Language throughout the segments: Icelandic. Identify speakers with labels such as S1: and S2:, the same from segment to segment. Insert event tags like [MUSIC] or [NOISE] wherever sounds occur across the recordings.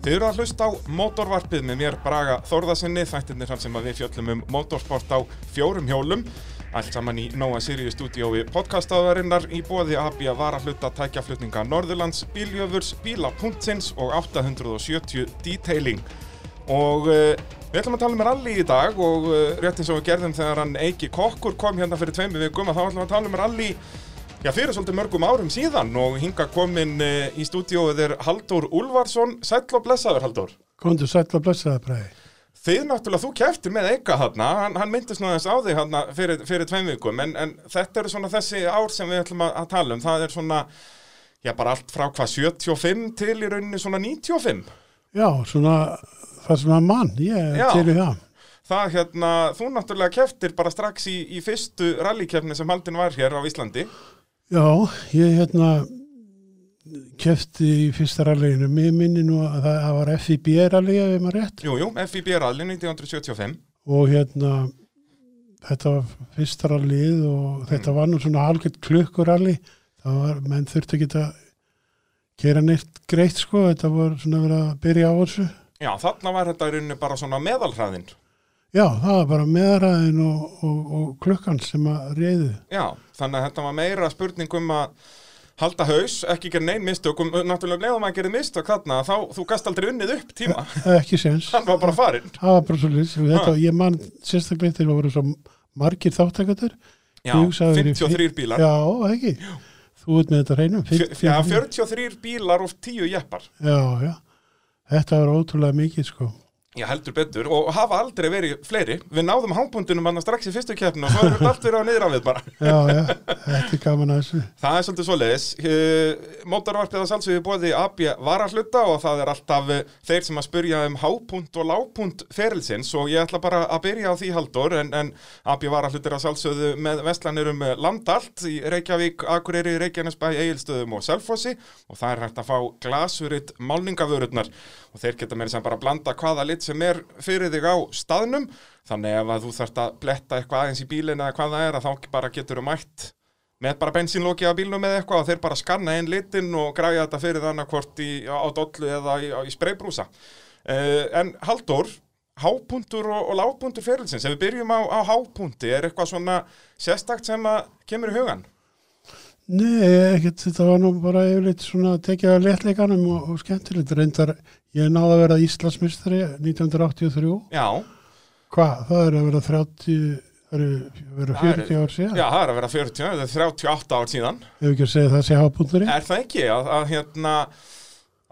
S1: Þið eru að hlusta á mótorvarpið með mér Braga Þórðarsinni, þættirnir þar sem að við fjöllum um mótorsport á fjórum hjólum. Allt saman í Nóa Sirius stúdiói podcastaðarinnar í bóði AB að vara hluta tækjaflutninga Norðurlands, Bíljöfurs, Bíla.sins og 870 Detailing. Og uh, við ætlum að tala um rally í dag og uh, rétt eins og við gerðum þegar hann Eiki Kokkur kom hérna fyrir tveimu vikum að þá ætlum við að tala um rally Já, fyrir svolítið mörgum árum síðan og hinga komin uh, í stúdíóið er Haldur Úlfarsson, sæll og blessaður Haldur.
S2: Kondur sætla að blessa það bræði.
S1: Þið náttúrulega, þú keftir með Eika hann, hann, hann myndist náðast á þig hann fyrir, fyrir tveim vikum, en, en þetta eru svona þessi ár sem við ætlum að, að tala um, það er svona, já bara allt frá hvað 75 til í rauninni svona 95.
S2: Já, svona, það er svona mann, ég
S1: Já.
S2: Já. til í það.
S1: Það hérna, þú náttúrulega keftir bara strax í, í fyrstu rallykefni sem haldin var hér á Íslandi.
S2: Já, ég hérna kefti í fyrsta ralleginu, mér minni nú að það það var FIB rallegi ef ég maður rétt
S1: Jú, jú, FIB rallin 1975.
S2: og hérna þetta var fyrsta rallegið og þetta var nú svona halgett klukkuralli, það var, menn þurfti ekki að gera neitt greitt sko, þetta var svona verið að byrja á þessu.
S1: Já, þarna var þetta í rauninni bara svona meðalhraðinn.
S2: Já, það var bara meðræðin og, og, og klukkan sem að reyðu.
S1: Já, þannig að þetta var meira spurning um að halda haus, ekki gera neinn mistök og náttúrulega leiðum að gera mistök þarna þá þú gast aldrei unnið upp [LAUGHS] tíma
S2: Það er ekki sens.
S1: hann var bara farinn
S2: Það var bara svo lýs, þetta, ég man sérstaklega þegar voru svo margir þáttakatar.
S1: Já,
S2: Ég hugsaði fyrir-
S1: 53 bílar
S2: Já, ekki. Þú ert með þetta reynum.
S1: Fjö- Já, 43 bílar og 10 jeppar
S2: Já, já. Þetta var ótrúlega mikið, sko.
S1: Já, heldur betur og hafa aldrei verið fleiri Við náðum hápundinum hann strax í fyrstu keppnu og svo erum við allt verið á niðra við bara
S2: Já, já, þetta er gaman að þessu.
S1: Það er svolítið svoleiðis. Eh, Mótorvarpið að sjálfsögðu bóði AB varahluta og það er alltaf eh, þeir sem að spurja um hápunt og lápunt ferilsins og ég ætla bara að byrja á því haldur en, en AB varahluta er að sjálfsögðu með vestlanir um eh, land allt í Reykjavík, Akureyri, Reykjanesbæ, Egilstöðum og Selfossi og það er hægt að fá glasuritt málningavörurnar og þeir geta meira sem bara að blanda hvaða lit sem er fyrir þig á staðnum þannig ef að þú þarft að bletta eitthvað aðeins í bílinn eða hvað það er að þá bara getur mætt með bara bensínlóki á bílnum eða eitthvað og þeir bara skanna einn litinn og græja þetta fyrir þannig hvort í, á dollu eða í, á- í spreybrúsa. Uh, en Haldur, hápuntur og, og lágpuntur fyrirlsins, ef við byrjum á, á hápunti, er eitthvað svona sérstakt sem að kemur í hugan?
S2: Nei, ekkert, þetta var nú bara yfirleitt svona að tekja að léttleikanum og, og skemmtilegt. Reyndar, ég náði að vera Íslandsmistari 1983.
S1: Já,
S2: Hvað, það er að vera 30, það eru vera
S1: Það eru-
S2: 40 ár síðan.
S1: já, það er að vera 40, það er 38 ár síðan.
S2: Ef ekki að segja það sé hábúndurinn.
S1: Er það ekki að, að hérna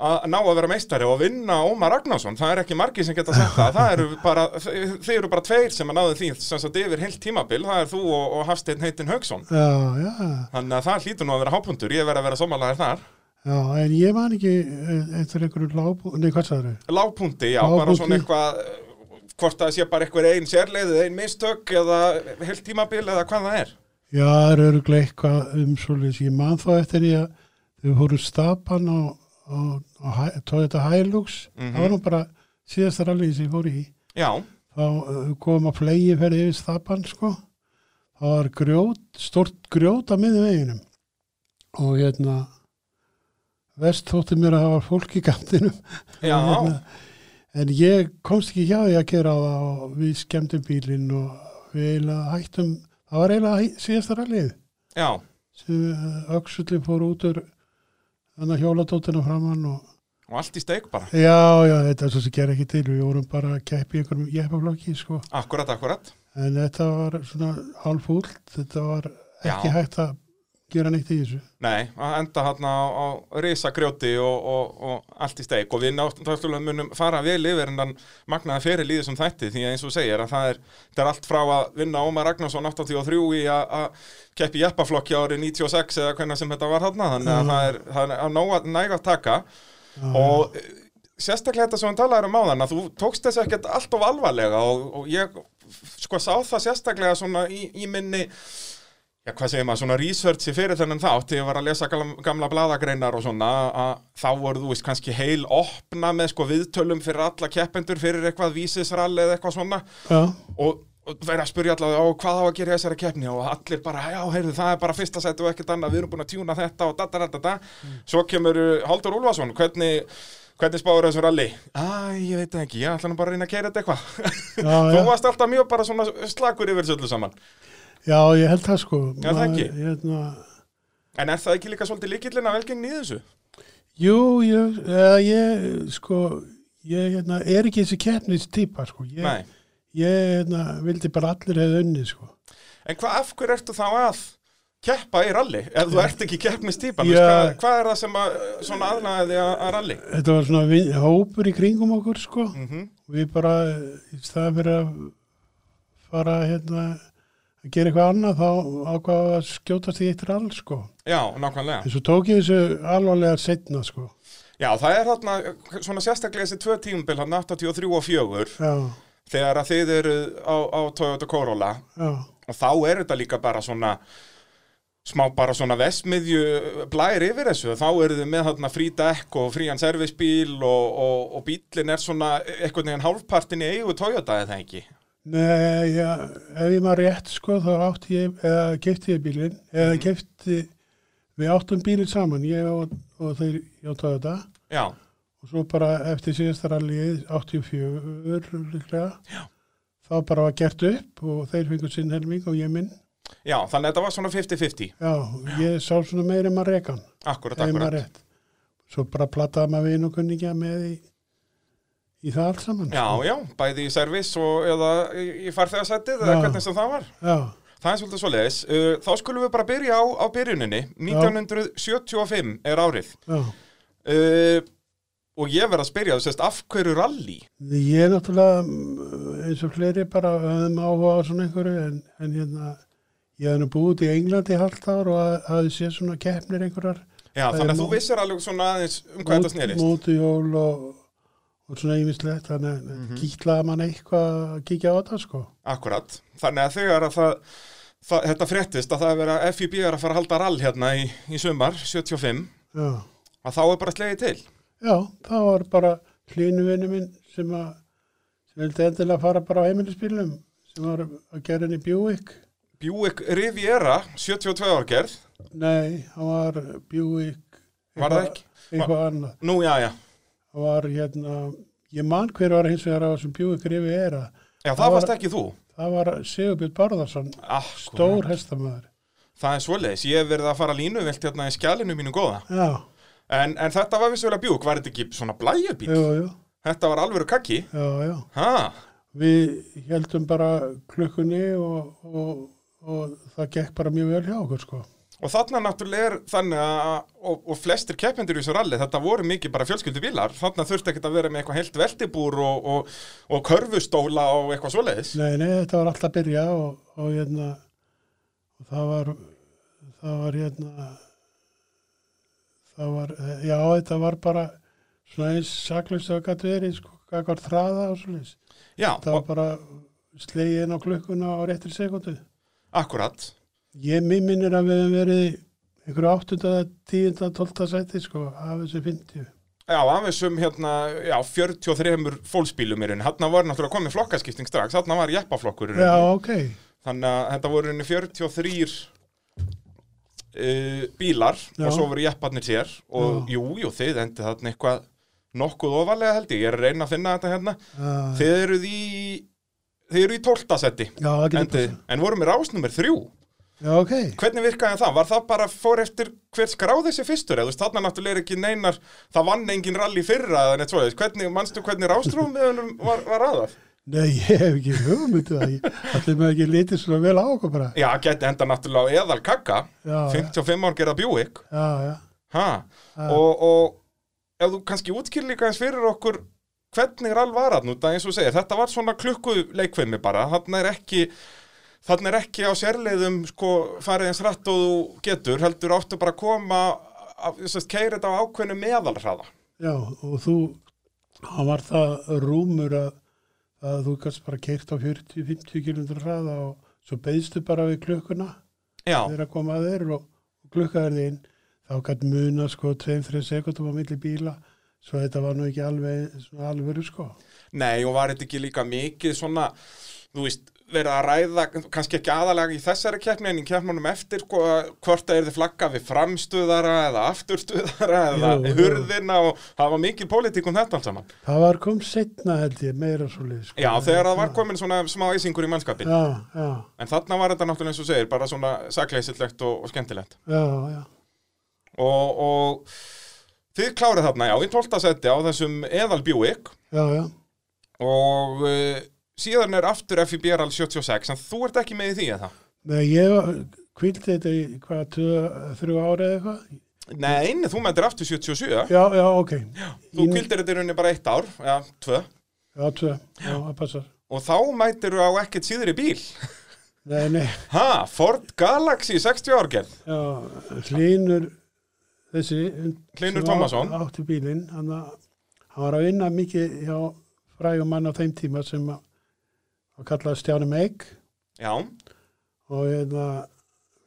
S1: að ná að vera meistari og vinna Ómar Ragnarsson það er ekki margir sem geta sagt það það eru bara, þið þið eru bara tveir sem að náðu því sem sagt yfir heilt tímabil, það er þú og, og Hafsteinn Heitin Haugsson
S2: Já, já.
S1: þannig að það hlýtur nú að vera hápundur, ég verð að vera samanlegaðir þar
S2: Já, en ég man ekki eh, eftir einhverju lábú, nei hvað sagður þau?
S1: lágpunti, já, bara
S2: Lágpunkti.
S1: svona eitthvað eh, hvort það sé bara eitthvað ein sérleið eða ein mistök eða heilt tímabil eða hvað það er
S2: Já, það eru öruglega eitthvað um svolítið, ég man þá eftir því að þau fóru stapan á, á, á Hi- Toyota Hilux, það var nú bara síðasta rallið sem ég fór í,
S1: já,
S2: þá eh, kom að flegi ferði yfir stapan, sko, það var grjót, stort grjót að miðum veginum og hérna, verst þótti mér að það var fólk í kantinum
S1: já,
S2: Hérna, En ég komst ekki hjá því að gera það og við skemmtum bílinn og við eiginlega hættum, það var eiginlega hæ- síðasta rallið
S1: já
S2: sem Öksulli fór út úr þannig að hjóladóttina framann og
S1: og allt í steik bara,
S2: já, já, þetta er svo sem gera ekki til, við vorum bara að keppi einhverjum jeppaflokki, sko.
S1: akkurat, akkurat
S2: En þetta var svona hálfúlt, þetta var ekki
S1: Já.
S2: hægt að gera neitt í þessu.
S1: Nei, að enda hérna á, á risagrjóti og, og, og allt í steik og við náttúrulega munum fara vel yfir en þann magnaða fyrir líði sem þætti því að eins og segir að það er, það er allt frá að vinna Ómar Ragnarsson 83 í að að keppi jeppaflokki árið 96 eða hvernig sem þetta var hérna þannig að það er, það er að nóga, næg að taka og eh, sérstaklega þetta sem hann talaði um áðan að þú tókst þess ekkert allt of alvarlega og, og ég sko sá það sérstaklega svona í, í minni já hvað segir maður, svona researchi fyrir þennan þátt þegar ég var að lesa gamla, gamla bladagreinar og svona að þá voru þú veist kannski heil opna með sko viðtölum fyrir alla keppendur fyrir eitthvað vísisrall eða eitthvað svona
S2: Já,
S1: og, og verið að spyrja allavega á hvað á að gera í þessari keppni og allir bara, já, heyrðu, það er bara fyrsta seti og ekkert annað, við erum búin að tjúna þetta og da, da, da, da, da. Svo kemur uh, Haldur Úlfarsson, hvernig Hvernig spáður þessu rally? Æ, ég veit það ekki, ég ætla nú bara að reyna að keira þetta eitthvað.
S2: já,
S1: Þú
S2: já,
S1: varst alltaf mjög bara svona slakur yfir þessu öllu saman.
S2: já, ég held það sko
S1: Já, það ekki.
S2: Maður, hérna,
S1: En er það ekki líka svolítið líkillin að velgengni í þessu?
S2: Jú, ég, eða, ég sko ég hérna, er ekki þessi keppnist típa sko. ég,
S1: Nei.
S2: ég hérna, vildi bara að allir hefði unni sko.
S1: En hvað af hverju ertu þá að keppa í rally? Ef þú ert ekki keppnistýpan,
S2: Já.
S1: yeah. hvað, hvað er það sem að, svona aðnaði að, að rally?
S2: þetta var svona vin, hópur í kringum okkur sko.
S1: Mm
S2: við bara í staðan fyrir að fara hérna, að gera eitthvað annað þá ákvaða að skjótast í eitt rall sko.
S1: Já, nákvæmlega.
S2: en svo tók ég þessu alvarlega setna sko.
S1: Já, það er þarna, svona sérstaklega þessi tvö tímubil, hann 83 og 4,
S2: já,
S1: þegar að þið eru á, á Toyota Corolla
S2: já,
S1: og þá er þetta líka bara svona smá bara svona vestmiðju blær yfir þessu, þá eru þið með þarna frí dekk og frían servisbíl og, og, og bílinn er svona einhvern veginn hálfpartin í eigu Toyota eða ekki?
S2: Nei, já, ef ég maður rétt sko þá átti ég, eða kefti ég bílinn eða mm. kefti, við áttum bílinn saman, ég og, og þeir játaði þetta
S1: Já,
S2: og svo bara eftir síðasta rallið 84 líklega já. þá bara var gert upp og þeir fengur sinn helming og ég minn
S1: já, þannig að þetta var svona 50-50
S2: já, ég sá svona meira en maður rekan
S1: Akkurat,
S2: ef ég maður
S1: akkurat.
S2: rétt svo bara plattaði maður vin og kunningja með í, í það allt saman
S1: Já, já, bæði í servis og eða í, í farþegarsættið eða
S2: Já.
S1: hvernig sem það var.
S2: já,
S1: Það er svolítið svoleiðis. Uh, þá skulum við bara byrja á, á byrjuninni. 1975 er árið.
S2: já.
S1: Uh, og ég verð að spyrja, þú sést, af hverju rally?
S2: Ég er náttúrulega mm, eins og fleiri bara höfðum áhuga á svona einhverju en, en hérna ég hef nú búið út í Englandi í halvt ár og að- hafði séð svona keppnir einhverjar
S1: Já,
S2: Það
S1: þannig
S2: er
S1: að þú
S2: nú-
S1: vissir alveg svona aðeins um hvað þetta snerist.
S2: mótujól og, og svona yfirslegt þannig mm
S1: Mhm.
S2: -hmm. kýtlaði mann eitthvað að kíkja á þetta sko
S1: Akkurat. Þannig að þegar að það, það, þetta fréttist að það er verið að FIB er að fara að halda rall hérna í, í sumar, 75,
S2: Já,
S1: að þá er bara slegið til.
S2: Já það var bara hlýnuvinni minn sem að sem vildi endilega fara bara á heimilisbílum sem var að gera henni Buick
S1: Buick Riviera, 72 árgerð,
S2: Nei, hann var Buick
S1: var það ekki?
S2: eitthvað annað
S1: Nú, já, já.
S2: það var hérna, ég man hver var hins vegar á þessum bjúi grifi era
S1: Já, það
S2: Það var-
S1: varst ekki þú.
S2: það var Sigurbjörn Bárðarsson
S1: Akkurat.
S2: stór hestamæður
S1: Það er svoleiðis, ég hef verið að fara línuvilt hérna í skjælinu mínu góða.
S2: já,
S1: En, en þetta var vissulega bjúk, var þetta ekki svona blæjabíl?
S2: jú, jú,
S1: Þetta var alvöru kakki.
S2: já, já
S1: Ha,
S2: við heldum bara klukkunni og, og, og það gekk bara mjög vel hjá okkur sko
S1: og þarna náttúrulega er þannig að, og, og flestir keppendur í þessu ralli, þetta voru mikið bara fjölskyldubílar. Þarna þurfti ekkert að vera með eitthvað heilt veltibúr og, og, og körfustóla og eitthvað svoleiðis.
S2: nei, nei, þetta var alltaf að byrja og, og hérna og það var það var hérna það var, já, þetta var bara svona eins saklust og gæti verið sko, gæti þraða og svolítið
S1: Já,
S2: Það var
S1: og,
S2: bara slegið inn á klukkuna á réttri sekundu.
S1: akkurat.
S2: Ég mig minnir að við hefum verið í einhverju 8., 10., 12. sæti sko, af þessu 50.
S1: Já, af þessum hérna, já, 43 fólksbílum er henni. Þarna var náttúrulega komið flokkaskipting strax, þarna var jeppaflokkur. í
S2: Já,
S1: rauninni.
S2: ok.
S1: Þannig að þetta voru henni 43 uh, bílar
S2: Já.
S1: og svo voru jepparnir sér og
S2: Já.
S1: jú, jú, þið endið þarna eitthvað nokkuð ofalega held ég, ég er að reyna að finna þetta hérna
S2: Uh,
S1: þið eruð í þið eruð í tóltasetti
S2: já, það getur
S1: endið,
S2: passað.
S1: en voru með rásnumir þrjú
S2: Já, ok.
S1: hvernig virkaði það, var það bara fór eftir hver skráð þessi fyrstur, eða þú veist þarna náttúrulega er ekki neinar, það vann engin rally fyrra eða neitt svoleiðis, hvernig, manstu hvernig rástrúmiðunum var, var aðað?
S2: Nei, [LAUGHS] ég hef ekki hugmyndu það. Allir með ekki litið svona vel á okkur bara.
S1: Já, geti enda náttúrulega á eðal kakka
S2: Já, já,
S1: 55 ár gerða Buick
S2: já, já.
S1: Ha,
S2: Ha.
S1: og, og ef þú kannski útskýr líka eins fyrir okkur hvernig rall var hann út að eins og þú segir þetta var svona klukku leikveimi bara þarna er ekki þarna er ekki á sérleiðum sko farið eins rætt og þú getur heldur áttu bara að koma að keira þetta á ákveðnu meðalhraða
S2: Já, og þú, hann var það rúmur að, að þú gæst bara keirt á 40-50 km hraða og svo beðstu bara við klukkuna.
S1: já,
S2: þeir að koma að þeir og, og klukkaður þín þá gætt muna sko 2-3 sekundum á milli bíla svo þetta var nú ekki alveg svona alvöru sko
S1: nei og var þetta ekki líka mikið svona þú veist, verið að ræða kannski ekki aðalega í þessari keppni en í keppnunum eftir sko, að hvort það er þið flagga við framstuðara eða afturstuðara eða
S2: Jú, jú.
S1: hurðina og það var mikil pólitík um þetta allt saman
S2: Það var kom setna held ég, meira svo lið sko.
S1: Já, þegar það var komin svona smá æsingur í mannskapin
S2: Já, já,
S1: en þarna var þetta náttúrulega eins og þú segir bara svona sakleysilegt og, og skemmtilegt
S2: já, já
S1: og, og þið klárið þarna já, í 12. seti á þessum eðalbjúik
S2: Já, já,
S1: og uh, síðan er aftur FIBRL 76 en þú ert ekki með í því eða?
S2: Nei, ég kvildi þetta í hvað, tvö, þrjú ára eða eitthvað
S1: Nei, nei, þú mættir aftur 77
S2: Já, já, ok
S1: Þú
S2: Í-
S1: kvildir þetta í rauninni bara eitt ár, eða tvö
S2: Já, tvö, já, það passar
S1: Og þá mættir þú á ekkert síðri bíl
S2: Nei, nei,
S1: Ha, Ford Galaxy 60 árgerð
S2: já, hlínur þessi
S1: Hlynur
S2: sem á-
S1: Tómasson.
S2: Átti bílinn, hann að- hann var að vinna mikið hjá frægum mann á þeim tíma sem að að kallaði Stjáni Meik
S1: Já,
S2: og hérna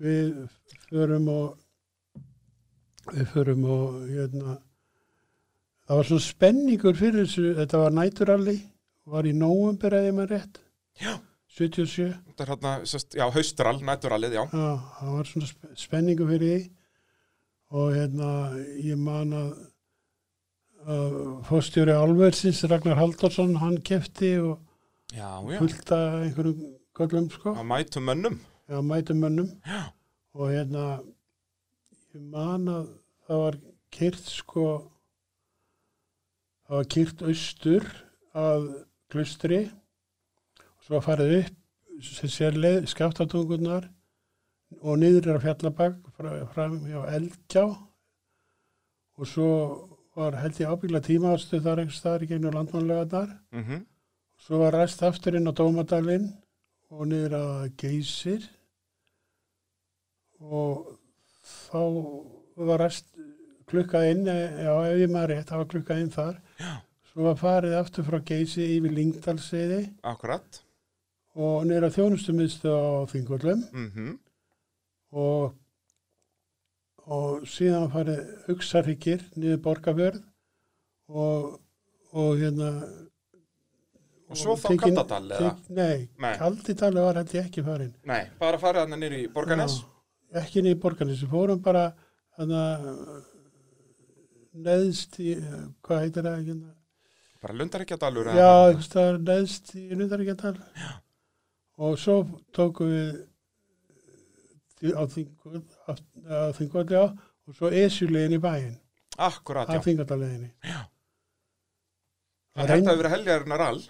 S2: við förum og við förum og hérna það var svona spenningur fyrir þessu þetta var næturalli var í nóumbir eða maður rétt
S1: Já.
S2: 77 já,
S1: þetta er hérna, sest, já, haustral, næturalið, já
S2: það var svona sp- spenningur fyrir því og hérna ég man að að fórstjóri Alversins Ragnar Halldórsson hann kefti og
S1: Já, já,
S2: fullta einhverjum göllum sko
S1: að mætu mönnum
S2: Já, mætum mönnum
S1: Já.
S2: og hérna ég man að það var kyrt sko það var kyrt austur að klustri og svo farið upp sem sér leið skaftatungunar og niður er að fjallabak frá, frá hjá Elgjá og svo var held ég ábyggla tímaðastu þar einhvers staðar í gegnum landmannlegarnar
S1: mm
S2: Svo var ræst aftur inn á Dómadalinn og niður að geysir og þá var ræst klukkað inn, eh, já ef ég maður rétt, það var klukkað inn þar.
S1: Já.
S2: Svo var farið aftur frá geysi yfir Lingdalsiði
S1: Akkurat
S2: og niður að þjónustumiðstu á Þingvöllum
S1: mm
S2: og, og síðan farið Uxarhyggir niður Borgafjörð og, og hérna
S1: Og svo þá
S2: tekin-
S1: Kaldadal, eða?
S2: tek- Nei,
S1: Nei.
S2: Kaldadal var held ég ekki farin
S1: Nei, bara farið hann niður í Borgarnes
S2: Já, Ekki niður í Borgarnes, við fórum bara hana, neðst í, hvað heitir það ekki?
S1: Bara lundar ekki að dalur
S2: Já, einhvers staðar neðst í Nundaríkjadal og svo tókum við til- á Þingvöll- á- á Þingvalli á og svo Esjulegin í bæinn,
S1: Akkurat,
S2: á
S1: já
S2: Þingvallaleginni.
S1: Þetta hefur verið heljarinnar all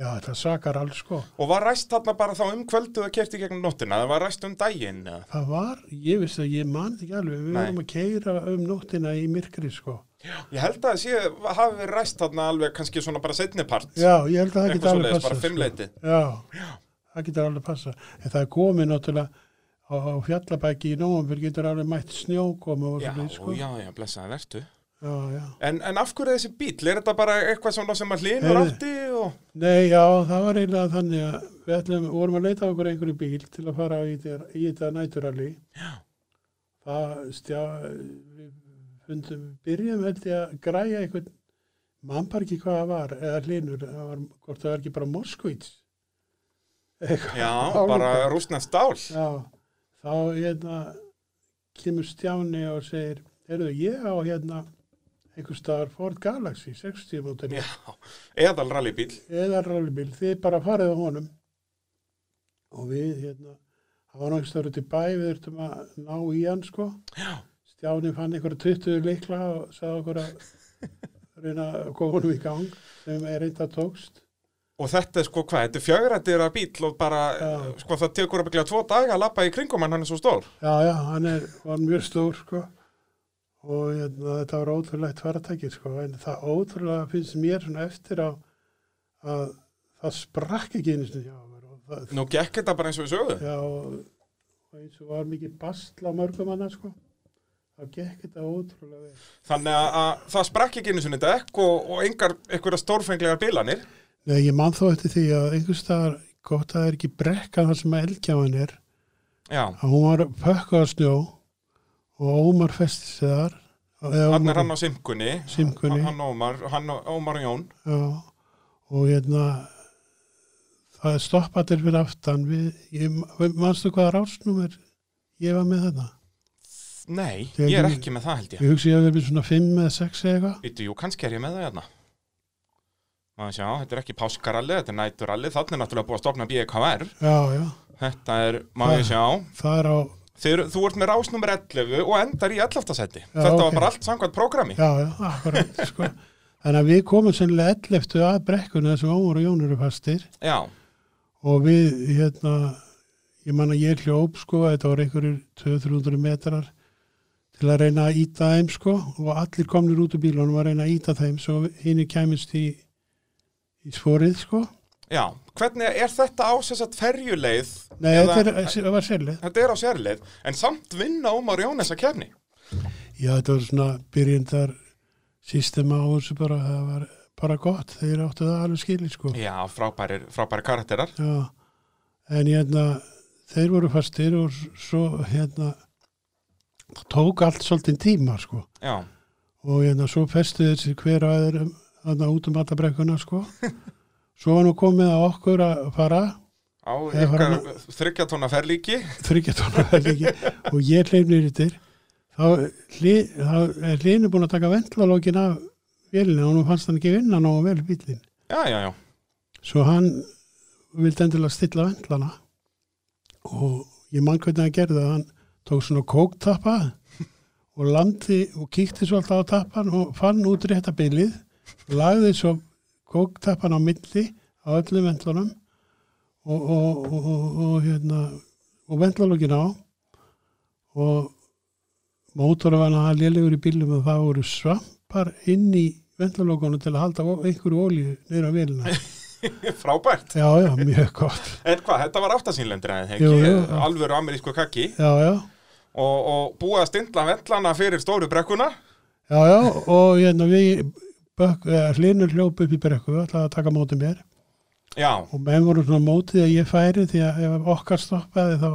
S2: Já, þetta sakar alls sko.
S1: Og var ræst þarna bara þá um kvöldu að kerti gegnum nóttina, það var ræst um daginn eða?
S2: Það var, ég veist að ég man þetta ekki alveg, við
S1: Nei.
S2: vorum að keira um nóttina í myrkri sko.
S1: Ég held að sé, hafi verið ræst þarna alveg kannski svona bara setnipart
S2: Já, ég held að það geta
S1: eitthvað
S2: alveg sko.
S1: svoleiðis,
S2: passa.
S1: bara fimmleiti
S2: Já, það getur alveg passa. En það er komið náttúrulega á, á fjallabæki í nóvambur getur alveg mætt snjókomu og
S1: Já,
S2: svona, sko.
S1: já, já, blessaði vertu
S2: já, já.
S1: en, en af hverju er þessi bíl, er þetta bara eitthvað svona sem að hlýnur
S2: Heyrðu.
S1: átti og...
S2: Nei, já, það var eiginlega þannig að við ætlum, vorum að leita af okkur einhverju bíl til að fara í, þetta- í þetta næturalli. Já. Það, stjá, við fundum, byrjum held ég að græja einhvern, mann bara ekki hvað það var, eða hlinur, það var, hvort það var ekki bara Moskvits.
S1: Já,
S2: Álíka.
S1: bara rústnað stál
S2: Já, þá hérna kemur Stjáni og segir, heyrðu, ég á hérna einhver staðar Ford Galaxy 60 mótinni,
S1: Já, eðal rallybíl
S2: eða rallybíl, þið bara farið á honum og við hérna, það var náttúrulega staður út í bæ, við þurftum að ná í hann sko.
S1: Já.
S2: Stjáni fann einhverja 20 leikla og sagði okkur að reyna að koma honum í gang sem er reynda tókst.
S1: Og þetta er sko hvað, þetta er fjögrættira bíl og bara,
S2: Já.
S1: sko það tekur að byggja tvo daga að lappa í kringum en hann er svo stór
S2: Já, já, hann er, var mjög stór sko og hérna, þetta var ótrúlegt faratæki sko en það ótrúlega finnst mér svona eftir á að það sprakk ekki einu sinni hjá mér og það,
S1: Nú gekk þetta bara eins og við sögðu
S2: já, og, og eins og var mikið bastla á mörgum annars sko það gekk þetta ótrúlega vel
S1: Þannig að, að það sprakk ekki einu sinni dekk og, og engar einhverja stórfenglegar bílanir.
S2: Nei, ég man þó eftir því að einhvers staðar gott að það er ekki brekkan þar sem að elgjáðan er
S1: Já,
S2: að hún var pökkuð á snjó og Ómar festi sig þar eða
S1: hann
S2: Ómar-
S1: er hann á Simkunni,
S2: Simkunni.
S1: hann Ómar, hann Ómar og Jón.
S2: Já, og hérna það er stoppatir fyrir aftan við, ég, manstu hvaða rásnúmer ég var með þetta
S1: Nei,
S2: Þegar
S1: ég er
S2: ég-
S1: ekki með það held ég.
S2: ég hugsi ég að verið svona 5 eða 6 eða eitthvað
S1: Ítu, jú, kannski er ég með það hérna. Maður sjá, þetta er ekki páskaralli, þetta er næturalli, þannig er náttúrulega búið að stopna BKR.
S2: já, já,
S1: Þetta er, maður sjá,
S2: það er á
S1: þeir, þú ert með rásnúmer 11 og endar í 11. seti.
S2: Já,
S1: þetta
S2: ok.
S1: var bara allt samkvæmt prógrami.
S2: já, já, akkurat [LAUGHS] sko. þannig að við komum sennilega 11 að brekkuna þessum Ómar og Jón eru fastir
S1: Já,
S2: og við, hérna ég man að ég hljóp, sko, þetta voru einhverjir 200-300 metrar til að reyna að íta þeim, sko og allir komnir út úr bílunum að reyna að íta þeim svo hinn kæmist í í sporið, sko
S1: já. Hvernig er þetta á þess að ferjuleið?
S2: Nei,
S1: Eða-
S2: þetta er, það var sérlega
S1: Þetta er á sérleið, en samt vinna Ómar Jónes að kefni.
S2: Já, þetta var svona byrjendar sístema á þessu bara, það var bara gott, þeir áttu það alveg skilið, sko
S1: Já, frábærir, frábærir karakterar.
S2: Já, en hérna þeir voru fastir og s- svo hérna tók allt svolítið tíma, sko
S1: Já,
S2: og hérna svo festu þessi hver á aður þarna út um alla brekkuna sko svo var nú komið að okkur að fara
S1: á
S2: Ég var
S1: ykkar þryggjatóna ferlíki.
S2: þryggjartónu veliki og ég hleyfnir yttir þá, hli, þá er hlinu búin að taka vendlalókin af vélina og nú fannst hann ekki vinna nógu vel bílinn
S1: Já, já, já.
S2: svo hann vildi endilega stilla vendlana og ég mann hvernig hann gerði það hann tók svona kóktappa og landi og kíkti svolítið á tappan og fann út rétta bilið lagði svo kóktappan á milli á öllum vendlunum og, og, og, og, og hérna og vendlalókin á og mótorvana hann lélegur í bílum og það voru svampar inn í vendlalókunum til að halda ó- einhverju ólíu niður á vélina
S1: [LAUGHS] Frábært.
S2: Já, já, mjög gott.
S1: En hvað, þetta var áttasínlendur eða
S2: Jú,
S1: ekki,
S2: jú.
S1: alvöru amerísku kakki
S2: Já, já,
S1: og, og búið að stindla vendlana fyrir stóru brekkuna.
S2: já, já og hérna við bök, eh, hlinur hljóp upp í brekku, ætlaði að taka mótið mér
S1: Já,
S2: og menn voru svona mótið að ég færi því að ef okkar stoppaði þá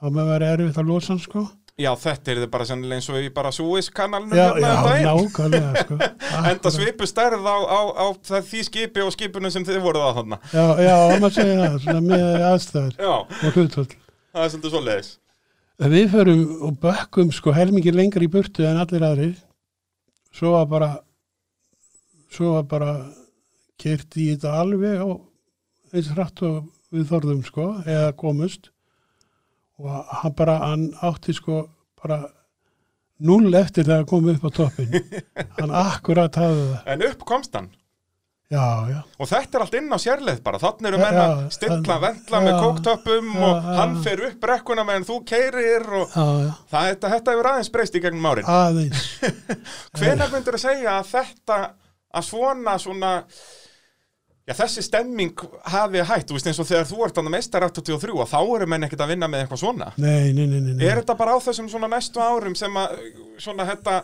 S2: þá með verið erfitt að losa hann sko.
S1: já, þetta er bara sennilega eins og í bara Suez-kanalnum
S2: Já,
S1: hérna
S2: já,
S1: um daginn.
S2: nákvæmlega sko.
S1: [LAUGHS] Enda
S2: Akkurat.
S1: svipu stærð á, á, á það- því skipi og skipinu sem þið voruð á þarna.
S2: Já, já, maður segir það, svona með aðstæður
S1: Já,
S2: og hlutvöld.
S1: það er svolítið svoleiðis.
S2: Við förum og bökkum sko helmingi lengur í burtu en allir aðrir svo var bara svo var bara kert í þetta alveg og eins hratt og við þorðum sko eða komust og hann bara, hann átti sko bara null eftir þegar hann kom upp á toppin hann akkurat hafði það
S1: En upp komst hann.
S2: já, já,
S1: Og þetta er allt inn á sérleið bara, þannig eru menn
S2: Já,
S1: að stilla
S2: en-
S1: vendla með
S2: já,
S1: kóktöppum
S2: já,
S1: og
S2: já.
S1: hann fer upp brekkuna meðan þú keirir og
S2: já, já
S1: það, þetta, þetta hefur aðeins breyst í gegnum árin.
S2: aðeins
S1: Hvenar myndir að segja að þetta að svona svona já þessi stemming hafi hætt, þú veist eins og þegar þú ert annað meistar 83 og þá eru menn ekkert að vinna með eitthvað svona
S2: nei, nei, nei, nei, nei.
S1: Er þetta bara á þessum svona næstu árum sem að svona þetta,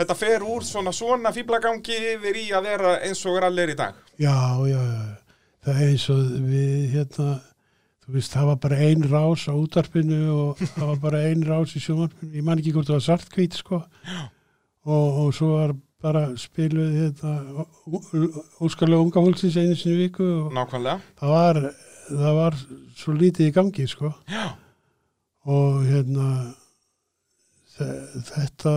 S1: þetta fer úr svona svona fýblagangi yfir í að vera eins og rallir í dag?
S2: Já, já, já. Það er eins og við, hérna, þú veist, það var bara ein rás á útarpinu og það var bara ein rás í sjónvarpinu. Ég man ekki hvort það var sartkvít, sko. Já. Og, og svo var bara spiluð, hérna, óskalega unga fólksins einu sinni í viku og
S1: Nákvæmlega.
S2: það var, það var svo lítið í gangi, sko.
S1: Já.
S2: Og, hérna, þe- þetta,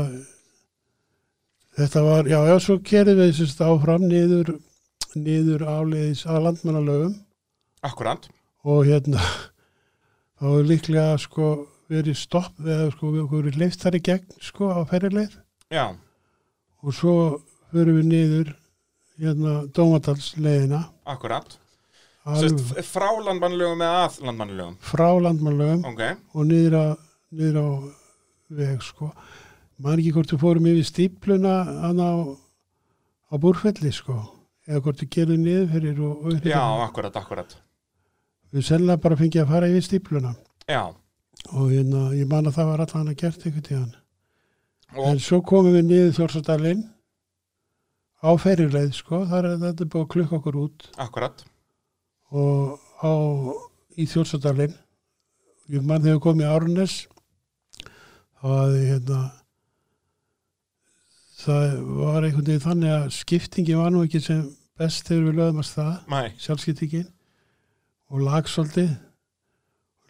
S2: þetta var, já, já, svo kerðum við sérst áfram niður, niður áleiðis að landmannalögum
S1: Akkurant.
S2: og hérna [LAUGHS] þá er líklega sko verið stopp eða sko við okkur verið leift þar í gegn sko á ferrileið
S1: Já.
S2: og svo förum við niður hérna Dómadalsleiðina
S1: Akkurant.
S2: alveg
S1: Sest, frá landmannlögum eða að landmannlögum.
S2: frá landmannlögum
S1: Ok.
S2: og niður á, niður á veg sko maður ekki hvort við fórum yfir stípluna hann á, á búrfelli sko eða hvort við gerum niður fyrir og, og upp
S1: Já,
S2: fyrir.
S1: akkurat, akkurat.
S2: við sennilega bara fengið að fara yfir stípluna
S1: Já.
S2: og hérna, ég man að það var allan að gert einhvern tíðan
S1: Og,
S2: En svo komum við niður Þjórsadalinn á ferjuleið, sko, þar er þetta búið að klukka okkur út
S1: akkurat.
S2: og á, í Þjórsadalinn. Ég mann þegar við komum í Árnes, þá að hérna, það var einhvern veginn þannig að skiptingi var nú ekki sem best þegar við lögum að stað,
S1: Mæ.
S2: sjálfskiptingin, og lagsolti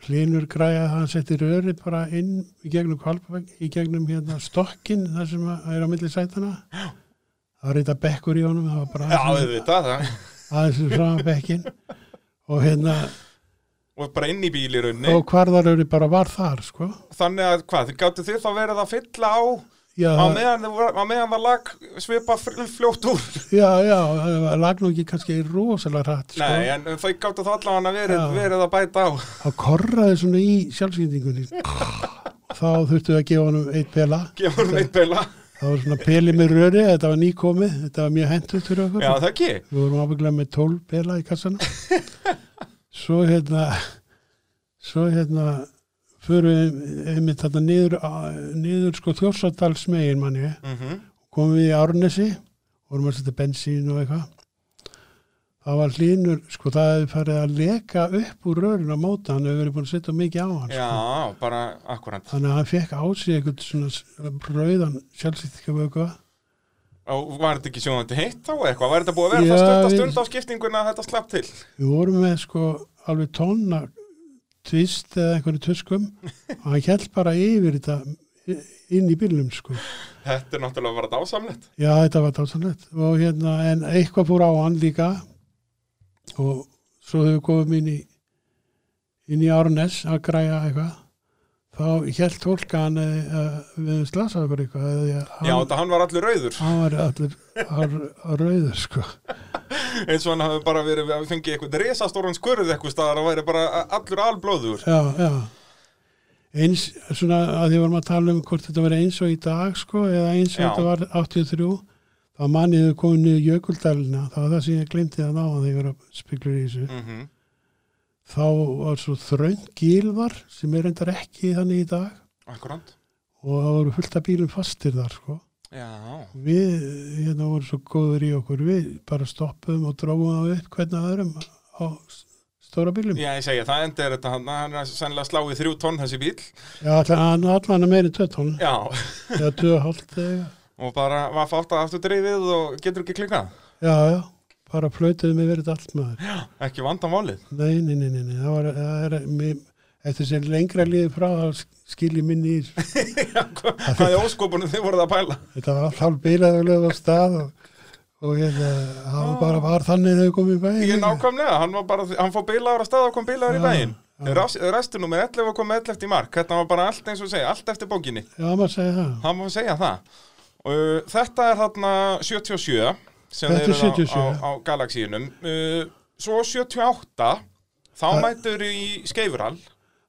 S2: hlinur græja hann settir öri bara inn í gegnum kvalpavegg, í gegnum hérna stokkin þar sem að er á milli sætana það var eitthvað bekkur í honum það var bara
S1: Já,
S2: aðeins-
S1: auðvitað, það.
S2: aðeins um saman bekkin og hérna
S1: Og bara inn í bíl í rauninni.
S2: og hvarðaröri bara var þar sko
S1: Þannig að hvað, þið gáttu þið þá verið að fylla á
S2: já,
S1: á meðan, þið voru- á meðan það lag svipa fl- fljótt úr.
S2: já, já, það lag nú ekki kannski rosalega hratt [LAUGHS] sko
S1: Nei, en þau gáttu þá allavega verið,
S2: Já.
S1: verið að
S2: [LAUGHS]
S1: bæta á.
S2: þá korraði svona í sjálfskyndingunni þá þurftu að gefa honum eitt pela
S1: Gefa hún eitt beila.
S2: það var svona peli með röri, þetta var nýkomið þetta var mjög hentugt fyrir okkur
S1: Já, það ekki.
S2: við vorum ábygglega með tól pela í kassana svo hérna svo hérna förum við einmitt þarna niður, á- niður sko þjórsardals megin manni
S1: Mm
S2: komum við í Árnesi vorum að setja bensín og eitthvað það var hlínur sko það hefði farið að leka upp úr rörun á móta hann hefur verið búin að setja mikið á hann sko.
S1: Já, bara akkurant.
S2: þannig að hann fekk á sig einhvern svona s- rauðan sjálfsýttingavöku
S1: Og var þetta ekki sjóðandi heitt þá eitthvað? Var þetta búið að vera
S2: Já,
S1: það stund að
S2: við-
S1: stund á skiptinguna að þetta slapp til?
S2: við vorum með sko alveg tonna tvist eða einhverju tuskum og hann held bara yfir þetta i- inn í bílnum sko
S1: Þetta er náttúrulega bara dásamlegt.
S2: já þetta var dásanlegt og hérna en eitthvað fór á hann líka og svo þau komum inn í inn í Árnes að græja eitthvað þá held fólk að hann uh, við slasaði okkur eitthvað eða því að
S1: Já,
S2: hann,
S1: þetta hann var allur rauður. [LAUGHS]
S2: hann var allir að rauður sko
S1: Eins og hann hafði bara verið að fengið eitthvað resastóran skurð eitthvað staðar og væri bara allur alblóður.
S2: já, já eins, svona að því varum að tala um hvort þetta var eins og í dag sko eða eins og
S1: Já.
S2: þetta var 83 þá mannið þau komið niður Jökuldalina það var það sem ég glemti að ná að þegar ég var að spiklur í þessu
S1: Mm -hmm.
S2: þá var svo þröng gilvar sem er endar ekki þannig í dag
S1: Akkurant.
S2: og það voru fullt af bílum fastir þar sko
S1: Já.
S2: við hérna voru svo góður í okkur við bara stoppum og dróðum það upp hvernig að öðrum á s- stóra [LAUGHS] bílum
S1: Já, ég segja, það enda er þetta hann, hann er sennilega sláið þrjú tonn þessi bíl.
S2: já, allan allan er meiri 2 tónn
S1: Já,
S2: eða 2,5 eða
S1: og bara var fátt að aftur dreifið og getur ekki klikkað.
S2: Já, já, bara flöytuði mig verið allt maður.
S1: Ekki vandamálið. [LAUGHS]
S2: Nei, nei, nei, nei, nei, það var, það er, mér, eftir sem lengra liði frá þá skil ég minni í, þessu.
S1: Það er óskopunum þið voruð að pæla.
S2: þetta var allt hálf bílað og lögð á stað og, og hérna, það var bara var þannig þegar komið í bæði.
S1: Ég nákvæmlega, hann, var bara, hann fór bílaður að stað og kom bílaður í
S2: Já,
S1: bæinn. Restunum er 11 og kom 11 í mark. Þetta var bara allt eins og segja, allt eftir bókinni.
S2: Já, maður segi það.
S1: Það má segja það. Uh, þetta er þarna 77 sem
S2: Þetta
S1: þeir
S2: er
S1: eru á,
S2: 77,
S1: á, á galaxíunum. Uh, svo 78, þá
S2: Það-
S1: mætur í Skeifurall.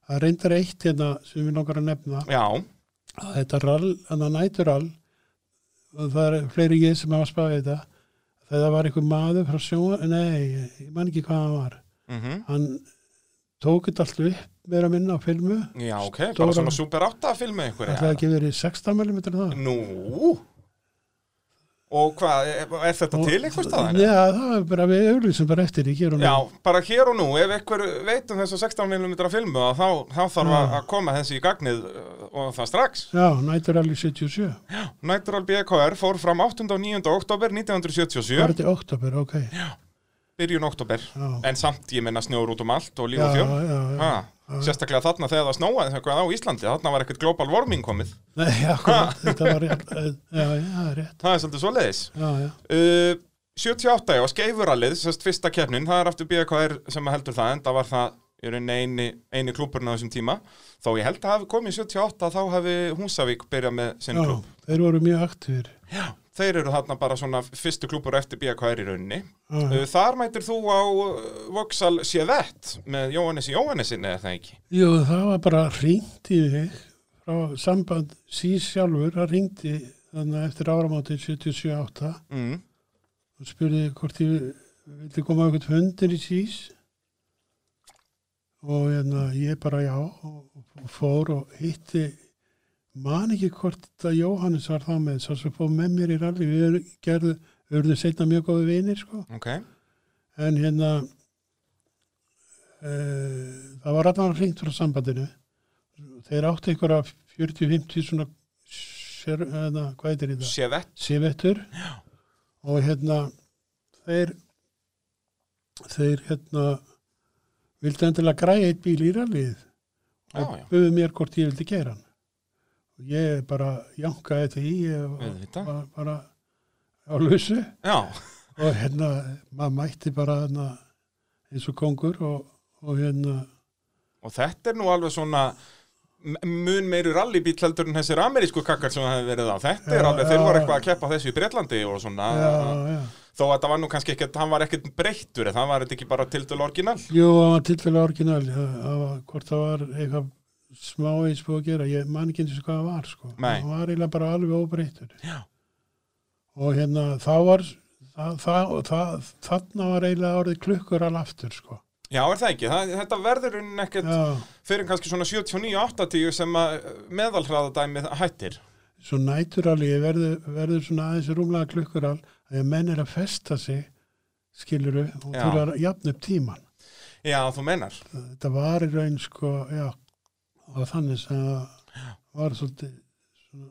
S2: Það er reyndar eitt hérna sem við langar að nefna,
S1: Já,
S2: að þetta rall, en það nætur rall, og það er fleiri ég sem hafa spáðið þetta, þegar var einhver maður frá sjóa, nei, ég man ekki hvað hann var.
S1: mm
S2: Hann tók þetta allt upp, meira minna á filmu,
S1: já ok, bara
S2: Stóran-
S1: svona Super 8 filmu einhverja.
S2: Það er ekki verið 16 mm það.
S1: Nú Og hvað, er, er þetta til einhvers staðar?
S2: Já, það er bara við auðlýsum bara eftir því hér og nú.
S1: Já, bara hér og nú, ef einhver veit um þessu 16mm filmu þá, þá þarf að
S2: Já.
S1: að koma þessi í gagnið uh, og það strax.
S2: Já, nætur alveg 77.
S1: Natural BKR fór fram 8. og 9. oktober
S2: Það var
S1: 1977,
S2: þetta í oktober, ok. Já,
S1: byrjun oktober,
S2: já,
S1: en samt ég menna snjór út um allt og líf og
S2: já.
S1: fjör.
S2: já,
S1: Ha,
S2: já.
S1: sérstaklega þarna þegar það snóaði eitthvað á Íslandi, þarna var ekkert global warming komið.
S2: Nei, já, akkurat, þetta var rétt. Já, já, það er rétt.
S1: Það er svolítið svoleiðis.
S2: Já, já,
S1: Uh, 78 já, skeifurallið, sérst fyrsta keppnin það er aftur BKR sem að heldur það en það var það í rauninni eini, eini klúburinn á þessum tíma þó ég held að hafi komið 78 þá hafi Húsavík byrjað með sinn
S2: já,
S1: klúb
S2: þeir voru mjög aktífir.
S1: þeir eru þarna bara svona fyrstu klúbur eftir BKR í rauninni
S2: Já,
S1: uh, þar mætir þú á uh, Vauxhall Sjevett með Jóhannes Jóhannesin eða það ekki
S2: Jú, það var bara ringt í þig frá samband síð sjálfur, það ringdi þannig að eftir áramátið 77-8
S1: mm.
S2: og spurði hvort ég vildi koma á eitthvað hundir í sís og hérna, ég bara já og og fór og hitti man ekki hvort þetta Jóhannes var þá með svo sem fór með mér í ralli við erum- gerðu, við erum setna mjög góði vinir sko.
S1: ok,
S2: en hérna e, það var allan hringt frá sambandinu þeir áttu einhverja 40-50 svona sér, hérna, hvað heitir þetta?
S1: Sjevett
S2: Sivettur og hérna þeir þeir hérna vildi endilega græja eitt bíl í rallið
S1: Já,
S2: og
S1: já.
S2: buðu mér hvort ég vildi gera hann og ég bara jankaði því og
S1: Auðvitað.
S2: var bara á lausu
S1: Já,
S2: og hérna maður mætti bara hérna, eins og kongur og, og hérna
S1: og þetta er nú alveg svona m- mun meiri rallybíl heldur en þessir amerísku kakkar sem það hefur verið á þetta er
S2: Já,
S1: alveg, þeir voru
S2: já.
S1: eitthvað að keppa á þessu í Breitlandi og svona,
S2: já, já.
S1: þó að það var nú kannski ekkert, hann var ekkert breyttur eða hann var þetta ekki bara til dælu orginal
S2: Jú, það var tilfellega orginal það, það var, hvort það var eitthvað smá eins búið að gera, ég man ekki eins og hvað það var sko,
S1: Nei.
S2: það var eiginlega bara alveg óbreyttur
S1: Já.
S2: og hérna það var það, það, það, þarna var eiginlega orðið klukkur alveg aftur sko
S1: Já, er það ekki, það, þetta verður unn ekkert
S2: Já,
S1: fyrir kannski svona 79-80 sem að uh, meðalhraðadæmið hættir
S2: svo næturali verður, verður svona aðeins rúmlega klukkur al að menn er að festa sig skiluru og
S1: Já.
S2: þurfa að jafna upp tíman
S1: Já, þú menar
S2: þetta var í raun sko já, og þannig sem það var svolítið svona,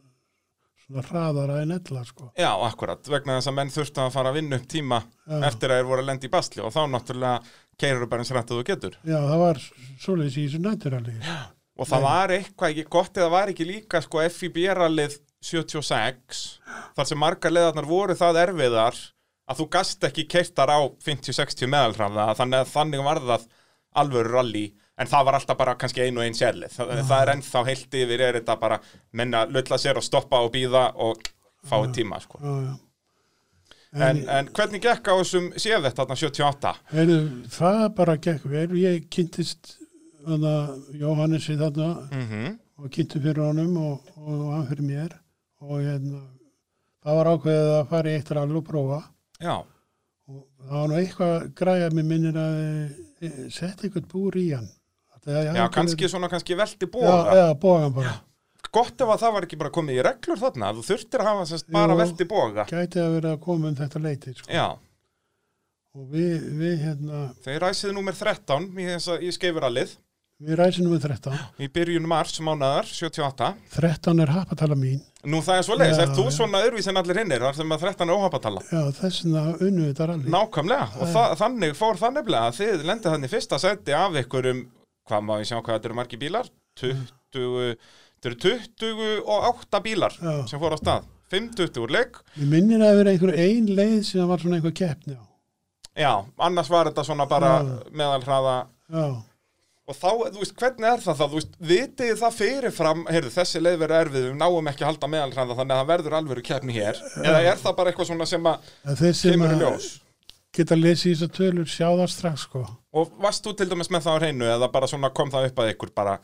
S2: svona hraðara en ella sko
S1: Já, akkurat, vegna þess að menn þurftu að fara að vinna upp tíma
S2: já,
S1: eftir að þeir voru að lenda í basli og þá náttúrulega keirur bara eins rætt að þú getur
S2: já, það var svolítið í þessu næturali
S1: og það
S2: Nei.
S1: var eitthvað ekki gott eða var ekki líka sko FIB-rallið 76 þar sem margar leðarnar voru það erfiðar að þú gast ekki keirtar á 50-60 meðalhraða þannig að þannig var það alvöru rally en það var alltaf bara kannski einu og eins erlið Þa, það er ennþá heilt yfir er þetta bara menna lötla sér og stoppa og býða og fá tíma sko
S2: já, já.
S1: en, en hvernig gekk á þessum séð þetta 78?
S2: Heru, það bara gekk vel ég kynntist þarna, Jóhannesi þarna
S1: Mm
S2: og kynnti fyrir honum og, og hann fyrir mér og hérna, það var ákveðið að fara í eitt rall og prófa
S1: Já,
S2: og það var nú eitthvað græja mér minnir að e, setja eitthvað búr í hann það,
S1: já, kannski svona kannski velti bóða
S2: Já, eða bógan bara,
S1: gott ef að það var ekki bara komið í reglur þarna að þú þurftir að hafa sérst bara
S2: Jú.
S1: velti boga
S2: gæti að vera að koma um þetta leiti sko.
S1: já,
S2: og við, við hérna
S1: þeir ræsið númer 13 í, þessa, í skeifurallið
S2: við ræsum um 13
S1: í byrjun mars mánaðar 78
S2: 13 er happatala mín
S1: nú það er svo leiðis,
S2: Já,
S1: er þú
S2: já.
S1: svona öðruvís en allir hinnir þar sem að 13 er óhapatala
S2: já, þess vegna unnu þetta rally
S1: nákvæmlega, og
S2: Já.
S1: það, þannig fór það nefnilega að þið lendið þannig fyrsta seti af ykkur um, hvað má ég sjá hvað þetta eru margi bílar 20, þetta eru 28 bílar
S2: Já.
S1: sem fór á stað 5-20 úr leik,
S2: við minnir að vera einhver ein leið sem var svona einhver keppni á
S1: já, annars var þetta svona bara
S2: Já.
S1: meðal hraða
S2: já,
S1: Og þá, þú veist, hvernig er það þá, þú veist, vitið þið það fyrirfram, heyrðu, þessi leið verður erfið, við náum ekki að halda meðalræða þannig að það verður alvöru keppni hér, eða er það bara eitthvað svona sem að
S2: að þeir sem
S1: kemur í
S2: að
S1: ljós?
S2: geta lesið þessar tölur sjá það strax sko
S1: Og varst þú til dæmis með það á hreinu eða bara svona kom það upp að ykkur bara,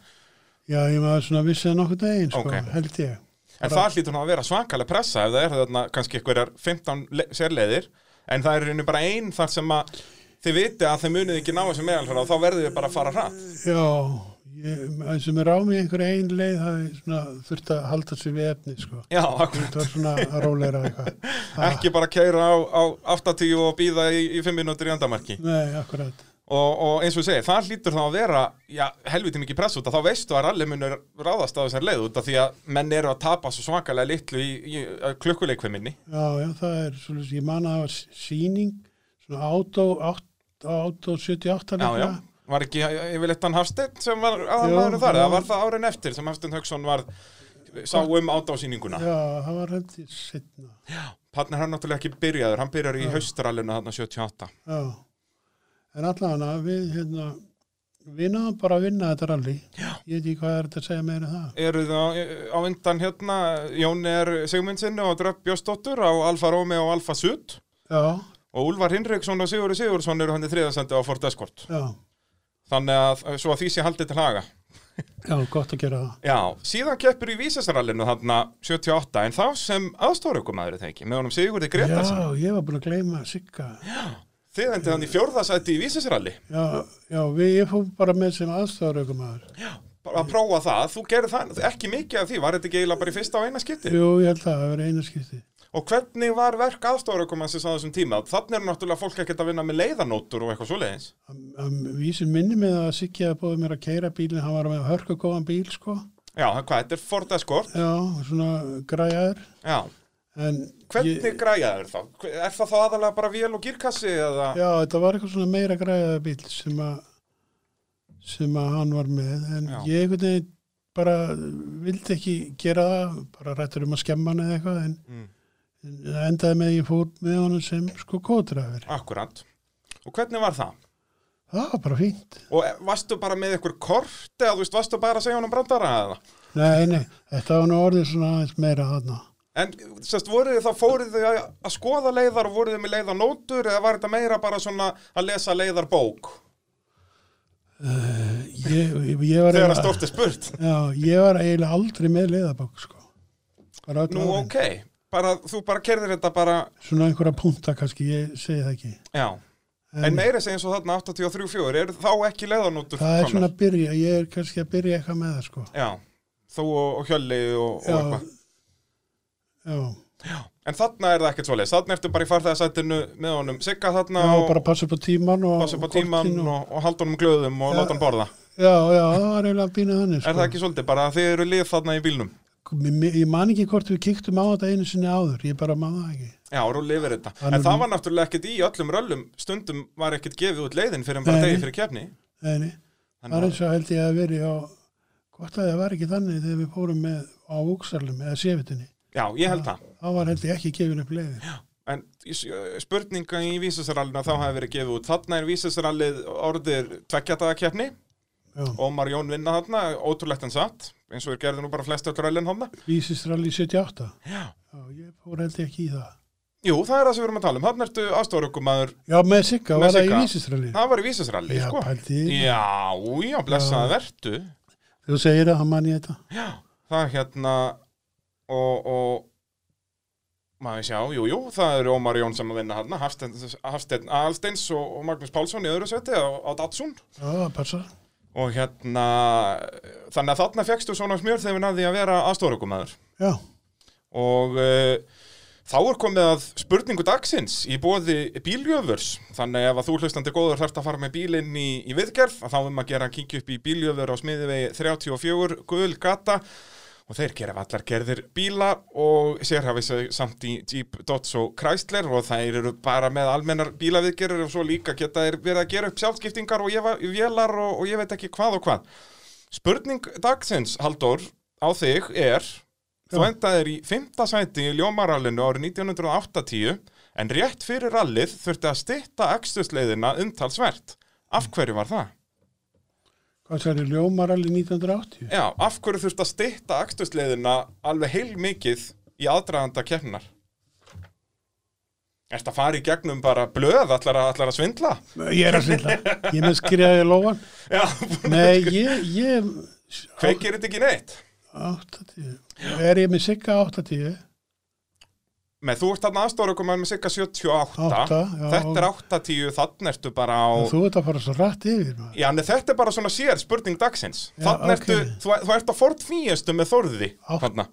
S2: já, ég maður svona vissi það nokkuð deginn sko,
S1: Ok.
S2: held ég
S1: en
S2: Bara-
S1: það hlýtur nú að vera svakalega pressa ef það er þarna kannski einhverjar 15 le- sérleiðir, en það er í rauninu bara ein þar sem að þið vitið að þið munið ekki ná þessu meðalræða og þá verður þið bara að fara hratt.
S2: Já, ég, það sem er á mig einhver ein leið það er svona, þurft að halda sér við efni sko.
S1: Já, akkurat.
S2: þetta var svona að róleira eitthvað
S1: [LAUGHS]
S2: Ha,
S1: Ekki bara keira á, á 80 og býða í, í 5 minútur í andamarki.
S2: Nei, akkurat
S1: og, og eins og ég segi, það hlýtur þá að vera já, helviti mikið press út að þá veistu að rally munur ráðast á þessar leið út af því að menn eru að tapa svo svakalega litlu í, í klukkuleikviminni
S2: Já, já, það er svolítið, ég man að það var sýning svona átó, átt- átó 78
S1: já, já,
S2: líka
S1: var ekki eh, yfirleitt hann Hafsteinn sem var
S2: Jú,
S1: aðalmaður þar,
S2: já.
S1: eða var það árin eftir sem Hafsteinn Hauksson var sá um átásýninguna
S2: Já, það var hefndi setna
S1: hann er hann náttúrulega ekki byrjaður, hann byrjar í haustrallinu þarna 78
S2: Já, en allavega við hérna, við náðum bara að vinna þetta rally já. ég veit ekki hvað er þetta að segja meira en það
S1: eru það á undan hérna Jón er Sigmundsinn og Dröpp Jósdóttur á Alfa Romeo og Alfa Sud
S2: Já,
S1: og Úlfar Hinriksson og Sigurður Sigurðsson eru hann í þriðasendi á Ford Escort
S2: já,
S1: Þannig að eh, svo að því sé haldið til haga.
S2: já, gott að gera það
S1: Já, síðan keppur í vísasarallinu þarna 78 en þá sem aðstóra ykkur maður er það ekki með honum Sigurði Gretarsson.
S2: Já, ég var búin að gleyma Sigga
S1: Þið endið hann í fjórðasætti í vísasaralli.
S2: Já, já við, ég fór bara með sem aðstofaraukumæður.
S1: Bara að prófa það, þú gerir það ekki mikið af því, var þetta ekki eiginlega bara í fyrsta og eina skipti?
S2: Jú, ég held að það verið eina skipti.
S1: Og hvernig var verk aðstóra ykkur maður sem sá þessum tíma? Þannig er náttúrulega fólk ekkert að vinna með leiðanótur og eitthvað svoleiðins.
S2: Am- am- Vísir minni mig það að Siggi að bóði mér að keira bílinn, hann var með hörku góðan bíl, sko.
S1: Já, það- hvað, þetta er Ford Escort.
S2: Já, svona græjaður.
S1: Já,
S2: En
S1: hvernig
S2: Ég,
S1: græja þér þá? Er það þá aðalega bara vél og gírkassi eða?
S2: já, þetta var eitthvað svona meira græjaður bíl sem að sem að hann var með en
S1: Já.
S2: ég einhvern veginn bara vildi ekki gera það bara rættur um að skemma hann eða eitthvað en,
S1: Mm.
S2: en það endaði með að ég fór með honum sem sko kótrafir
S1: Akkurat. Og hvernig var það?
S2: það var bara fínt
S1: Og eh, varstu bara með ykkur kort eða þú veist, varstu bara að segja honum brandara eða?
S2: nei, nei, þetta var nú orðið svona aðeins meira þarna
S1: En sérst, voruð þið þá fóruð þið að, að skoða leiðar og voruð þið með leiðarnótur eða var þetta meira bara svona að lesa leiðarbók
S2: ég, ég, ég,
S1: þegar
S2: var,
S1: að
S2: eiginlega,
S1: stórt er spurt?
S2: já, ég var eiginlega aldrei með leiðabokk sko bara öll
S1: Nú,
S2: árin
S1: ok, bara, þú bara kerðir þetta bara,
S2: svona einhverja punta kannski, ég segi það ekki
S1: já. En, en meira segja eins og þarna 83-4, er þá ekki leiðarnótur
S2: það er
S1: komnar?
S2: svona að byrja, ég er kannski að byrja eitthvað með það sko
S1: Já, þú og, og Hjölli og, og
S2: Já.
S1: eitthvað.
S2: já,
S1: En þarna er það ekkert svoleiðis, þarna ertu bara í farþegarsættinu með honum Sigga þarna
S2: já
S1: og
S2: bara passa upp á tíman og
S1: passa upp á
S2: og
S1: tíman
S2: kortin
S1: og, og halda honum glöðum og
S2: Já.
S1: láta hann borða.
S2: Já, já, það var eiginlega bínuð þannig,
S1: Er
S2: sko.
S1: það ekki svolítið, bara að þið eru lið þarna í bílnum?
S2: Mér- mér- Ég man ekki hvort við kíktum á þetta einu sinni áður, ég bara man það ekki.
S1: Já, rúli yfir þetta.
S2: Hann
S1: en
S2: er
S1: það
S2: nú-
S1: var náttúrulega ekkert í öllum röllum, stundum var ekkert gefið út leiðin fyrir en bara
S2: Nei.
S1: degi fyrir kefni.
S2: Nei, nei, það var eins og held ég að veri á, hvort að það var ekki þannig þegar við fórum með á úksalum eða séfitinni.
S1: Já, ég held það.
S2: Það var held ég ekki gefin upp leiðin.
S1: En í s- spurninga í vísasarallinu þá hafi verið gefið út. Þarna er vísasarallið orðið tveggjataða kefni.
S2: Já,
S1: Ómar Jón vinna þarna, ótrúlegt en satt, eins og er gerði nú bara flest öll röllin hana.
S2: Vísistralli 78.
S1: Já.
S2: Já, ég fór held ég ekki í það.
S1: Jú, það er það sem við erum að tala um. Þarna ertu aðstofarökumæður,
S2: Já, með Sigga
S1: Með
S2: var það í
S1: Sigga.
S2: Vísistralli.
S1: það var í vísasaralli,
S2: Já,
S1: sko.
S2: pældi,
S1: Já, já, blessaða vertu.
S2: þú segir það, hann man ég þetta.
S1: Já, það er hérna og, og maður sjá, jú, jú, það eru Ómar Jón sem að vinna hérna, Hafstein, Hafstein Alsteins og, og Magnús Pálsson í öðru seti á, á Datsun
S2: Já, það passar.
S1: og hérna þannig að þarna fegstu svona smjör þegar við náði að vera aðstofarökumæður
S2: Já,
S1: og uh, þá er komið að spurningu dagsins í bóði bíljöfurs þannig ef að þú hlustandi góður þarft að fara með bílinn í, í viðgerð að þá um að gera að kynkja upp í bíljöfur á smiðivegi 34 Guðl Gata og þeir gera allar gerðir bíla og sér hafið þau samt í Jeep, Dodge og Chrysler og þeir eru bara með almennar bílaviðgerðir og svo líka geta þeir verið að gera upp sjálfskiptingar og ég vélar og, og ég veit ekki hvað og hvað Spurning dagsins, Halldór, á þig er Þú
S2: Já.
S1: endaðir í fymta sæti í Ljómarallinu árið 1980 en rétt fyrir rallið þurfti að stytta ekstusleiðina umtalsvert. Af hverju var það?
S2: hvað sér ég, Ljómaralli 1980?
S1: Já, af hverju þurfti að stytta ekstusleiðina alveg heil mikið í aðdraðanda keppnar? Ertu að fara í gegnum bara blöð, allar að, allar að svindla?
S2: Ég er að svindla. Ég er með skrifaði lóan.
S1: Já,
S2: Nei, ég, ég
S1: kveikir þetta ekki neitt?
S2: 80. Er ég með sigga 80?
S1: Með þú ert þarna aðstóra okkur með cirka 78,
S2: Átta, já.
S1: þetta er 80, þannig ertu bara á...
S2: Þú ert að fara svo rætt yfir maður.
S1: Já, en þetta er bara svona sér spurning dagsins.
S2: Já,
S1: Þannig
S2: ok.
S1: ertu, þú, þú ert að forð fíjastu með þorði,
S2: Á.
S1: þarna.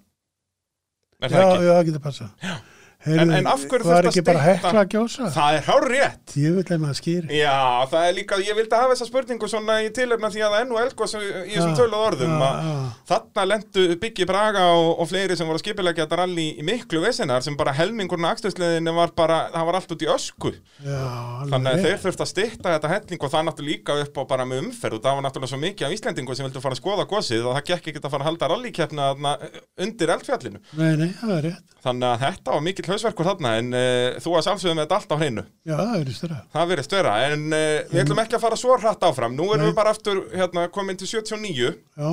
S1: Er
S2: Já,
S1: það
S2: já,
S1: ekki?
S2: það getur passa. Heyrðu,
S1: En- en af hverju
S2: var
S1: þurfti að
S2: ekki bara
S1: stytta-
S2: hekla að gjósa?
S1: Það er hár rétt.
S2: Ég vil að maður skýri.
S1: Já, það er líka, ég vildi hafa þessa spurningu svona í tilöfna því að það er nú elgos í þessum
S2: Já,
S1: töluð orðum.
S2: já,
S1: að
S2: já.
S1: Þarna lendu Byggi Braga og, og fleiri sem voru að skipilegja þetta rally í miklu vesenar sem bara helmingurna akstöðsleðinu var bara, það var allt út í ösku.
S2: Já, alveg
S1: Þannig að
S2: rétt.
S1: þeir þurftu að stytta þetta helling og það náttúrulega líka upp á bara með umferð og það var náttúrulega svo mikið af Íslendingu sem vildu fara að skoða gósið og það gekk ekkert að fara að halda rallíkeppna þarna eh, undir eldfjallinu.
S2: Nei, nei, það er rétt.
S1: Þannig að þetta var mikill hausverkur þarna en uh, þú að samsögum með þetta allt á hreinu.
S2: Já, það er störa.
S1: Það verið störa en uh, við ætlum ekki að fara svo hratt áfram. Nú erum
S2: Nei.
S1: við bara aftur hérna, komin til 79.
S2: Já,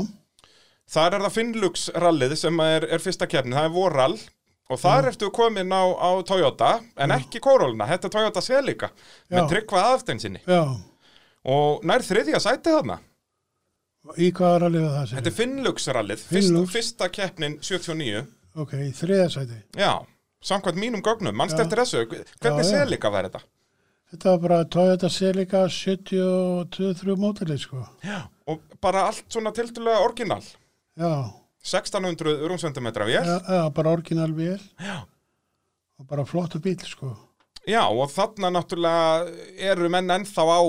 S1: Þar er það Finnlux rallið sem er, er fyrsta keppni, það er Vorall og þar
S2: Mm.
S1: ertu komin á, á Toyota en ekki Corolna, þetta er Toyota Celica með
S2: Já.
S1: tryggva aðsteinsinni
S2: já.
S1: og nær þriðja sæti þarna
S2: Í hvað er alveg það
S1: Þetta
S2: sér?
S1: er Finnlux-rallið,
S2: Finnlux.
S1: fyrst, fyrsta keppnin 79.
S2: Ok, í þriðasæti.
S1: Já, samkvæmt mínum gögnum, mannst
S2: Já.
S1: eftir þessu, hvernig
S2: Já, já.
S1: selika var þetta?
S2: Þetta var bara Toyota Celica 72-3 mótilið, sko.
S1: Já. Og bara allt svona tildulega orginal,
S2: Já,
S1: 1600 rúmsvendumetra vél.
S2: já, já, bara orginal vél
S1: Já.
S2: og bara flottu bíl, sko.
S1: Já, og þarna náttúrulega eru menn ennþá á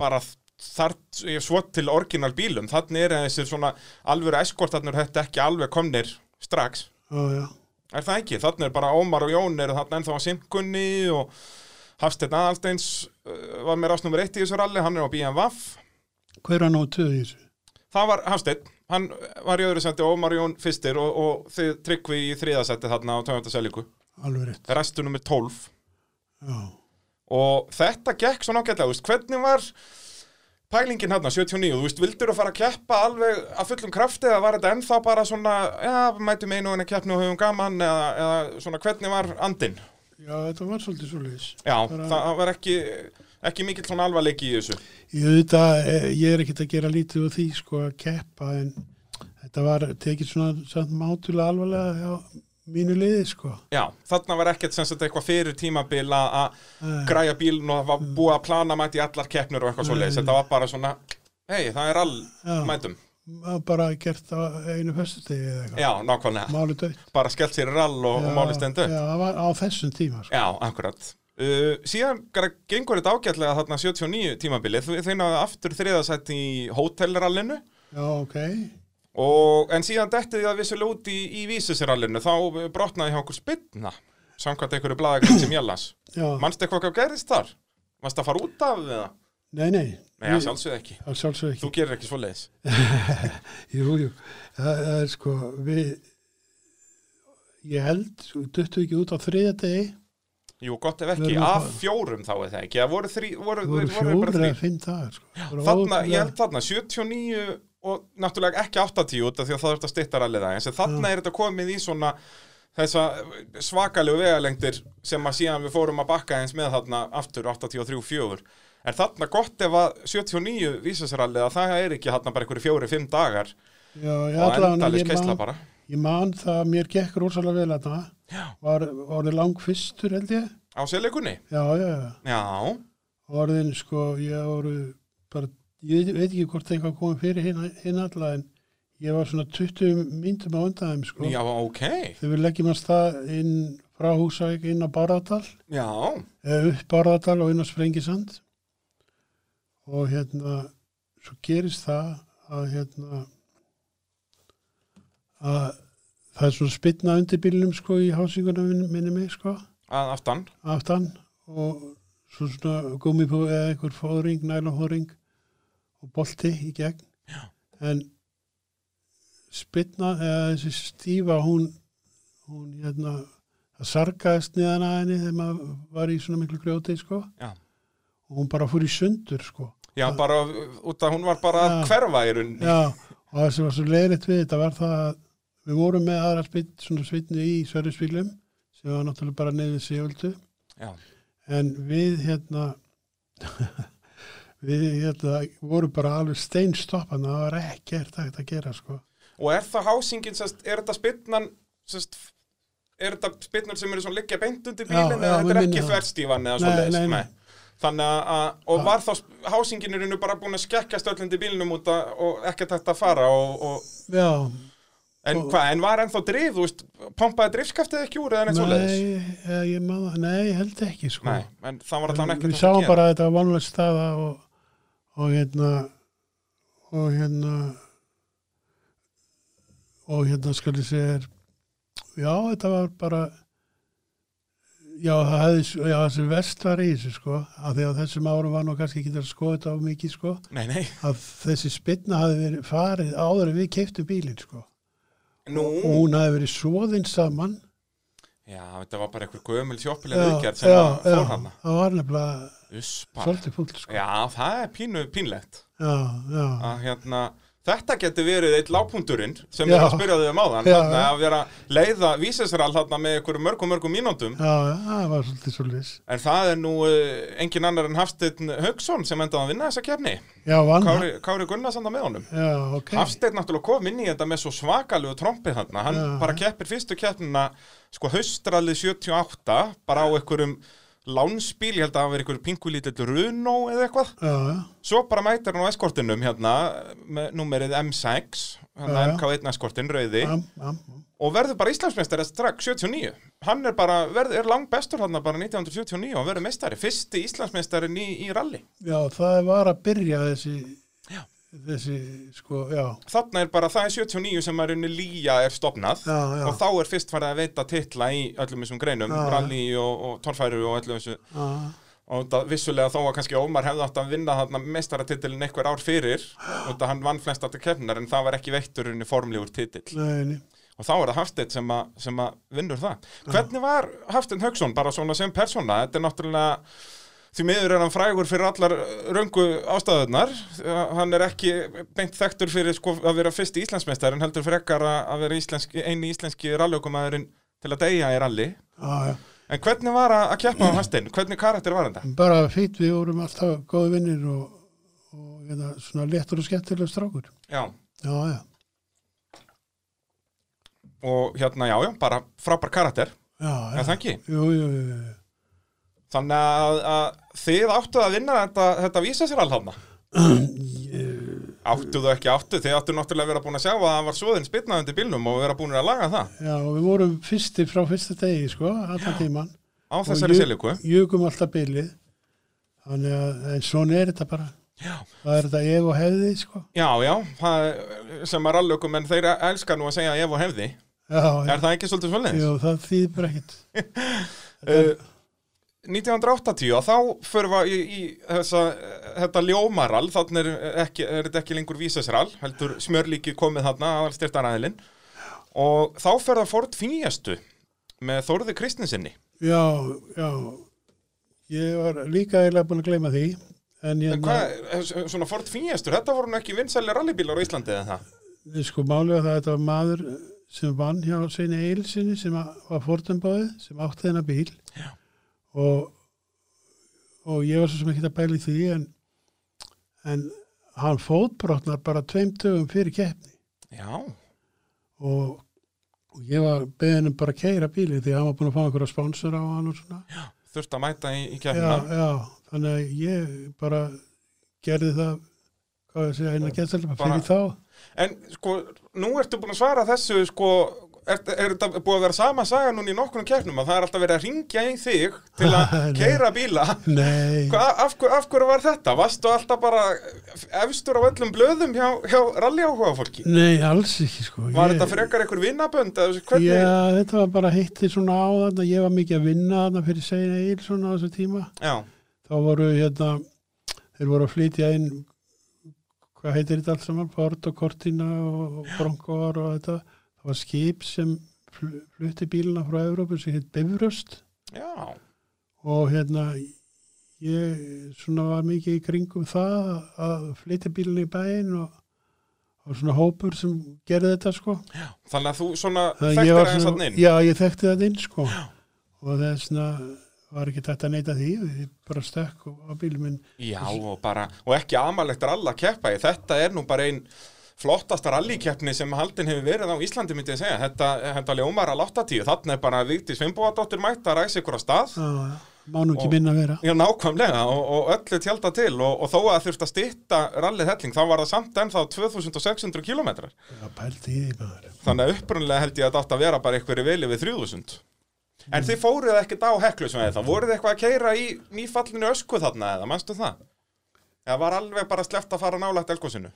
S1: bara þar, svo til orginal bílum, þannig er þessir svona alvöru eskortarnir þetta ekki alveg komnir strax.
S2: Já, já.
S1: Er það ekki? Þannig er bara Ómar og Jón eru þarna ennþá á Simkunni eh, og Hafsteinn Aðalsteins uh, var með rásnumur eitt í þessu ralli, hann er á BMW
S2: hver hann á töðu í þessu?
S1: Það var Hafsteinn, hann var í öðru seti og Marjón fyrstir og, og þið tryggvi í þriða seti þarna á 12. selíku
S2: Alveg rétt.
S1: restu nummer 12
S2: Já.
S1: og þetta gekk svona ágætlega, þú veist, hvernig var pælingin hérna, 79, þú veist, vildur að fara að keppa alveg að fullum krafti eða var þetta ennþá bara svona, já, við mætum einu og einu keppni og höfum gaman eða, eða svona, hvernig var andinn?
S2: Já, þetta var svolítið svo leiðis.
S1: Já,
S2: Bara-
S1: það var ekki, ekki mikill svona alvarleiki í þessu.
S2: Ég, auðvitað, eh, ég er ekkert að gera lítið úr því sko að keppa en þetta var tekið svona samt mátulega alvarlega hjá mínu liði sko.
S1: Já, þarna var ekkert sem sagt eitthvað fyrir tímabil að- að
S2: Nei.
S1: græja bílun og það var
S2: Mm.
S1: búið að plana mæti í allar keppnur og eitthvað svo leiðis. Þetta var bara svona, hei, það er all
S2: Já.
S1: mætum.
S2: Það var bara gert á einu föstudegi eða eitthvað.
S1: Já, nákvæmlega.
S2: Máli dött.
S1: Bara skellt sér í rall og, og máli stendu.
S2: Já, það var á þessum tíma sko.
S1: Já, akkurat. Uh, síðan gra- gengur þetta ágætlega þarna 79 tímabilið. Þau- Þau náðu aftur þriðasætt í hótelrallinu
S2: Já, ok.
S1: og, en síðan dettið það vissulega út í, í vísusrallinu. Þá eh, brotnaði hjá okkur spilna, samkvæmt einhverju blaðagrið sem ég las.
S2: Já.
S1: Manstu eitthvað hvað gerðist þar? Manstu að fara út af það?
S2: Nei, nei.
S1: Nei, að sjálfsögðu ekki.
S2: Það sjálfsög ekki.
S1: Þú gerir ekki svoleiðis.
S2: Jú, jú, það, það er sko, við, ég held, sko, duttu ekki út á þriðja degi,
S1: Jú, gott ef
S2: Við
S1: ekki.
S2: erum að
S1: Af
S2: fara-
S1: fjórum þá er það ekki. Það voru, þrí, voru,
S2: það voru
S1: þeir
S2: fjóra
S1: bara
S2: eða
S1: þrír.
S2: fimm dagar, sko. Það voru
S1: Þarna,
S2: ótrúlega-
S1: ég held þarna, 79 og náttúrulega ekki 80 út af því að það er þetta stittar alveg það. En þarna er þetta komið í svona þessa svakalegu vegalengdir sem að síðan við fórum að bakka eins með þarna aftur 83-4. En þarna gott ef að 79 vísa sér alveg að það er ekki þarna bara einhverju fjóri-fimm dagar
S2: Já, ég
S1: og
S2: allavega,
S1: endalis
S2: ég
S1: keisla
S2: man,
S1: bara.
S2: ég man það að mér gekk rosalega vel að það,
S1: Já.
S2: var orðið langfyrstur held ég,
S1: Á sérleikunni?
S2: já, já, já,
S1: Já.
S2: orðin sko, ég voru bara, ég veit, veit ekki hvort eitthvað komið fyrir hinn hin alla, en ég var svona 20 myndum á undan þeim, sko.
S1: Já, ok.
S2: Þegar við leggjum að stað inn frá Húsavík inn á Bárðardal,
S1: Já.
S2: eða eh, upp Bárðardal og inn á Sprengisand og hérna svo gerist það að hérna að það er svona spytna undir bílnum sko í hásinguna minni, minni mig sko
S1: að aftan
S2: aftan og svo svona gummipú eða einhver fóðring, nælahóðring og bolti í gegn Já. en spytna eða þessi stífa hún, hún hérna það sargaðist niðan að henni þegar maður var í svona miklu grjóti sko
S1: Já.
S2: og hún bara fór í sundur sko
S1: Já, bara út að hún var bara að
S2: Já.
S1: hverfa í rauninni
S2: Já, og það sem var svo leiðilegt við þetta var það að við vorum með aðra spytn, svona spytni í Sverjusvílum sem var náttúrulega bara nefnir sigöldu
S1: Já.
S2: en við hérna [LAUGHS] við hérna vorum bara alveg steinstoppan það var ekkert hægt að gera sko
S1: Og er það hásingin, sest, er þetta spynnan sest, er þetta spynnar sem eru svona liggja beint undir
S2: Já,
S1: bílinn
S2: já,
S1: eða þetta
S2: mér
S1: er
S2: minnir
S1: ekki
S2: það.
S1: þverstífan eða
S2: Nei,
S1: svo
S2: nei, nei.
S1: Þannig að- að, og
S2: Já.
S1: var þá sp- hásingin er bara búin að skekkjast öll undir bílnum út að, og ekkert hægt að fara og, og,
S2: Já,
S1: en,
S2: Og-
S1: hva, en var ennþá drif, þú veist, pompaði drifskaftið ekki úr eða neitt svo leiðis?
S2: nei, eh, ég maður, nei, ég held ekki sko
S1: Nei, en það var alltaf
S2: En
S1: ekkert
S2: Við
S1: hægt að
S2: sáum
S1: gera.
S2: bara að þetta var vanlega staða og, og hérna og hérna og hérna skal ég segja þér, já, þetta var bara já, það hefði já, þessi vest var í þessu sko af því að þessum árum var nú kannski ekki að skoða þetta á mikið sko
S1: Nei, nei,
S2: að þessi spynna hafði verið farið áður en við keiftum bílinn sko
S1: nú,
S2: og hún hafði verið svoðinn saman
S1: já, þetta var bara einhver gömul sjoppilega
S2: já,
S1: viðgerð sem
S2: já,
S1: að
S2: já,
S1: fór hana.
S2: það var nefnilega
S1: Uss, bara.
S2: svolítið fúlt sko
S1: Já, það er pínu, pínlegt
S2: já, já,
S1: að hérna, þetta getur verið eitt lágpunturinn sem
S2: Já.
S1: ég er að spyrja þig um áðan
S2: Já,
S1: þarna,
S2: já.
S1: að vera að leiða vísesrall þarna með einhverjum mörgum mörgum mínúndum
S2: já, já, það var svolítið svolítið
S1: en það er nú uh, engin annar en Hafsteinn Hauksson sem endaði að vinna þessa kefni
S2: Já, vann hann.
S1: Kári, Kári Gunnars enda með honum
S2: Já, ok.
S1: Hafsteinn náttúrulega kom inn í þetta með svo svakalegu trompi þarna, hann
S2: Já.
S1: bara keppir fyrstu keppnina sko haustrallið 78 bara á einhverjum lánspíl, ég held að það hafi verið einhverjum pingulítill Runo eða eitthvað
S2: Já, já,
S1: Svo bara mætir hann á eskortinum hérna með númerið M6 hérna
S2: Já, já.
S1: MK1 eskortin rauði
S2: am, am, am.
S1: og verður bara Íslandsmeistari strax 79 hann er bara, verð, er lang bestur hann bara 1979 og verður meistari fyrsti Íslandsmeistarin í, í rally
S2: já, það var að byrja þessi, þessi, sko, já,
S1: þarna er bara, það er 79 sem er unni lýja er stopnað
S2: já, já,
S1: og þá er fyrst farið að veita titla í öllum þessum greinum
S2: Já, já.
S1: rally og, og torfæru og öllum þessu
S2: já,
S1: og þetta vissulega þó að kannski Ómar hefði átt að vinna þarna mestaratitilin einhver ár
S2: [GASPS]
S1: fyrir og þetta hann vann flest alltaf keppnar en það var ekki veitturinn formlegur titill
S2: Nei, nei.
S1: og þá er það Hafsteinn sem, að- sem að vinnur það. Hvernig var Hafsteinn Hauksson bara svona sem persóna? Þetta er náttúrulega, því miður er hann frægur fyrir allar röngu ástæðunar, hann er ekki beint þekktur fyrir sko, að vera fyrst íslensmestari en heldur frekar að að vera íslenski, eini íslenski rallaukumæðurinn til að deyja í ralli.
S2: Já, já.
S1: En hvernig var að að keppa á Hafsteinn? Hvernig karakter var þetta?
S2: Bara fýtt, við vorum alltaf góði vinnir og, og hérna, svona léttur og skemmtilega strákur.
S1: Já.
S2: Já, já.
S1: Og hérna, já, já, bara frábær karakter,
S2: Já, já.
S1: er það ekki?
S2: Jú, jú, jú, jú.
S1: Þannig að, að þið áttu að vinna þetta, þetta vísa sér alhána. Áttu þú ekki áttu, þið áttu náttúrulega að vera búin að sjá að hann var svoðinn spilnað undir bílnum og vera búin að laga það
S2: Já, og við vorum fyrstir frá fyrsta degi, sko, alltaf tíman.
S1: á þessari sko. siliku.
S2: Júkum alltaf bilið. Þannig að, en svona er þetta bara.
S1: Já.
S2: Það er þetta ef og hefði, sko.
S1: Já, já, það er- sem er allökum en þeir elskar nú að segja ef og hefði.
S2: Já, já.
S1: Er það ekki svolítið svolítið?
S2: Jú, það þýðir bara ekkert.
S1: Uh, 1980 og þá förum við í, í þessa, þetta ljómarall, þannig er, eh, ekki, er þetta ekki lengur vísasrall, heldur smjörlíki komið þarna að styrtaræðilinn og þá fer það Ford fíjastu með Þórði Kristinsinni.
S2: Já, já. Ég var líka eiginlega búin að gleyma því. En hérna, ég,
S1: Hvað, eh, svona Ford fíjastur, þetta voru nú ekki vinsæli rallybílar á Íslandi eða það?
S2: sko, málið var það að þetta var maður sem vann hjá Sveini Eilsinni sem að- var fórtumbóðið, sem átti þennan bíl. Já. Og, og ég var svo sem ekki að bæla í því, en, en hann fótbrotnar bara tveim dögum fyrir keppni.
S1: Já,
S2: Og, og ég var beðinum bara að keira bílið því að hann var búin að fá einhverja sponsor á hann og svona.
S1: þurft að mæta í, í
S2: já,
S1: kefna.
S2: já, þannig að ég bara gerði það hvað ég segja, eina gæstlega
S1: Bara-
S2: fyrir þá
S1: En sko, nú ertu búin að svara þessu sko, er, er þetta búið að vera sama saga núna í nokkunum kefnum að það er alltaf verið að ringja í þig til
S2: [LAUGHS]
S1: að
S2: Nei.
S1: keira bíla?
S2: Nei,
S1: Hva, af, hver, af hverju var þetta? Varstu alltaf bara efstur á öllum blöðum hjá, hjá rallyáhuga fólki?
S2: nei, alls ekki sko
S1: Var
S2: Ég-
S1: þetta frekar einhver vinnabönd? eða þessu- Hvernig?
S2: Já, þetta var bara hitti svona á þarna, ég var mikið að vinna þarna fyrir segja eil svona á þessu tíma
S1: Já,
S2: þá voru hérna þeir voru að flytja inn hvað heitir þetta allt saman, Ford og Cortina og Broncor og þetta það var skip sem fl- flutti bíluna frá Evrópu sem heit Bifröst
S1: já,
S2: og hérna ég svona var mikið í kringum það að flytja bílinn í bæinn og, og svona hópur sem gerði þetta sko
S1: þannig að þú svona
S2: Þannig að
S1: þekktir
S2: ég var
S1: aðeins hann inn
S2: já ég þekkti það inn sko og þess vegna var ekki þetta að neyta því ég bara stökk á á bílinn minn
S1: Já, og bara, og ekki amalegt rall að keppa í, þetta er nú bara einn flottasta rallikeppni sem haldin hefur verið á Íslandi, myndi ég segja, þetta, þetta ljómar að látta tíu, þarna er bara Vigdís Fimboadóttir mætt að ræsa ykkur á stað,
S2: Já, má nú ekki
S1: Og-
S2: minna vera
S1: já nákvæmlega, og, og öllu tjálta til, og, og þó að þurft að stytta rallið helling, þá var það samt ennþá 2600 kilometrar,
S2: já pældi í því maður
S1: þannig að upprunlega held ég að þetta átt að vera bara einhverju veli við 3000. En þið fóruð ekkert á heklusvæði þá, voruð þið eitthvað að keira í nýfallinu ösku þarna eða, manstu það? Eða var alveg bara sleppt að fara nálægt elgósinu?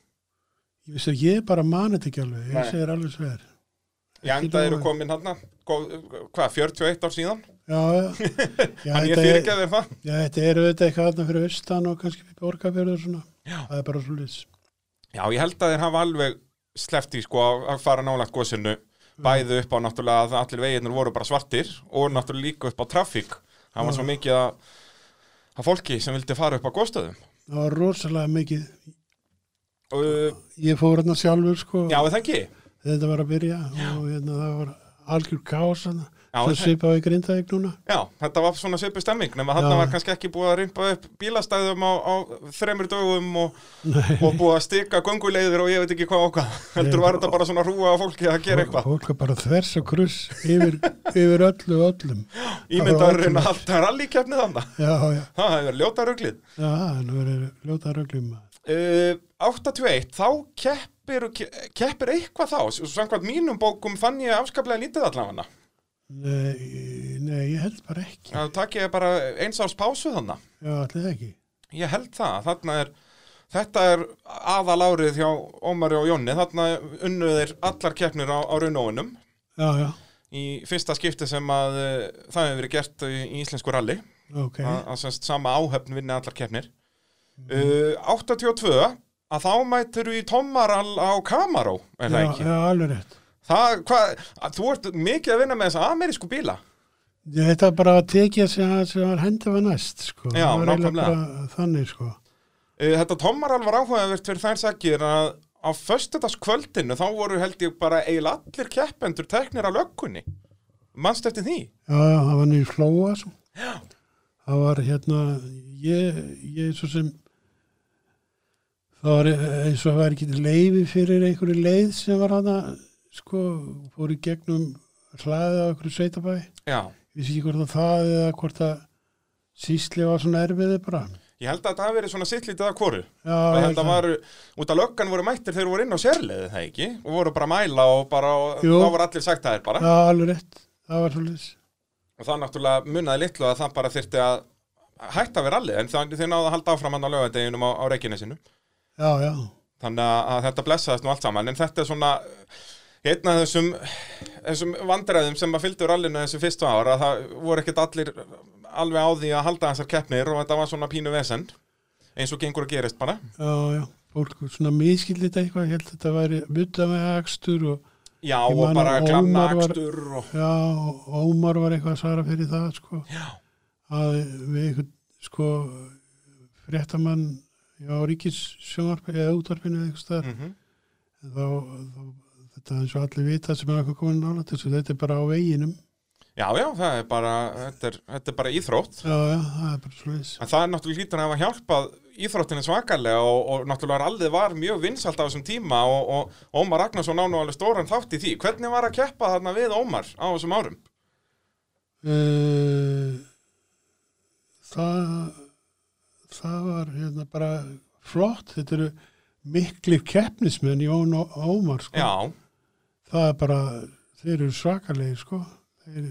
S2: ég vissi að ég bara mani þetta ekki alveg
S1: Nei.
S2: ég segir alveg sver
S1: Ég enda
S2: nógu.
S1: eru komin hann hvað, 41 ár síðan
S2: já, já,
S1: [LAUGHS]
S2: já
S1: en ég
S2: þetta
S1: fyrir
S2: er-
S1: ekki að þeim það
S2: já, þetta er auðvitað eitthvað þarna fyrir austan og kannski borgarfjörður og svona
S1: Já.
S2: það er bara svo lis
S1: Já, ég held að þeir hafa alveg sleppt í sko að- að fara nálægt gósinu bæði upp á náttúrulega að allir veginir voru bara svartir og náttúrulega líka upp á trafík það var svo mikið að, að fólki sem vildi fara upp á góstöðum
S2: það var rosalega mikið
S1: uh,
S2: ég fór hérna sjálfur sko
S1: Já, er það ekki?
S2: þegar þetta var að byrja og hérna það var algjör kás hana,
S1: Já,
S2: svo
S1: þetta-
S2: svipaði grindaðið núna
S1: Já, þetta var svona svipu stemming nema
S2: Já.
S1: þarna var kannski ekki búið að rimpa upp bílastæðum á, á þremur dögum og,
S2: Nei.
S1: og búið að stika gönguleiðir og ég veit ekki hvað og hvað heldur var þetta bara svona rúa að fólki að gera eitthvað
S2: fólk var bara þvers og kruss yfir, yfir öllu og öllum
S1: Ímyndarinn að halda rallykefni þannig
S2: já, já,
S1: Það hefur ljóta ruglið
S2: já, en það verið ljóta röglum
S1: uh, 81, þá keppir, keppir eitthvað þá Svo Samkvæmt mínum bókum fann ég afskaplega lítið allavega
S2: nei, nei, ég held bara ekki
S1: Það takk ég bara eins árs pásu þannig
S2: já, allir ekki
S1: Ég held það, þarna er Þetta er aðalárið hjá Ómari og Jónni Þarna unnuðir allar keppnir á, á raunóunum
S2: já, já,
S1: eh, Í fyrsta skipti sem að uh, það hefur verið gert í, í íslensku rally
S2: ok,
S1: að, að semst sama áhöfn vinni allar keppnir
S2: Mhm.
S1: uh, 82 að þá mætur við í Tommaral á Camaró er það
S2: já,
S1: ekki
S2: já, alveg rétt.
S1: það, hva, að, þú ert mikið að vinna með þessa amerísku bíla
S2: Ég, þetta bara að tekja sem, sem var hendi var næst, sko.
S1: Já,
S2: Það var eiginlega
S1: nákvæmlega.
S2: bara Þannig, sko.
S1: uh, þetta Tommaral var áhugavert fyrir þær sakir að á föstudagskvöldinu þá voru held ég bara eiginlega allir keppendur teknir að löggunni mannst eftir því
S2: Já, já, það var niður flóa, svo. Já. Það var hérna, ég, ég svo sem, það var eins og það var ekki leifi fyrir einhverju leið sem var hana, sko, fór í gegnum hlaðið á einhverju sveitabæði.
S1: já
S2: Ég vissi ekki hvort að það eða hvort að sísli var svona erfiði bara.
S1: Ég held að þetta hafi verið svona sittlítið að hvoru.
S2: Já,
S1: Og ég held að var, út af löggan voru mættir þegar voru inn á sérleiði það ekki og voru bara að mæla og bara, og
S2: Jú.
S1: þá voru allir sagt að það er bara.
S2: Já, alveg rétt. Það var svolítið.
S1: Og það náttúrulega munnaði litlu að það bara þyrfti að hætta við rallið en það, þið náðu að halda áfram hann á lögadeginum á, á Reykjanesinu.
S2: Já, já.
S1: Þannig að, að þetta blessaðist nú allt saman en þetta er svona einn af þessum, þessum vandræðum sem að fylgdu rallinu þessu fyrstu ára að það voru ekkert allir alveg á því að halda þessar keppnir og þetta var svona pínu vesend eins og gengur að gerist bara.
S2: Já, já. Fólk svona miskildi þetta eitthvað. Ég held að þetta væri mutta með akstur og
S1: Já
S2: Ég
S1: og
S2: man
S1: bara
S2: að
S1: glanna
S2: Ómar var-
S1: akstur og...
S2: já, og Ómar var eitthvað að svara fyrir það, sko.
S1: Já.
S2: Að við eitthvað, sko, fréttamann já, ríkis sjónvarpi eða útvarpinu eða eitthvað staðar.
S1: Mm
S2: Þá, þá, þetta er eins og allir vita sem er eitthvað komin nála þessu. Þetta er bara á veginum.
S1: Já, já, það er bara, þetta er, þetta er bara íþrótt.
S2: Já, já, það er bara svolítið.
S1: En það er náttúrulega lítur að hafa hjálpað íþróttinu svakalega og, og náttúrulega rallið var mjög vinsalt á þessum tíma og, og Ómar Ragnarsson á nú alveg stóran þátt í því. Hvernig var að keppa þarna við Ómar á þessum árum?
S2: Eh, það það var hérna bara flott, þetta eru miklir keppnismenn Jón og Ómar sko.
S1: Já,
S2: það er bara, þeir eru svakalegir sko. þeir,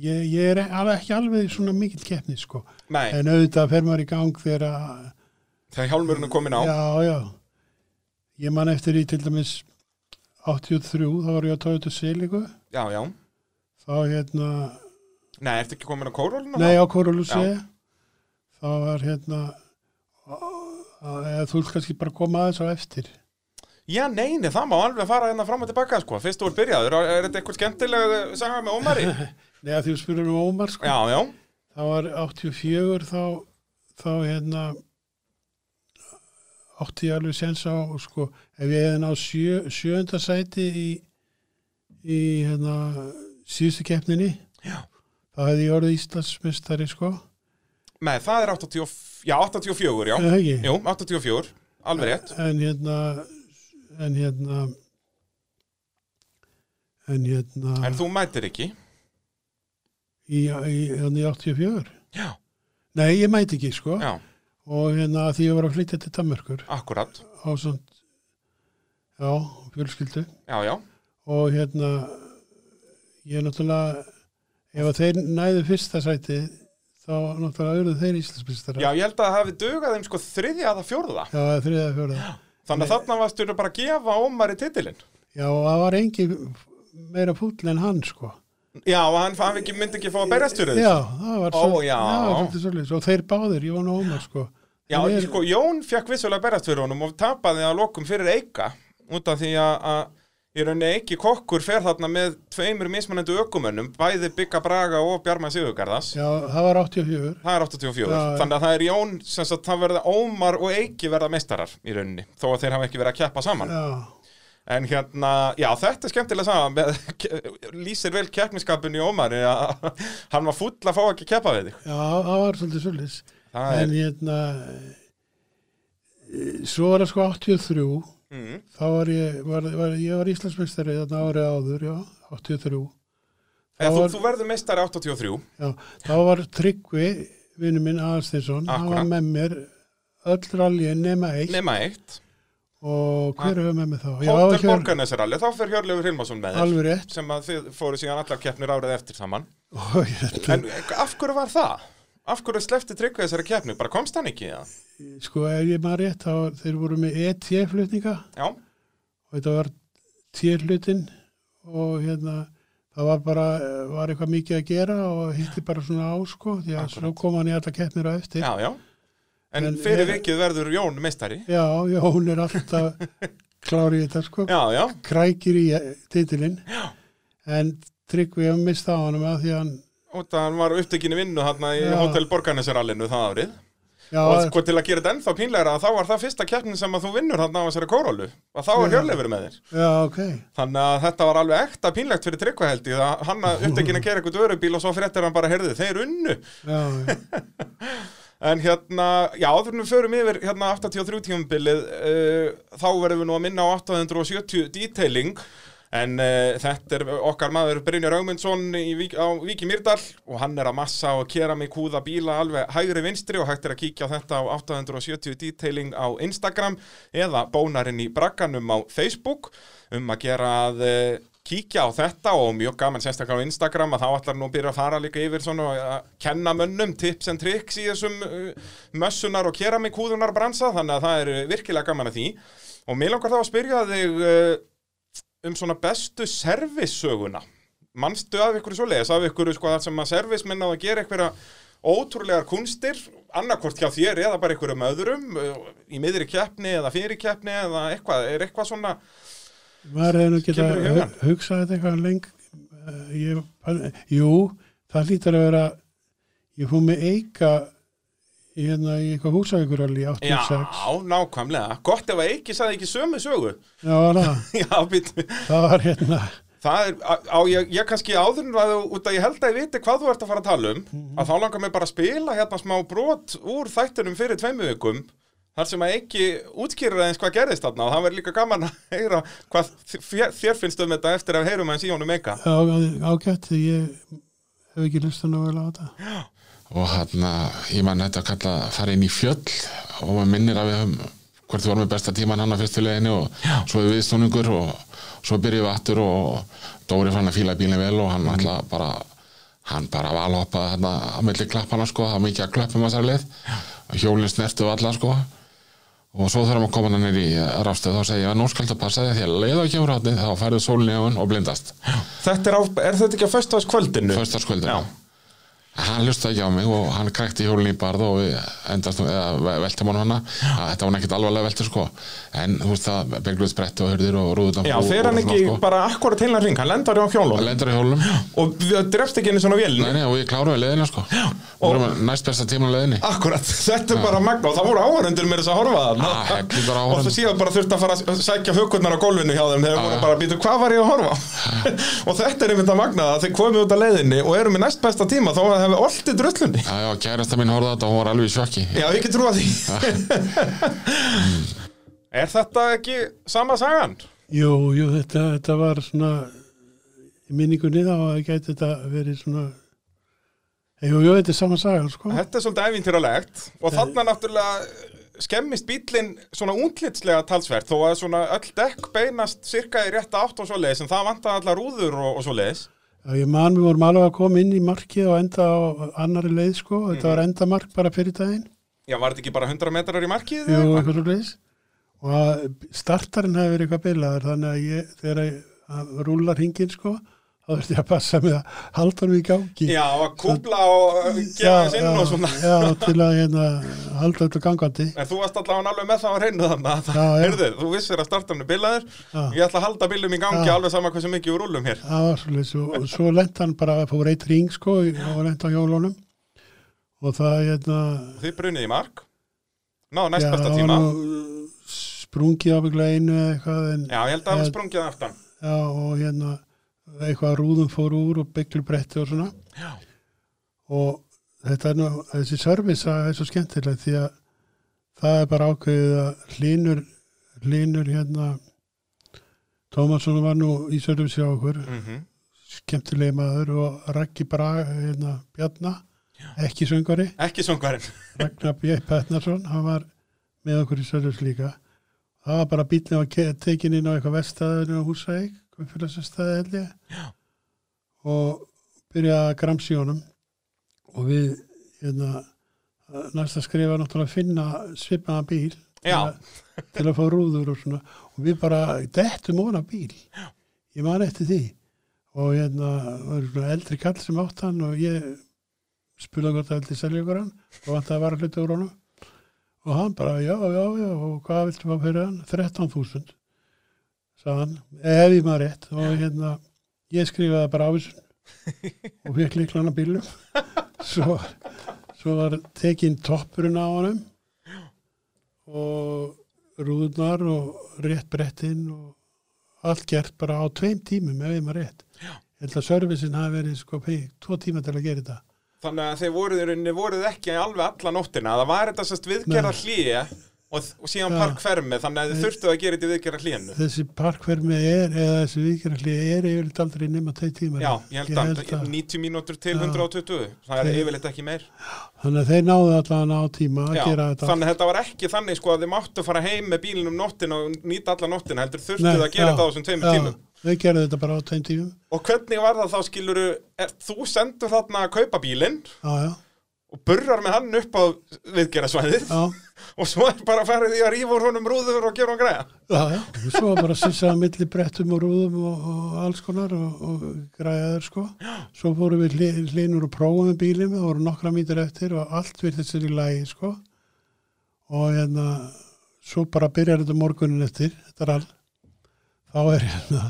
S2: ég, ég er alveg ekki alveg svona mikill keppnis sko.
S1: nei,
S2: en auðvitað fer maður í gang þegar að
S1: þegar hjálmurinn er komin á. Já,
S2: Já, já. Ég man eftir í til dæmis 83, þá var ég að tóða til Seligu
S1: já.
S2: þá hérna
S1: Nei, ertu ekki komin á kórólinu?
S2: Nei, á Korolúsi þá var hérna að- eða þú vilt kannski bara koma aðeins á eftir
S1: Já, nei, nei, það má alveg fara hérna fram og tilbaka, sko. Fyrst þú er byrjaður, er þetta eitthvað skemmtilega að sagja með Ómari?
S2: Nei, að því við spyrum um Ómar sko
S1: já, já,
S2: það var 84 þá, þá hérna átti ég alveg sens á sko, ef ég hefði náð sjö, sjönda sæti í, í hérna síðustu keppninni
S1: Já.
S2: þá hefði ég orðið Íslandsmestari sko
S1: nei, það er 84, já, 84, já.
S2: eða ekki?
S1: Jú, 84, alveg rétt.
S2: en hérna en hérna en hérna
S1: En þú mætir ekki.
S2: í, í, hérna í 84
S1: Já.
S2: nei ég mæti ekki sko
S1: Já,
S2: og hérna því ég var að flytja til Danmörkur
S1: akkurat.
S2: á samt já, fjölskyldu
S1: Já, já.
S2: og hérna ég náttúrulega ef að þeir næðu fyrsta sæti þá náttúrulega auðvitað þeir íslensmistara
S1: Já, ég held að það hafi dugað þeim sko þriðja að það fjórða.
S2: já, eða þriða fjóraða
S1: Þannig að þarna varstu nú bara að gefa Ómari titilinn.
S2: já, og það var engin meira fúll en hann sko
S1: Já, og hann, hann ekki, myndi ekki fá að berjast fyrir þessu.
S2: Já, það var
S1: Ó,
S2: svolítið-
S1: já.
S2: það var svolítið svolítið og þeir báðir, Jón og Ómar sko.
S1: Já,
S2: Þeir-
S1: sko, Jón fekk vissulega að berjast fyrir honum og tapaði að lokum fyrir Eika út af því að, að í rauninni Eiki kokkur fer þarna með tveimur mismunandi ökumönnum, bæði Bygga Braga og Bjarma Sigurgarðas.
S2: Já, það var 84
S1: Það er 84.
S2: Já, já.
S1: Þannig að það er Jón, sem sagt, það verða Ómar og Eiki verða meistarar í rauninni, þó að þeir hafa ekki verið að keppa saman.
S2: Já,
S1: En hérna, já þetta er skemmtilega saman með, [LAUGHS] lýsir vel keppniskapinu í Ómari að [LAUGHS] hann var full að fá ekki að keppa við þig.
S2: já, það var svolítið svolítið
S1: Það
S2: En
S1: er,
S2: hérna e, Svo var það sko 83
S1: mm,
S2: Þá var ég, var, var, ég var Íslandsmeistari þarna árið áður, já, 83
S1: eða, þú,
S2: var-
S1: þú verður meistari 83,
S2: Já, þá var Tryggvi, vinnu minn Aðarsteinsson, hann var
S1: Akkúrat.
S2: með mér öll rallið nema eitt
S1: nema eitt,
S2: og hver hefur með mér þá? Já,
S1: Hótel
S2: Hjör-
S1: Borgarnesaralli, þá fer Hjörleifur Hilmarsson með þér,
S2: Alveg rétt [LAUGHS]
S1: sem að þið fóru síðan allar keppnir árið eftir saman.
S2: og hérna
S1: En af hverju var það? Af hverju slefti tryggvið þessari keppni? Bara komst hann ekki í það?
S2: sko ef ég maður rétt þá þeir voru með E ET-flutninga
S1: Já,
S2: og þetta var T-hlutin og hérna það var bara, eh, var eitthvað mikið að gera og hitti bara svona á sko því að
S1: Akkurat.
S2: svo kom hann í alla keppnir á eftir.
S1: já, já. En,
S2: En
S1: fyrir
S2: er-
S1: vikið verður Jón meistari.
S2: já, já, hún er alltaf klárið þetta sko.
S1: Já, já,
S2: Krækir í eh, titilinn. En Tryggvi hafði mistað á hann að því að hann,
S1: og það hann var upptekinu vinnu hann í
S2: Já.
S1: Hotel Borgarnesarallinu það árið.
S2: já,
S1: og sko til að gera þetta ennþá pínlegra að þá var það fyrsta keppnin sem að þú vinnur hann á þessari kórólu og þá var
S2: Já.
S1: hjörleifur með þér
S2: já, ok.
S1: þannig að þetta var alveg ekta pínlegt fyrir tryggva held ég að hann að upptekinn að gera eitthvað örubíl og svo fréttir hann bara heyrðu þeir unnu
S2: Já, já,
S1: en hérna, já áður en við förum yfir hérna 83 tímabilið uh, þá verðum við nú að minna á 870 detailing En uh, þetta er okkar maður Brynjar Augmundsson í Vík, á Víki Mýrdal og hann er að massa og kera mig kúða bíla alveg hægri vinstri og hægt er að kíkja á þetta á 870 detailing á Instagram eða bónarinn í bragganum á Facebook um að gera að uh, kíkja á þetta og mjög gaman sérstaklega á Instagram að þá ætlar nú að byrja að fara líka yfir svona og að kenna mönnum tips and tricks í þessum uh, mössunar og kera mig kúðunar bransa þannig að það er uh, virkilega gaman að því og mér langar þá að spyrja þig uh, um svona bestu servissöguna mannstu af ykkur svo leiðis af ykkur sko, þar sem að servismenn á að gera einhverja ótrúlegar kunstir annarkvort hjá þér eða bara einhverjum öðrum uh, í miðri keppni eða fyrir keppni eða eitthvað, er eitthvað svona
S2: maður hefði nú geta
S1: Kemur í hugann?
S2: hugsað þetta eitthvað leng, eh, ég, jú, það hlýtar að vera, ég fór með eika í hérna í eitthvað húsavíkur alveg í
S1: já,
S2: 86.
S1: nákvæmlega, gott ef að ekki sagði ekki sömu sögu [LAUGHS]
S2: Já, var það,
S1: já, býttu
S2: það var hérna,
S1: Það er, á, á- ég, ég kannski áður en að þú- út að ég held að ég viti hvað þú ert að fara að tala um að þá langar mig bara að spila hérna smá brot úr þættunum fyrir tveimu vikum þar sem að ekki útskýrir aðeins hvað gerðist þarna og það verður líka gaman að [LAUGHS] heyra hvað þér, þér finnst um þetta eftir að heyrum aðeins í honum meika
S2: á- á- ágætt, því ég hef ekki lusta nálega á þetta.
S3: og hann ég man þetta að kalla að fara inn í fjöll og maður minnir að við höfum hvert við vorum með besta tíman hann á fyrstu leiðinni og Já. svo er viðstóningur og svo byrjuðum við aftur og Dóri fann að fíla bílinn vel og hann alltaf bara hann bara valhoppaði þarna á milli klappana sko, það var mikið að klöppum þessari leið og hjólinn snertu alla sko og svo þarfum að koma hann nýr í rafstöð þá segi ég að norskald að passa því að því að leiða ekki á rátni þá færðu sólinni á hann og blindast
S1: Þetta er, á, er þetta ekki á föstaskvöldinu?
S3: Föstaskvöldinu
S1: Já.
S3: Hann hlustaði ekki á mig og hann krækti hjólinni í barð og við endast, eða ve- veltum hann hana Að þetta var hann ekkert alvarlega veltur sko en þú veist það, begluð spretti og hörðir og rúðutan
S1: Já, fer hann ekki bara akkurat heilan ring, hann lendar á
S3: Það
S1: hjólum
S3: lendar í sko. hjólum
S1: og við- drefst ekki einu svona vélni
S3: Nei, nei, og ég kláraði leiðina sko Já,
S1: og-
S3: og... Við erum næst besta tíma á leiðinni
S1: Akkurat, [LAUGHS] þetta er bara magna og það voru áhörundur með þess að horfa þarna
S3: Ah, hellingur áhorfendur.
S1: [LAUGHS] og það síðan bara þurfti að fara að sækja hökurnar á gólfinu hjá þeim þegar voru bara að býta hvað var ég að horfa á?" [LAUGHS] og þetta er einmitt að magna að þeir komið út af leiðinni og eru með næst besta tíma þá hefur oltið drullunni
S3: Já, já, kærasta mín horfði á þetta og hún var alveg í sjokki
S1: Já, ég ekki trúa því [LAUGHS] Er þetta ekki sama sagan?
S2: Jú, jú, þetta, þetta var svona í minningunni þá að gæti þetta verið svona, jú, jú, þetta er sama sagan, sko.
S1: Þetta er svolítið ævintýralegt og þarna náttúrulega eh, skemmist bílinn svona útlitslega talsvert þó að svona öll dekk beinast cirka í rétta átt og svo leiðis en það vantaði allar rúður og, og svo leiðis
S2: Já, ég man, við vorum alveg að koma inn í markið og enda á annari leið, sko. Þetta
S1: Mhm.
S2: var endamark bara fyrir daginn.
S1: Já, var þetta ekki bara 100 metrar í markið?
S2: Jú,
S1: eða eitthvað?
S2: eitthvað svo leiðis. Og að startarinn hefði verið eitthvað bilaður, þannig að ég, þegar ég að rúlar hingin, sko, þá þurfti ég að passa með að halda hann í gangi.
S1: Já, að kúpla og uh, gefa þess inn og svona.
S2: Já, til að hérna, halda þetta gangandi.
S1: En þú varst allavega alveg með það á hreinu þannig að
S2: Já, já.
S1: heyrðu, þú vissir að startanum er bilaður,
S2: Já.
S1: ég ætla að halda bilum í gangi
S2: Já.
S1: alveg sama hversu mikið við rúlum hér.
S2: Það var svolítið svo, og svo lent hann bara að fóra eitt ring, sko, og lent á hjólunum. Og það, hérna,
S1: Þið brunið í mark, ná næst
S2: já,
S1: besta
S2: það var
S1: tíma.
S2: nú sprungið ábygglega einu eða eitthvað, en
S1: Já, ég held að
S2: Já.
S1: hann sprungið að aftan.
S2: Já, og hérna eitthvað rúðum fór úr og bygglubretti og svona.
S1: Já.
S2: Og þetta er nú, þessi service það er svo skemmtileg því að það er bara ákveðið að hlínur, hlínur hérna, Tómasson var nú í service hjá okkur,
S1: Mm
S2: skemmtilegi maður og Raggi Braga, hérna, Bjarna, ekki söngari,
S1: Ekki sungvarinn.
S2: Ragnar B. Petnarsson, hann var með okkur í Sörlurs líka. Það var bara bílnið að ke- tekin inn á eitthvað vestæðinu á Húsæk, Guðfélagsstæði held ég. Já. Og byrjaði að gramsi í honum og við, hérna, næsta skrifa náttúrulega að finna svipaðan bíl til
S1: Já.
S2: að, til að fá rúður og svona og við bara dettum ofan af bíl. Já. Ég man eftir því og hérna var svona eldri kall sem átt hann og ég spurði hvort það vildi selja ykkur hann og hann það var að hluta úr honum og hann bara já, já, já og hvað viltu maður fyrir hann? 13.000 sagði hann, ef ég maður rétt og hérna, ég skrifaði bara ávísun og fekk líklan að bílum svo, svo var tekinn toppurinn á honum og rúðunar og rétt brettinn og allt gert bara á tveim tímum ef ég maður rétt
S1: Já.
S2: ég held að servicin hafi verið sko pegi, tvo tíma til að gera þetta
S1: Þannig að þeir voruð, í rauninni voruð ekki alveg alla nóttina, það var þetta sérst viðgerða
S2: Nei.
S1: hlýja og, og síðan
S2: Já.
S1: parkfermi, þannig að þið
S2: Nei.
S1: þurftu að gera þetta í viðgerða hlýjanu.
S2: þessi parkvermi er eða þessi vikiralli er yfirleitt aldrei nema tveim tíma
S1: Já, ég held að 90 mínútur til
S2: Já.
S1: 120, það er
S2: Þeir-
S1: yfirleitt ekki meir.
S2: þannig að þeir náðu allan á tíma að
S1: Já,
S2: gera þetta
S1: þannig að þetta var ekki þannig sko að þið máttu fara heim með bílinn um nóttina og nýta alla nóttina, heldur þurftu
S2: Nei,
S1: það að gera
S2: já,
S1: þetta á þessum tveimur
S2: já,
S1: tímum.
S2: Þau gerðu þetta bara á tveim tímum
S1: Og hvernig var það þá skiluru, er, þú sendur þarna að kaupa bílinn
S2: Já, já,
S1: og burrar með hann upp á viðgerðasvæðið
S2: já,
S1: og svo er bara farið í að rífa úr honum rúður og gera hann græða.
S2: já, já. Svo var bara sissaða milli brettum og rúðum og, og alls konar og, og græðaður sko Svo fórum við hli- hlinur og prófum með bílum Það voru nokkra mítur eftir og allt virðist sér í lagi sko Og hérna, svo bara byrjar þetta morgunin eftir Þetta er all Þá er hérna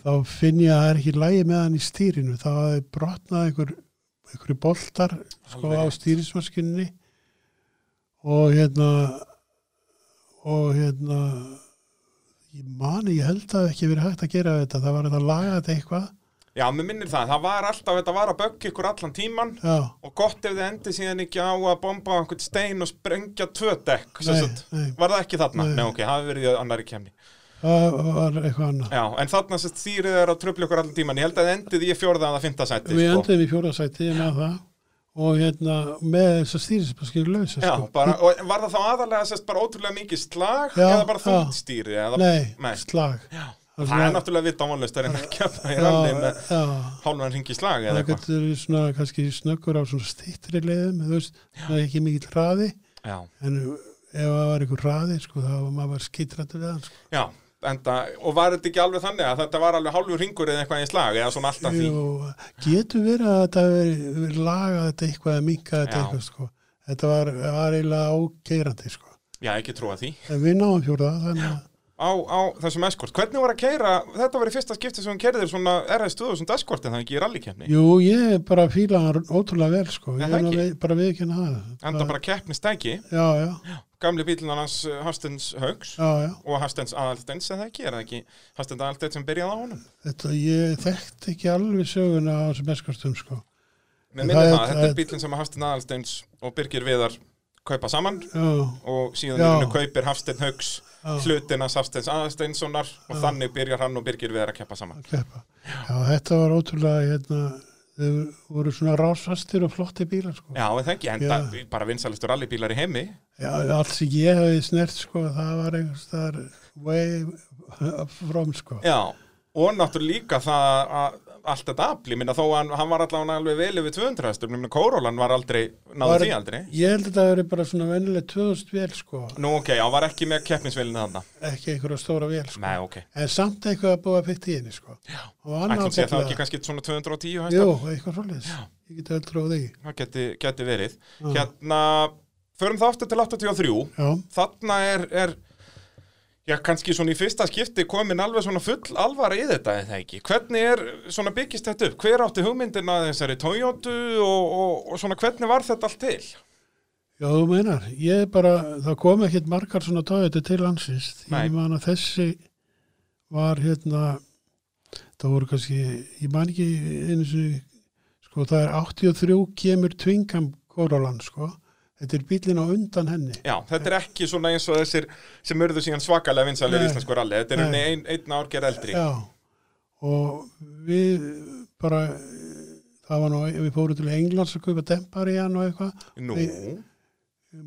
S2: Þá finn ég að það er ekki í lagi með hann í stýrinu Þá hafði brotnað einhver, einhverju boltar sko
S1: Alveg
S2: á
S1: rétt.
S2: stýrismaskinni og hérna og hérna ég mani, ég held að ekki verið hægt að gera þetta það var þetta að laga þetta eitthvað
S1: Já, mér minnir það, það var alltaf, þetta var að bögg ykkur allan tíman
S2: já,
S1: og gott ef þið endið síðan ekki á að bomba á einhvern stein og sprengja tvö dekk, sem
S2: Nei,
S1: sagt.
S2: nei.
S1: Var það ekki þarna? Nei,
S2: Nei.
S1: ok, það hefur verið í annari kemni.
S2: það var eitthvað annað
S1: Já, en þarna sem stýrið er að tröfla ykkur allan tíman. Ég held að þið endið í fjórða að fynda sætti.
S2: við endum í fjórðasæti með það og hérna með þess að stýrismaskinu lausa
S1: Já,
S2: sko.
S1: bara, og var það þá aðalega sérst bara ótrúlega mikið slag
S2: Já,
S1: eða bara
S2: já.
S1: þungt stýri eða,
S2: nei,
S1: nei.
S2: slag
S1: það er náttúrulega vita ámálust það er ekki að það er alveg með
S2: já,
S1: hálfan ringi slag eða
S2: það
S1: eitthvað
S2: getur verið svona kannski snöggur á svona stýttri leiðum þú veist, það er ekki mikill hraði
S1: já.
S2: en ef það var einhver hraði sko, þá var maður skitrættur við hann sko.
S1: já, enda, og var þetta ekki alveg þannig að þetta var alveg hálfur ringur eða eitthvað í slag eða svona alltaf því
S2: Jú, getur verið að þetta hafi verið verið lagað þetta eitthvað að minka þetta
S1: Já.
S2: eitthvað sko. Þetta var, var eiginlega ágeirandi sko.
S1: já, ekki trúa því
S2: En við náum fjórða þannig að
S1: á, á þessum eskort, hvernig voru að keira þetta var í fyrsta skipti sem hún kerðir svona RS2 og svona eskort en það ekki í rallykefni
S2: Jú, ég bara fíla hann ótrúlega vel sko.
S1: Er
S2: Ég
S1: það
S2: er nú
S1: ekki?
S2: við, bara við ekki hann að
S1: enda bara keppnistæki,
S2: Já, já,
S1: gamli bílunar hans eh, Hafsteins Haugs
S2: já, já.
S1: og Hafsteins Aðalsteins eða ekki, er það ekki Hafsteins Aðalsteins sem byrjaði á honum
S2: Þetta, ég þekkti ekki alveg söguna á þessum eskortum sko.
S1: Mér
S2: En
S1: minnir
S2: það
S1: það,
S2: er-
S1: þetta er
S2: það-
S1: bílinn sem að Hafstein Aðalsteins og Birgir Viðar kaupa saman
S2: Já,
S1: og síðan
S2: Já.
S1: henni kaupir Hafstein Haugs
S2: Já.
S1: hlutina Hafsteins Aðalsteinssonar og þannig byrjar hann og Birgir Viðar að keppa saman.
S2: að keppa. Já, þetta var ótrúlega, hérna, þau voru svona rásfastir og flotti bílar sko.
S1: Já, en það ekki, en
S2: Já.
S1: það bara vinsalistur rallybílar í heimi.
S2: Já, allt sem ég hefði snert sko, það var einhvers þar way up from sko.
S1: Já, og náttúrulega líka það að allt þetta afli, minna þó að hann, hann var allavega alveg vel yfir 200 hestum, minna Kórólan var aldrei, náðu
S2: Var-
S1: því aldrei.
S2: Ég held að það veri bara svona vennileg 2000 vél sko,
S1: Nú, ok, já, var ekki með keppnisvelinu þarna.
S2: ekki einhverja stóra vél sko.
S1: Nei, ok.
S2: En samt eitthvað að búa pitt í henni sko. Já,
S1: Ætlum sé að það ekki kannski svona 210 hestum.
S2: Jú, eitthvað svoleiðis. Ég geti öll tróð því.
S1: það geti, geti verið hérna, förum það aftur til 83
S2: Já,
S1: þarna er, er já, kannski svona í fyrsta skipti komin alveg svona full alvara í þetta eða ekki, hvernig er, svona byggist þetta upp hver átti hugmyndina að þessari Toyota og, og, og svona hvernig var þetta allt til
S2: já, þú meinar. Ég bara, það kom ekkit margar svona tóðið til landsist.
S1: Nei.
S2: Ég man að þessi var hérna, það voru kannski, ég man ekki eins og, sko, það er 83 kemur tvingam Kóraland sko. Þetta er bílinn á undan henni.
S1: já, þetta er ekki svona eins og þessir sem urðu síðan svakalega vinsalir
S2: Nei.
S1: í íslensku ralli þetta er
S2: Nei.
S1: einn ein, ein árgerð eldri já.
S2: Já, og við bara, það var nú, við fórum til Englands að kaupa dempar í hann og eitthvað,
S1: nú,
S2: Nei.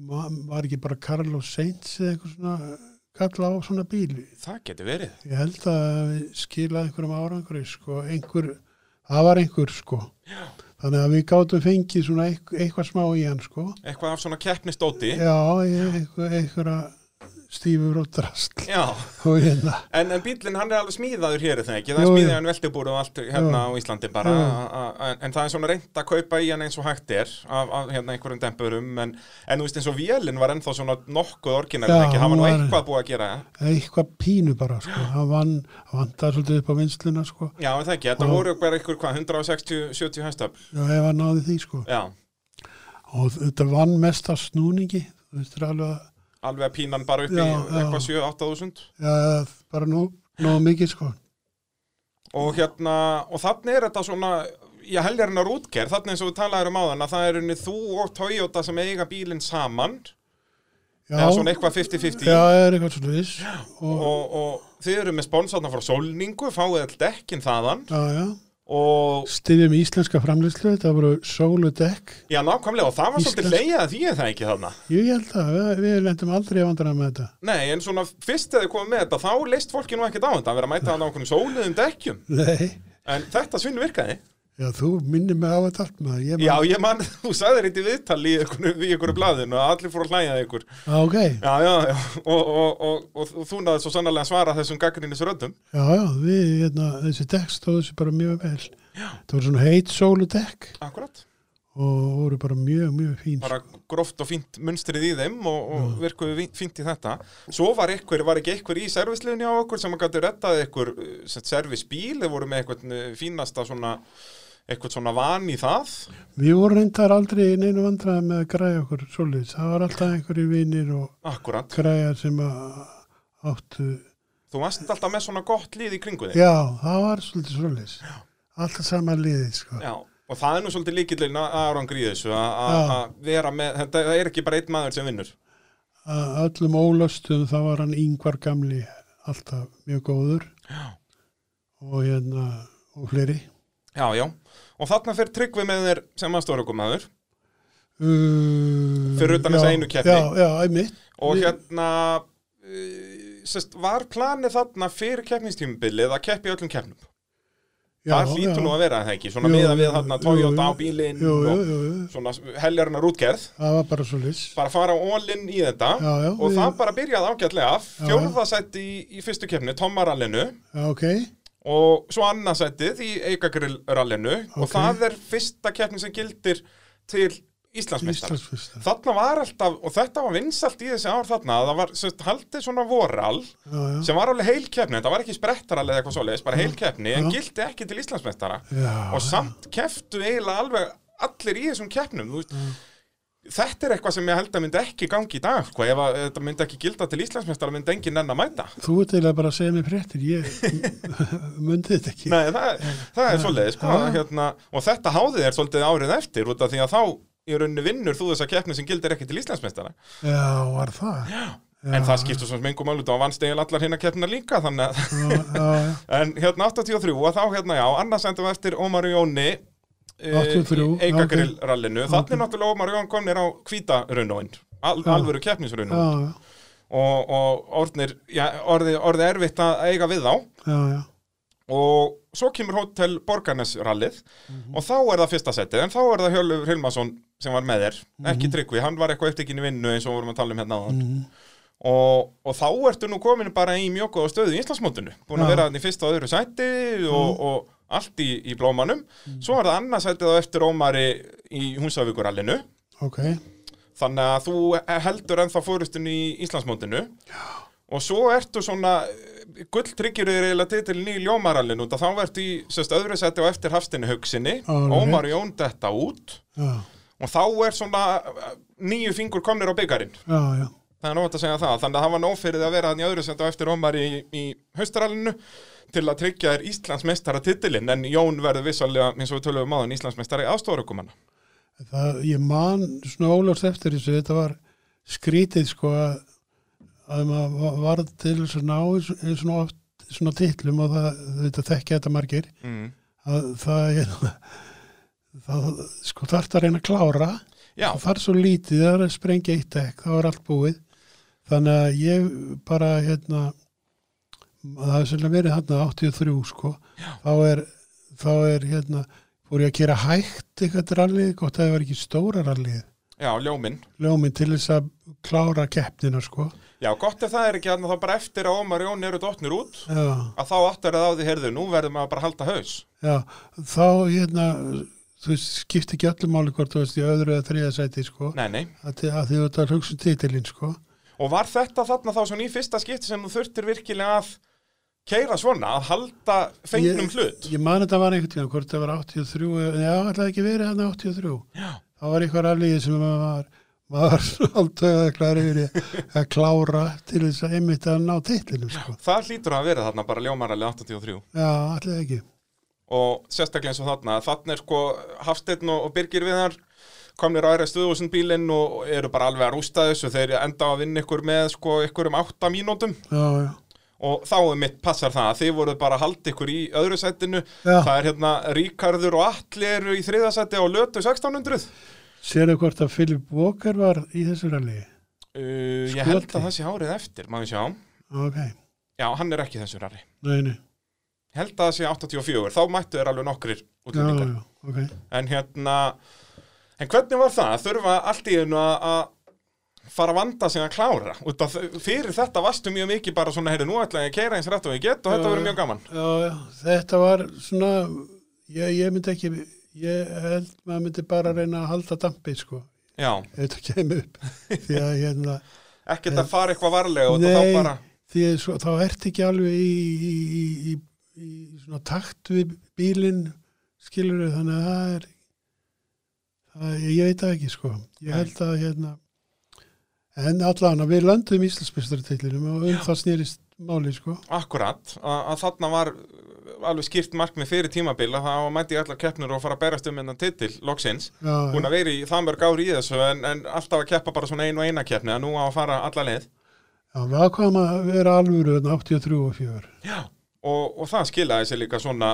S2: Ma- var ekki bara Carlos Sainz eða eitthvað svona, kalla á svona bíl.
S1: það getur verið
S2: Ég held að við skilaði einhverjum árangri, sko, einhver, það var einhver, sko. Já. Þannig að við gátum fengið svona eitth- eitthvað smá í hann, sko.
S1: eitthvað af svona keppnistóti
S2: Já, ég- eitthvað, eitthvað stífur og drasl
S1: Já,
S2: og hérna,
S1: en, en bílinn hann er alveg smíðaður hér er það ekki, það
S2: Jú,
S1: er
S2: jú.
S1: smíðið hann veltibúr og allt hérna á
S2: Jú.
S1: Íslandi bara
S2: Jú.
S1: a- a- a- en það er svona reynd að kaupa í hann eins og hægt er af, af hérna einhverjum dempurum en, en þú veist eins og vélinn var ennþá svona nokkuð orginal,
S2: Já,
S1: ekki, hann var nú
S2: hún var-
S1: eitthvað búið að gera
S2: eitthvað pínu bara sko, hann vann, hann vantaði svolítið upp á vinsluna sko,
S1: Já, en það ekki, þetta
S2: Já.
S1: voru bara einhver hvað 160-70 hæstöfl,
S2: og ef hann náði því sko
S1: já
S2: og þetta vann mest af snúningi þú veist það er alveg að-
S1: alveg að pínan bara upp
S2: Já,
S1: í
S2: já.
S1: eitthvað 7-8 þúsund
S2: já, bara nóg, nóg mikið sko
S1: og hérna, og þannig er þetta svona ég helgar hennar útgerð, þannig eins og við talaðum um áðan að það er henni þú og Toyota sem eiga bílinn saman
S2: já,
S1: eða svona eitthvað 50-50
S2: já, það er eitthvað svona viss og,
S1: og, og þið eru með sponsarna frá Solningu, fáið all dekkin þaðan
S2: já, já
S1: og
S2: styðjum íslenska framleyslu, þetta voru sólu dekk,
S1: já, nákvæmlega, og það var
S2: Íslensk.
S1: svolítið leiðið því er það ekki þarna
S2: jú, ég held að við, við lendum aldrei að vandra með þetta
S1: Nei, en svona fyrst þegar þið komið með þetta þá leist fólki nú ekkert á þetta að vera að mæta þarna okkur sóliðum dekkjum
S2: nei,
S1: en þetta svinn virkaði
S2: já, þú minnir mig á þetta allt maður, ég
S1: Já, ég man, [LAUGHS] þú sagðir eitt í viðtal í einhverju, í einhverju blaðinu og allir fóru að hlæja að ykkur
S2: já, ok, já,
S1: Já, já, já, og, og, og, og, og þú náði svo sannarlega að svara þessum gaggrinnis röddum
S2: já, við, hérna, þessi dekk stóðu sér bara mjög vel, já. það voru svona heit sólu dekk
S1: Akkurat,
S2: og voru bara mjög, mjög fín
S1: bara gróft og fínt munstrið í þeim og, og virkuðu vín- fínt í þetta Svo var ykkur, var ekki ykkur í servisliðinu á okkur sem að gæti rettað ykkur eh, sem servisbíl, þeir voru með eitthvað eh, fínasta svona eitthvað svona van í það
S2: Við vorum reyndar aldrei í neinu vandræði með að græja okkur svolítið. Það var alltaf einhverjir vinir og
S1: Akkurat,
S2: græjar sem að áttu.
S1: þú varst alltaf með svona gott lið í kringu þig
S2: Já, það var svolítið svolítið. Alltaf sama liðið, sko.
S1: Já, og það er nú svolítið líkillin að árangri í þessu að- að
S2: Já.
S1: að vera með, þetta það er ekki bara einn maður sem vinnur
S2: Að öllum ólöstum þá var hann yngvar gamli alltaf mjög góður. Já. Og hérna, og fleiri.
S1: Já, já, og þarna fer tryggvi með þér sem að stórukumæður
S2: Uh,
S1: Fyrir utan þessa
S2: já,
S1: einu keppni.
S2: Já, já, einmitt.
S1: og
S2: Við-
S1: hérna uh, sest, var planið þarna fyrir keppnistímubilið að keppi öllum keppnum
S2: Já,
S1: það hlýtur nú að vera það ekki, svona
S2: Jú,
S1: miða við
S2: jú,
S1: þarna
S2: jú,
S1: Toyota
S2: jú.
S1: á bílinn
S2: Jú, jú,
S1: og
S2: jú, jú.
S1: svona heljarinnar útgerð
S2: Það var bara svolítið.
S1: bara fara all-in í þetta
S2: Já, já,
S1: og
S2: við-
S1: það bara byrjaði ágætlega
S2: Já, já.
S1: fjórðasætti í, í fyrstu keppni, Tommarallinu
S2: Já, ok.
S1: og svo annarsættið í Eikagrill-rallinu og
S2: Ok.
S1: það er fyrsta keppni sem gildir til Íslandsmeistar
S2: Íslandsfyrsta.
S1: þarna var alltaf, og þetta var vinsalt í þessi ár þarna, að það var sérst, haldið svona voral
S2: Já, já.
S1: sem var alveg heilkeppni, þetta var ekki sprettarall eða eitthvað svoleiðis, bara heilkeppni, en
S2: Já.
S1: gildi ekki til Íslandsmeistara
S2: Já,
S1: og
S2: já.
S1: samt keftu eiginlega alveg allir í þessum keppnum, þú veist
S2: Mm.
S1: Þetta er eitthvað sem ég held að myndi ekki gangi í dag, hvað ef að þetta myndi ekki gilda til Íslandsmeistara myndi enginn enn að mæta.
S2: Þú ert eiginlega bara að segja mér fréttir, ég [LAUGHS] myndi þetta ekki.
S1: Nei, það, er- það er svolítið, sko,
S2: Já.
S1: hérna, og þetta háðið er svolítið árið eftir út af því að þá í rauninni vinnur þú þessa keppni sem gildir ekki til Íslandsmeistara.
S2: Já, var það? Já.
S1: En það skiptur svona mingum álut og vannstegil allar hérna keppna líka, þannig að,
S2: Já, já,
S1: en hérna 83 og þá hérna já, annars endum við eftir Ómar og Jóni eh,
S2: 83,
S1: í
S2: já,
S1: Eikagrill-rallinu, þannig
S2: ok.
S1: náttúrulega Ómar og Jón komnir á hvítarunóin, al,
S2: Já.
S1: alvöru keppnisrunóin
S2: já,
S1: og, og orðnir, já, orði, orði erfitt að eiga við þá
S2: já, já.
S1: og svo kemur Hotel Borgarnesrallið
S2: Mhm.
S1: og þá er það fyrsta setið en þá er það Hjölur Hilmarsson sem var með þér
S2: Mhm.
S1: ekki Tryggvi, hann var eitthvað upptekinn í vinnu eins og vorum að tala um hérna áðan
S2: Mm-hmm.
S1: og, og þá ertu nú komin bara í mjög góða stöðu í Íslandsmótinu búin að
S2: Já.
S1: vera þannig fyrsta og öðru sæti og, og allt í, í blómanum svo er það annað sætið á eftir Ómari í Húsavíkurallinu
S2: Ok,
S1: þannig að þú heldur ennþá fórustun í Íslandsmótinu og svo ertu svona gulltryggjur er eiginlega titilin í ljómarallin út að þá ertu í sérst, öðru seti og eftir hafstinni hugsinni
S2: Alveg.
S1: Ómar Jón detta út
S2: já,
S1: og þá er svona eh, níu fingur komnir á byggarinn
S2: já, já.
S1: það er nótt að segja það þannig að það var nófyrið að vera þannig öðru seti og eftir Ómar í, í haustarallinu til að tryggja þér Íslandsmeistara titilin en Jón verður vissalega eins og við töluðum áðan Íslandsmeistari aðstofarukumanna
S2: Það, ég man svona óljóst eftir þessu, þetta var skrítið sko að, að maður va- varð til þess að ná þessu- svona oft svona titlum og það, þetta þekkja þetta margir
S1: mm.
S2: að það, hérna, [LAUGHS] það sko þarf að reyna að klára
S1: Já,
S2: það þarf svo lítið, það er að sprengja eitt ekk, það var allt búið þannig að ég bara hérna það er svolítið verið hérna 83 sko þá er, þá er hérna fór ég að kera hægt eitthvað rallið, gott að það var ekki stóra rallið
S1: já, já, ljóminn.
S2: ljóminn til þess að klára keppnina sko
S1: Já, gott ef það er ekki hann þá bara eftir að Ómar Jón eru dottnir út
S2: já,
S1: að þá áttar það á því, heyrðu, nú verðum að bara halda haus.
S2: já, þá hérna þú veist, skipti ekki öllum máli hvort þú veist í öðru eða þriða sæti sko
S1: Nei, nei.
S2: að því að því þú ert að hugsa um titilinn sko
S1: Og var þetta þarna þá svona í fyrsta skipti sem þú þurftir virkilega að keira svona, að halda fengnum hlut?
S2: ég man þetta var einhvern tíðan, hvort það var 83 eða- já, ætlaði ekki hérna verið hann 83
S1: Já.
S2: þá var eitthvað rallið sem maður var [LAUGHS] maður alltöðaklar yfir í að klára til þess að einmitt að ná titlinum sko.
S1: Það hlýtur að vera þarna bara ljómaralið 83.
S2: já, allir ekki
S1: og sérstaklega eins og þarna þarna er sko Hafsteinn og, og Birgir Viðar komnir á RS2000 bílinn og eru bara alveg að rústa þessu þeir enda á að vinna ykkur með sko ykkur um 8 mínútum
S2: já, já,
S1: og þá er mitt passar það að þið voruð bara að halda ykkur í öðru sætinu
S2: Já.
S1: það er hérna Ríkarður og Atli eru í þriða sæti og lötu 1600 uh,
S2: sérðu hvort að Philip Walker var í þessu rallið
S1: Uh, ég held
S2: Skoti.
S1: að það sé árið eftir maður sjá,
S2: ok,
S1: já hann er ekki í þessu rari
S2: nei, nei
S1: Ég held að það sé 84, þá mættu þeir alveg nokkrir
S2: já,
S1: útlendingar
S2: já, ok
S1: En hérna, en hvernig var það að þurfa allt í hennu að að fara að vanda sig að klára? Út að þau- fyrir þetta varstu mjög mikið bara svona, heyrðu, nú ætla ég að keira eins rætt og ég get og þetta
S2: Já,
S1: verður
S2: já.
S1: mjög gaman.
S2: já, já, þetta var svona ég, ég myndi ekki ég held maður myndi bara reyna að halda dampi sko,
S1: Já,
S2: ef þetta kemur upp því að hérna
S1: ekkert að fara eitthvað varlega og
S2: Nei,
S1: þá bara,
S2: því að svo, þá ert ekki alveg í, í, í, í, í svona takt við bílinn skilur þannig að það er það, ég- ég veit það ekki sko ég
S1: Nei.
S2: held að hérna en allan að við löndum Íslandsbyrstaratillinu og um það snýrist máli sko
S1: akkurat, að, að þarna var uh, alveg skýrt markmið fyrir tímabil að það mætti allar keppnur og fara að berast um hennan titil, loksins.
S2: já,
S1: Búin að vera í það mörg ári í þessu en, en alltaf að keppa bara svona ein og eina keppni að nú á að fara alla leið.
S2: já, við ákvæðum að vera alvöru þarna 83 og 4
S1: og, og það skilaði sér líka svona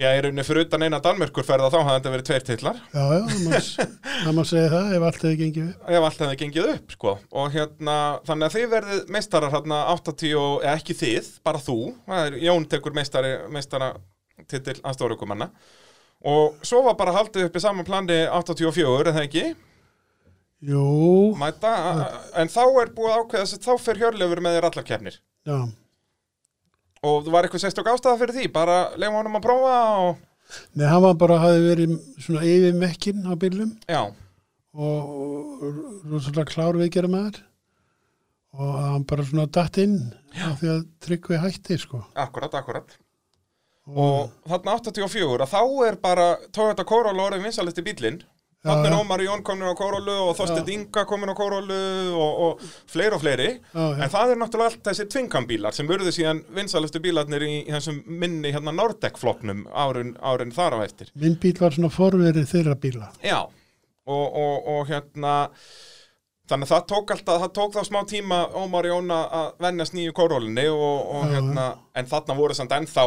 S1: já, ég er unni fyrir utan eina Danmörkurferða þá hafði þetta verið tveir titlar
S2: já, já, það má
S1: [LAUGHS]
S2: s- það má segja það ef allt hefði gengið upp
S1: ef allt hefði gengið upp, sko og hérna, þannig að þið verðið meistarar hérna 80, og- eða ekki þið, bara þú Það er, Jón tekur meistari, meistara titil að stórukumanna og svo var bara haldið upp í saman plani 84, eða ekki
S2: jú,
S1: mæta, a- a- en þá er búið að ákveða sér, þá fer Hjörleifur með þér allar keppnir
S2: já
S1: og var eitthvað sérstök ástæða fyrir því bara leifa honum að prófa og,
S2: Nei, hann var bara hafi verið svona yfirmekkin á bílum
S1: já,
S2: og rosalega klár viðgerða maður og hann bara svona datt inn af því að tryggvi hætti sko
S1: akkurat, akkurat og þarna 84 að þá er bara Toyota Corolla orðin vinsalisti bílinn þannig er
S2: já.
S1: Ómar Jón komin á Corollu og Þorsteinn
S2: Já.
S1: Inga komin á Corollu og, og fleiri og fleiri
S2: Já, já.
S1: en það er náttúrulega allt þessi tvingambílar sem urðu síðan vinsalistu bílarnir í, í þessum minni hérna Nordec floknum árin, árin þar á eftir
S2: minn bíl var svona forverið þeirra bíla
S1: Já, og, og, og hérna þannig að það tók alltaf, það tók þá smá tíma Ómar Jón að- að vennast nýju kórólinni og, og
S2: Já,
S1: hérna, en þarna voru samt ennþá,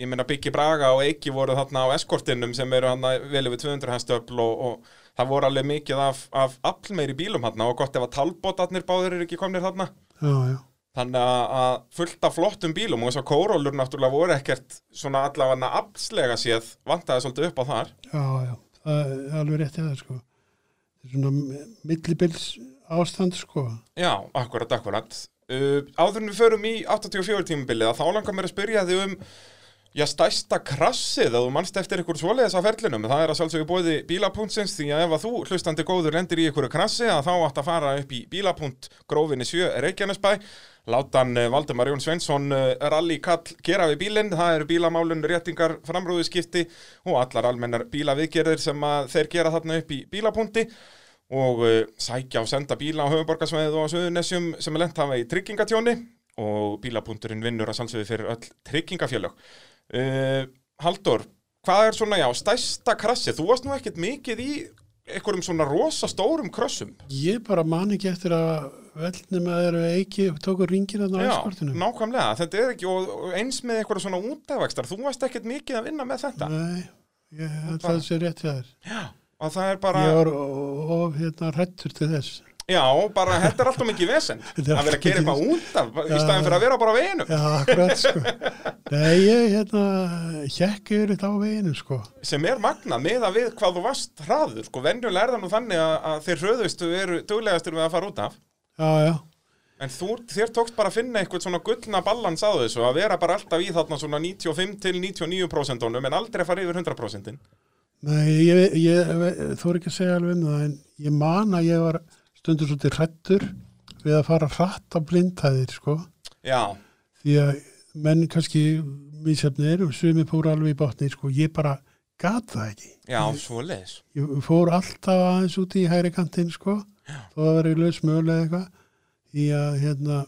S1: ég meina Byggi Braga og Eiki voru þarna á eskortinum sem eru hann vel yfir 200 hestöfl og, og það voru alveg mikið af, af allmeiri bílum hann og gott ef að talbótarnir báðir eru ekki komnir þarna
S2: já, já,
S1: Þannig að að fullt af flottum bílum og þess að kórólur náttúrulega voru ekkert svona allavega aftslega séð vantaði svolítið upp á þar.
S2: já, já það er alveg rétt eða sko Þetta er svona millibils ástand sko
S1: Já, akkurat, akkurat. Uh, áður en við förum í 84 tímabilið að þá langar mér að spyrja þig um já, stærsta krassið að þú mannst eftir ykkur svoleiðis á ferlinum. Það er að sjálfsögja bóði bílapunktsins því að ef að þú hlustandi góður lendir í ykkur krassi að þá átt að fara upp í bílapunkt grófinni 7 Reykjanesbæ látan uh, Valdemar Jón Sveinsson uh, rally kall gera við bílinn, það eru bílamálun, réttingar, framrúðuskipti og allar almennar bílaviðgerðir sem að þeir gera þarna upp í bílapunkti og uh, sækja og senda bíla á höfuborgarsvæðið og á Suðunessjum sem er lent hafa í tryggingatjóni og bílapunkturinn vinnur að sannsöðu fyrir öll tryggingafélög. Uh, Haldur, hvað er svona, já, stærsta krassið? Þú varst nú ekkert mikið í einhverjum svona rosa stórum krossum.
S2: ég bara man ekki eftir að velnum að þeirra ekki tóku ringina á
S1: Já,
S2: eskortinu
S1: nákvæmlega, þetta er ekki, og og eins með einhverja svona útæðvækstar, þú varst ekkert mikið að vinna með þetta.
S2: nei, ég held að það sé rétt hjá þér
S1: Að það er bara,
S2: ég var of hérna hrættur til þess
S1: Já, bara þetta er alltaf mikið vesen
S2: [LAUGHS] Þetta er
S1: að vera að
S2: alltof
S1: gera
S2: mikið
S1: eitthvað út af í
S2: Já.
S1: staðin fyrir að vera bara á veginum
S2: Já, akkurat, sko. Nei, ég, hérna, hjekk yfir þetta á veginu, sko.
S1: sem er magnað meða við hvað þú varst hraður sko, venjulega er það nú þannig að, að þeir hröðustu eru duglegastir við að fara út af
S2: Já, já,
S1: en þú, þér tókst bara að finna eitthvað svona gullna ballans á þessu að vera bara alltaf í þarna svona 95 til 99% -unum, en aldrei að fara yfir 100%
S2: nei, ég, ég, ég þú er ekki að segja alveg um það, en ég man að ég var stundur svolítið hrættur við að fara hratt á blindhæðir, sko.
S1: Já,
S2: Því að menn kannski mísjöfnir, sumi fóru alveg í botni, sko, ég bara gat það ekki.
S1: já, svo leis
S2: Ég fór alltaf aðeins út í hægri kantinn, sko, þó að vera í laus mögulega eitthvað. Því að, hérna,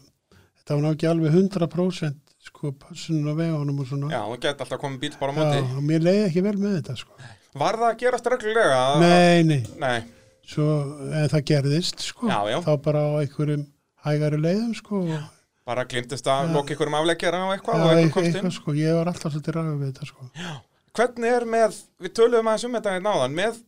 S2: þetta var ná ekki alveg 100% sko, passunum á vegunum og svona.
S1: Já, þú gæti alltaf komið bíl bara á
S2: Já,
S1: móti
S2: og mér leiði ekki vel með þetta sko.
S1: Var það að gerast reglulega? að-
S2: Nei, nei,
S1: Nei,
S2: svo en það gerðist sko,
S1: Já, já.
S2: þá bara á einhverjum hægari leiðum sko, og-
S1: bara glimtist að loka ykkur um afleggjara og eitthvað
S2: Já,
S1: og eitthvað komst
S2: eitthvað,
S1: inn
S2: sko, ég var alltaf svolítið ræður við þetta sko.
S1: Hvernig er með, við töluðum aðeins um þetta í náðan, með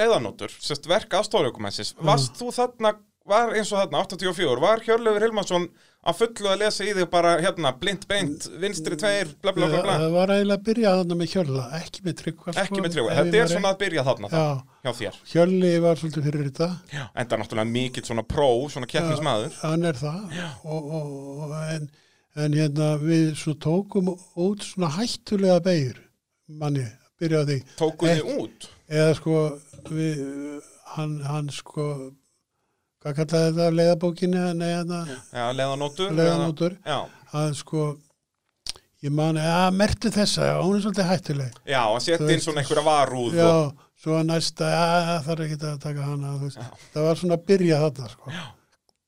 S1: leiðanótur, sérst verk aðstofljókumessins,
S2: Mm.
S1: varst þú þarna, var eins og þarna, 84, var Hjörlefur Hilmarsson að fullu að lesa í þig bara hérna, blind beint, vinstri tveir, bla bla bla bla,
S2: Það var eiginlega að byrja þarna með hjölla, ekki með tryggva sko,
S1: ekki með tríu,
S2: ef ég
S1: þetta
S2: var
S1: er svona að byrja þarna
S2: Já,
S1: það, hjá þér,
S2: hjölli var svolítið fyrir þetta,
S1: en það er náttúrulega mikill svona pró, svona keppnismæður,
S2: hann er það, og, og, og, en, en hérna við svo tókum út svona hættulega beigur, manni, byrjaði á því.
S1: tókuð þið út,
S2: eða sko við, hann, hann sko hvað kallaði þetta leiðabókinni eða nei hann
S1: já, leiðanótur,
S2: leiðanótur
S1: já,
S2: að sko ég man að mertu þessa já, hún er svolítið hættuleg
S1: já, að setja
S2: Þú
S1: inn
S2: veist-
S1: svona einhverja varúð
S2: já,
S1: og,
S2: svo að næsta já, það þarf ekki að taka hana þú veist. það var svona að byrja þarna sko já,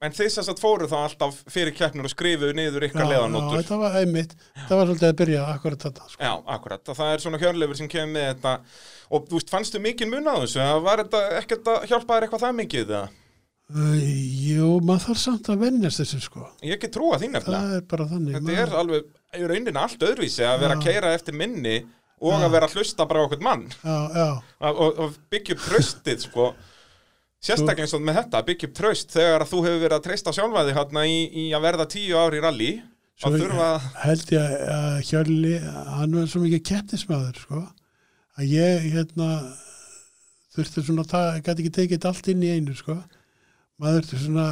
S1: en þið sérst að fóruð þá alltaf fyrir keppnur og skrifuðu niður ykkar leiðanótur.
S2: þetta var einmitt það var svolítið að byrja akkurat þarna sko.
S1: Já, akkurat, Að það er svona hjörleifur sem kemur með þetta og þú veist, fannstu mikið mun á þessu Eða var þetta ekkert að hjálpa þér eitthvað það mikið eða?
S2: uh, jú, maður þarf samt að vennjast þessu sko
S1: Ég ekki trúa því nefnilega
S2: það er bara þannig
S1: Þetta
S2: maður-
S1: er alveg, í rauninni allt öðruvísi að vera að
S2: Já.
S1: keira eftir minni og að vera að hlusta bara á okkur mann
S2: já, já
S1: og, og, og byggja upp tröstið sko Sérstaklega eins og með þetta, byggja upp tröst þegar að þú hefur verið að treysta sjálfæði hérna í, í að verða tíu ár í rally
S2: Svo
S1: og þurfa að
S2: held ég að Hjörli, hann var svo mikið keppnismæður, sko, að ég, hérna, þurfti svona, að ég gæti ekki tekið þetta allt inn í einu, sko, maður þurfti svona,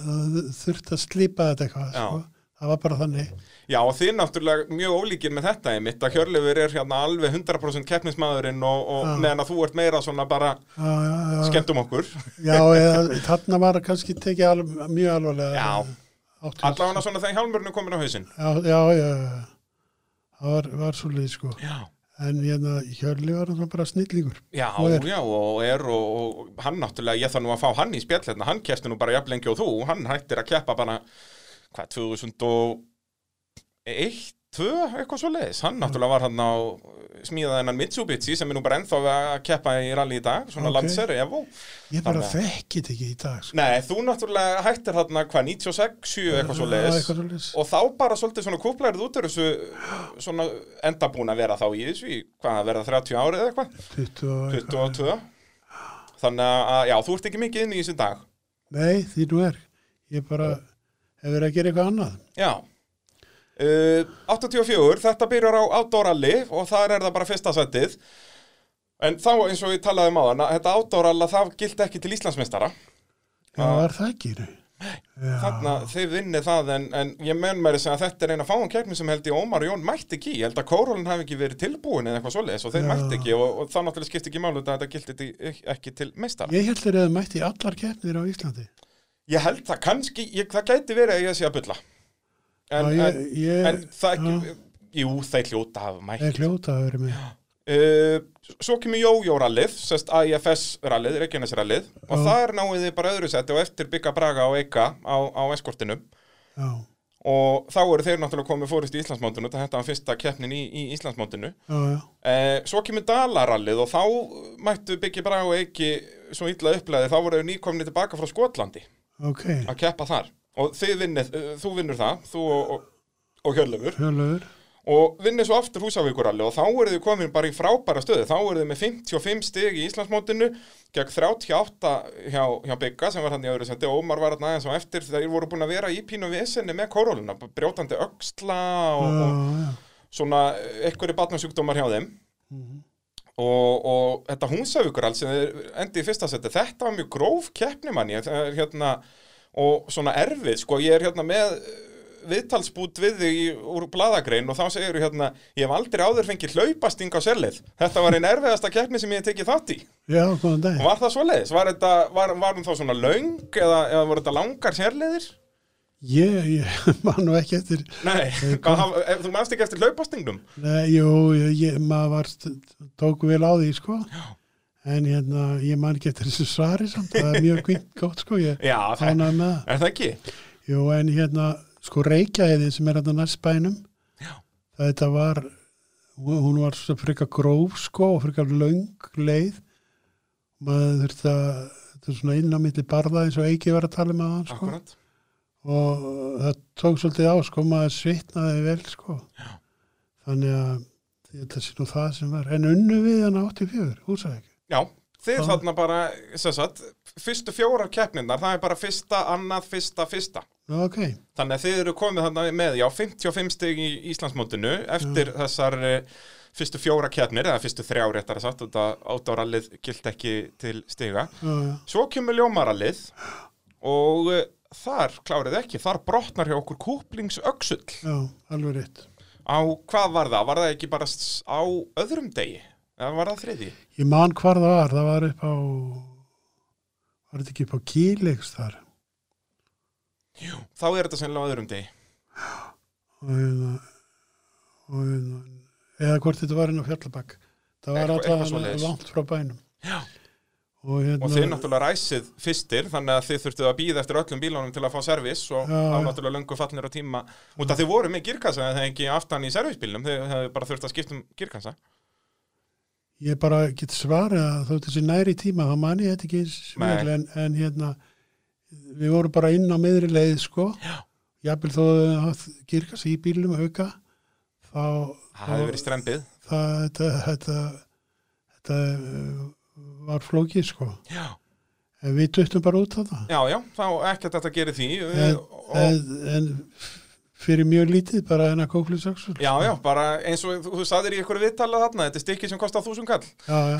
S2: eh, þurfti að slípa þetta eitthvað,
S1: Já.
S2: sko, það var bara þannig.
S1: Já, og þið náttúrulega mjög ólíkir með þetta einmitt að Hjörleifur er hérna alveg 100% keppnismæðurinn og, og
S2: Já.
S1: meðan að þú ert meira svona bara
S2: Já, já, já,
S1: skemmtum okkur
S2: já, eða, þarna var kannski tekið al, mjög alvarlega.
S1: Já.
S2: Áttugasta.
S1: allavega svona þegar hjálmurinn er komin á hausinn
S2: Já, já, já, já. það var, var svo sko,
S1: Já,
S2: en hérna, Hjörli var náttúrulega bara snillingur.
S1: já,
S2: Og er.
S1: já, og er og, og hann náttúrulega, ég þarf nú að fá hann í spjall hérna, hann kefti nú bara jafnlengi og þú hann hættir að keppa bara hvað, 2001 2, eitthvað svo leiðis hann náttúrulega var hann á smíðað hennan Mitsubishi sem er nú bara ennþá að keppa í rally í dag, svona
S2: Ok.
S1: okay. Lancer Evo
S2: Ég bara
S1: Þannig
S2: þekki þetta ekki í dag, sko.
S1: Nei, þú náttúrulega hættir þarna hvað, 96, 7 eitthvað svo
S2: Já,
S1: leiðis
S2: Eitthvað svo leiðis.
S1: og þá bara svolítið svona kúplærið út úr þessu svona enda búin að vera þá í þessu í hvað að vera 30 árið eða eitthvað
S2: 20 og eitthvað.
S1: 22 þannig að já, þú ert ekki mikið inn í þessu dag
S2: Nei, því nú er. Ég bara hef verið að gera eitthvað annað.
S1: já uh, 84, þetta byrjar á outdoor rally og þar er það bara fyrsta sætið en þá eins og ég talaði um áðan að þetta outdoor rally það gilt ekki til Íslandsmeistara
S2: Já,
S1: Já.
S2: var það ekki? Nei. Já,
S1: Þarna þið vinnið það en, en ég menn mér að þetta er eina fáum keppni sem held ég Ómar og Jón mætti ekki, ég held að Kórólinn hafi ekki verið tilbúin eða eitthvað svoleiðis og þeir
S2: Já.
S1: mætti ekki og, og þá náttúrulega skipti ekki málu þetta gildi til- ekki til meistara.
S2: Ég held þeir að mætti í allar keppnir á Íslandi.
S1: Ég held það kannski, ég, það gæti verið að ég sé að bulla en,
S2: já,
S1: en,
S2: ég, ég,
S1: en það ekki
S2: já,
S1: jú, þeir hljóta hafa
S2: það er
S1: mætt
S2: hljóta að vera með.
S1: uh, Svo kemur Jójó-rallið sest AIFS-rallið, Reykjanes-rallið og
S2: Já.
S1: þar náið þið bara öðru seti og eftir bygga Braga og Eika á, á eskortinum
S2: Já,
S1: og þá eru þeir náttúrulega komið fórist í Íslandsmóndinu þetta var fyrsta keppnin í, í Íslandsmóndinu
S2: já, já.
S1: eh, svo kemur Dalarallið og þá mættu Byggi Braga og Eiki svo illa upplæði, þá voru þau nýkomni tilbaka frá Skotlandi
S2: Ok,
S1: að keppa þar og þið vinnið, eh, þú vinnur það þú og, og, og Hjörlefur
S2: hjálfur.
S1: og vinnir svo aftur húsavíkuralli og þá eru þið komin bara í frábæra stöðu þá eru þið með 55 stig í Íslandsmótinu gegn 38 hjá, hjá Bygga sem var hann í öðru sendi og Ómar var hann aðeins og eftir þeir voru búin að vera í pínu vesenni með koróluna, brjótandi öxla og,
S2: já, já.
S1: og svona einhverju batnarsjúkdómar hjá þeim og, og þetta húsavíkurall sem þeir endi í fyrsta seti þetta var mjög gróf keppni manni hérna, og svona erfið sko, ég er hérna með eh, viðtalsbút við þig í- úr bladagrein og þá segir hérna, ég hef aldrei áður fengið hlaupasting á sellið, þetta var einn erfiðasta keppni sem ég hef tekið þátt í,
S2: já, góðan dag
S1: var það svoleiðis var, þetta, var, var hún þá svona löng eða, eða voru þetta langar sérleiðir
S2: ég, ég [LAUGHS] man nú ekki eftir
S1: nei, hvað, haf- ef þú manst ekki eftir hlaupastingnum
S2: Nei, jú, ég, ég, maður var, st- tók vel á því, sko. En hérna, ég man ekki eftir þessu svari samt, það er mjög kvimt gott, sko, ég
S1: já, það,
S2: fánaði með það.
S1: er það ekki
S2: Jú, en hérna, sko, Reykjavíðin sem er hérna næst bænum, Já. þetta var, hún hún var svo frekar gróf, sko, og frekar löng leið. Maður þurfti að, þetta er svona inn á milli barða eins og Eiki var að tala með hann, sko.
S1: akkurat,
S2: og það tók svolítið á sko, maður svitnaði vel sko Já. þannig að þetta sé nú það sem var, en unnu við hann 84, húsæk
S1: já Þið
S2: Já.
S1: þarna bara, sem sagt, fyrstu fjórar keppnirnar, það er bara fyrsta, annað, fyrsta, fyrsta.
S2: Nú, ok,
S1: Þannig að þið eru komið þarna með, já, 55 stig í Íslandsmótinu eftir þessar eh, fyrstu fjóra keppnir, eða fyrstu þrjá réttar að satt, þetta átárallið gilt ekki til stiga.
S2: já, já,
S1: Svo kemur ljómarallið og eh, þar klárið ekki, þar brotnar hjá okkur kúplingsöksull
S2: já, alveg rétt
S1: á hvað var það? Var það ekki bara s- á öðrum degi? Eða var það þriði?
S2: ég man hvar það var, það var upp á var þetta ekki upp á kýleiks þar
S1: Þá er þetta sennilega á öðrum degi.
S2: og hérna og hérna, eða hvort þetta var inn á fjallabakk það var
S1: Eitthvað- eitthvað
S2: alltaf
S1: svoleiðis.
S2: langt frá bænum
S1: Já.
S2: og hérna
S1: Og þið náttúrulega ræsið fyrstir, þannig að þið þurftuð að býða eftir öllum bílunum til að fá servis og
S2: Já,
S1: þá
S2: já.
S1: náttúrulega löngu fallnir á tíma. Út að þið voru með girkassa en það er ekki aftan í servisbílnum, þið hefðu bara þurft að skipta um girkassa.
S2: Ég bara get svarið að þótt þessi næri tíma þá man ég þetta ekki eins
S1: Nei.
S2: vel en, en hérna við vorum bara inn á miðri leið sko
S1: Já.
S2: jafnvel þó að það kirkast í bílum auka þá
S1: Það hefði verið strembið.
S2: það, þetta, þetta, þetta eh, var flókið sko
S1: Já.
S2: en við duttum bara út á það
S1: Já, já, þá ekkert þetta gerir því.
S2: en,
S1: og,
S2: en, en fyrir mjög lítið bara hennar kóklisöksul
S1: Já, já, bara eins og þú, þú saðir í ykkur viðtalað þarna, þetta er stykki sem kostar þúsund kall.
S2: já,
S1: [LAUGHS]
S2: já.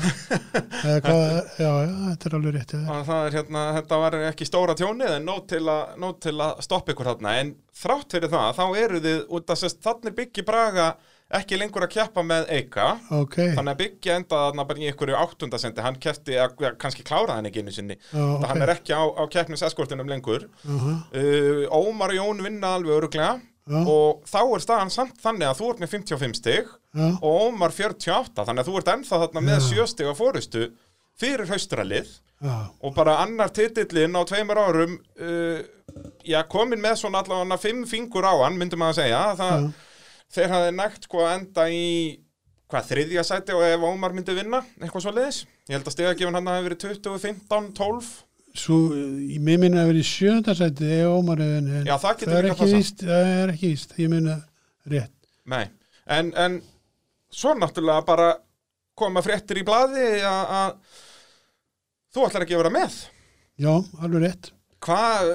S2: Eða hvað, já, já, þetta er alveg rétt já,
S1: Þannig að það er hérna, þetta var ekki stóra tjónið en nót til, að- nóg til að stoppa ykkur þarna en þrátt fyrir það, þá eru þið út að sérst, þannig byggi Braga ekki lengur að keppa með Eika
S2: ok,
S1: þannig að byggja enda þarna bara í einhverju áttundasendi hann kefti, eða kannski kláraði hann ekki einu sinni
S2: já,
S1: okay.
S2: ok
S1: hann er ekki á, á keppniseskortinum lengur
S2: uh
S1: uh, Ómar og Jón vinna alveg öruglega
S2: Já.
S1: og þá er staðan samt þannig að þú ert með 55 stig
S2: já.
S1: og Ómar 48 þannig að þú ert ennþá þarna með
S2: Já.
S1: 7 stig að fórustu fyrir haustralið
S2: Já,
S1: og bara annar titillin á tveimur árum uh, já, komin með svona allavega fimm fingur á hann, myndum að segja það, þeir hafði nægt sko að enda í hvað, þriðja sæti og ef Ómar myndi vinna, eitthvað svo leiðis ég held að stegagefin hann hafi verið 20, 15, 12
S2: svo, eh, mér minna að vera í sjöndasæti eða ómaröðin en
S1: Já, það getur
S2: er
S1: líka
S2: ekki
S1: passað.
S2: víst, það er ekki víst ég minna rétt
S1: nei, en, en svo náttúrulega bara koma fréttir í blaði að- að þú ætlar ekki að vera með
S2: já, alveg rétt
S1: hvað,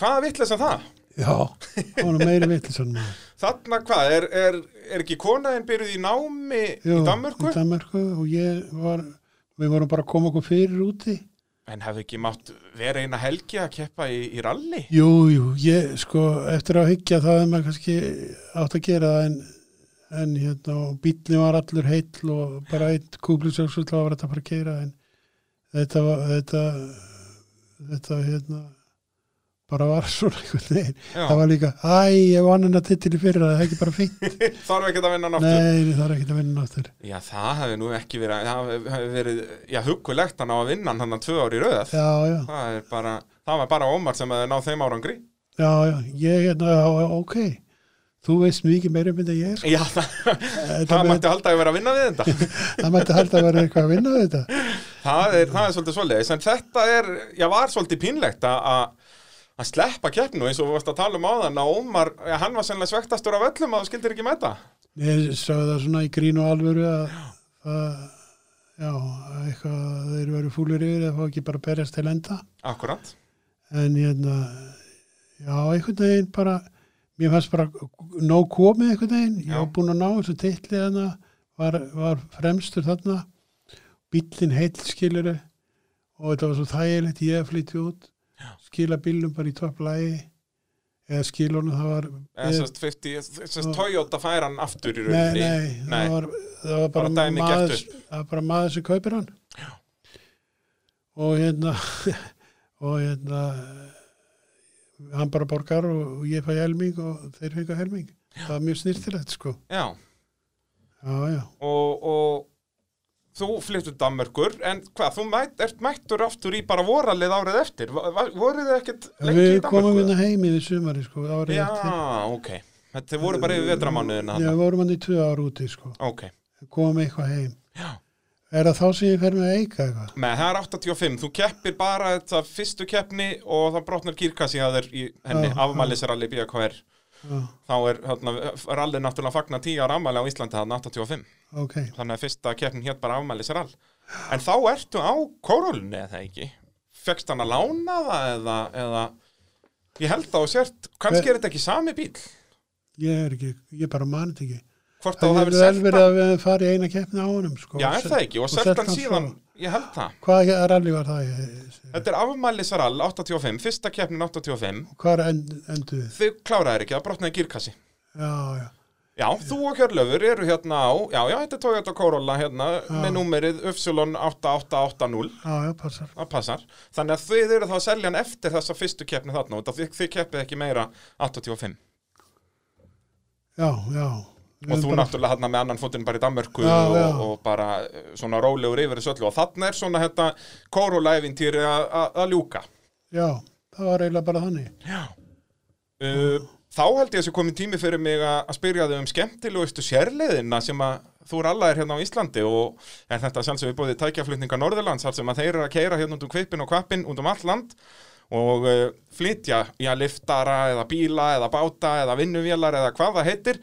S1: hvað vitlega sem það?
S2: já, það var nú meiri vitlisann
S1: Þarna hvað, er, er, er ekki konaðin byrjuð í námi [LAUGHS] í Danmörku?
S2: í Danmörku og ég var við vorum bara að koma okkur fyrir úti
S1: En hefði ekki mátt vera eina helgi að keppa í, í ralli?
S2: jú, jú, ég sko eftir að hyggja það er maður kannski átt að gera það en, en hérna, og bíllinn var allur heill og bara einn kúblisöksul þá var þetta bara að gera en þetta var þetta, þetta hérna bara var svona einhvern veginn
S1: Já,
S2: það var líka, æ, ég vann hennar tittil í fyrra, það er ekki bara fínt
S1: þarf ekki að vinna hann aftur.
S2: nei, það er ekkert að vinna náttur
S1: Já, það hefði nú ekki verið, það hefði- hefði verið, já, huggulegt hann á að vinna hann hann tvö ári í röð.
S2: já, já,
S1: Það er bara, það var bara Ómar sem hefði náð þeim árangri.
S2: já, já, ég hérna já, ok, þú veist mikið meira um þetta en ég er, sko.
S1: Já, það,
S2: þetta
S1: það
S2: með,
S1: mætti halda að vera að vinna við þetta.
S2: það mætti halda að vera eitthvað að vinna við þetta,
S1: það, er, það er svolítið svoleiðis, en þetta er, já, var svolítið pínlegt að- að að sleppa keppnu eins og við varst að tala um áðan að Ómar, já, hann var sennilega svektastur af öllum að þú skildir ekki mæta.
S2: Ég sagði það svona í grín og alvöru að það, já, að eitthvað að þeir eru fúlir yfir eða fá ekki bara að berjast til enda.
S1: akkurat
S2: En hérna, já, einhvern veginn bara, mér fannst bara nóg komið einhvern veginn. Ég
S1: Já.
S2: var búin að ná þessu titli þarna, var, var fremstur þarna, bíllinn heill skiluru og þetta var svo þægilegt, ég flytti út, já. skila bílnum bara í topplægi eða skilunum, það var...
S1: eða sérst 50, sérst
S2: Já.
S1: Toyota fær hann aftur í
S2: Nei,
S1: rauninni
S2: nei,
S1: Nei.
S2: Það, var, það var
S1: Bara
S2: bara,
S1: dæmi gert
S2: maður, það var bara maður sem kaupir hann og hérna [LAUGHS] og hérna hann bara borgar og, og ég fæ helming og þeir fengu helming það var mjög snýrtilegt sko
S1: já,
S2: já, já,
S1: og, og þú flyttur Danmörkur en hvað, þú mætt, ert mættur aftur í bara voralið árið eftir Va- va- voruð þið ekkert lengi
S2: við
S1: í Danmörku?
S2: komum hérna heim í því sumari sko árið
S1: já,
S2: eftir.
S1: ok þetta þið voru bara yfir vetramánuðina
S2: já,
S1: þarna.
S2: við vorum hann í tvö ár úti sko
S1: ok,
S2: komum eitthvað heim
S1: Já.
S2: er það þá sem ég fer með að eika eitthvað
S1: með það er 85 þú keppir bara þetta fyrstu keppni og það brotnar kýrkassi að þeir í henni
S2: Já, já.
S1: afmælisralli BKR
S2: já,
S1: þá er hérna, rallið náttúrulega fagna 10 ára afmæli á Íslandi þarna 85
S2: ok,
S1: þannig að fyrsta keppnin hétt bara afmælisrall en þá ertu á kórólunni eða ekki fegst hann að lána það eða, eða ég held það og sért, kannski er
S2: Hver-
S1: þetta ekki sami bíl
S2: ég er ekki ég bara mani þetta ekki
S1: hvort að
S2: Það
S1: það
S2: er
S1: hefur
S2: vel
S1: selt
S2: verið
S1: hann
S2: að við hefum farið í eina keppni á honum sko.
S1: já, er það ekki, og
S2: og
S1: selt
S2: selt
S1: hann
S2: hann
S1: síðan
S2: svo.
S1: ég held það,
S2: Hvað rally var það?
S1: þetta er afmælisrall 85, fyrsta keppnin 85
S2: Hvað end, endur við?
S1: þau kláraðir ekki, það brotnaði gírkassi
S2: Já, já.
S1: Já, þú og Hjörlöfur eru hérna á, já, já, þetta er Toyota Corolla hérna með númerið Upsilon 8880,
S2: Já, já, passar.
S1: það passar. Þannig að þið eru þá að selja hann eftir þessa fyrstu keppni þarna út, af því þið keppið ekki meira 85.
S2: Já, já. Við
S1: og þú
S2: erum bara-
S1: náttúrulega hérna með annan fótinn bara í Danmörku
S2: Já,
S1: og,
S2: já.
S1: og bara eh, svona rólegur yfir þessu öllu og þarna er svona þetta Corolla-eventýri að ljúka.
S2: Já, það var eiginlega bara þannig.
S1: Uh, þá held ég að þessu komin tími fyrir mig að að spyrja þau um skemmtilegustu sérleiðina sem að þú er allar hérna á Íslandi og er þetta sjálfsög við bóðið tækjaflutninga Norðurlands þar sem að þeir eru að keira hérna út um kvipin og kvapin út um allt land og uh, flytja í að liftara eða bíla eða báta eða vinnuvélar eða hvað það heitir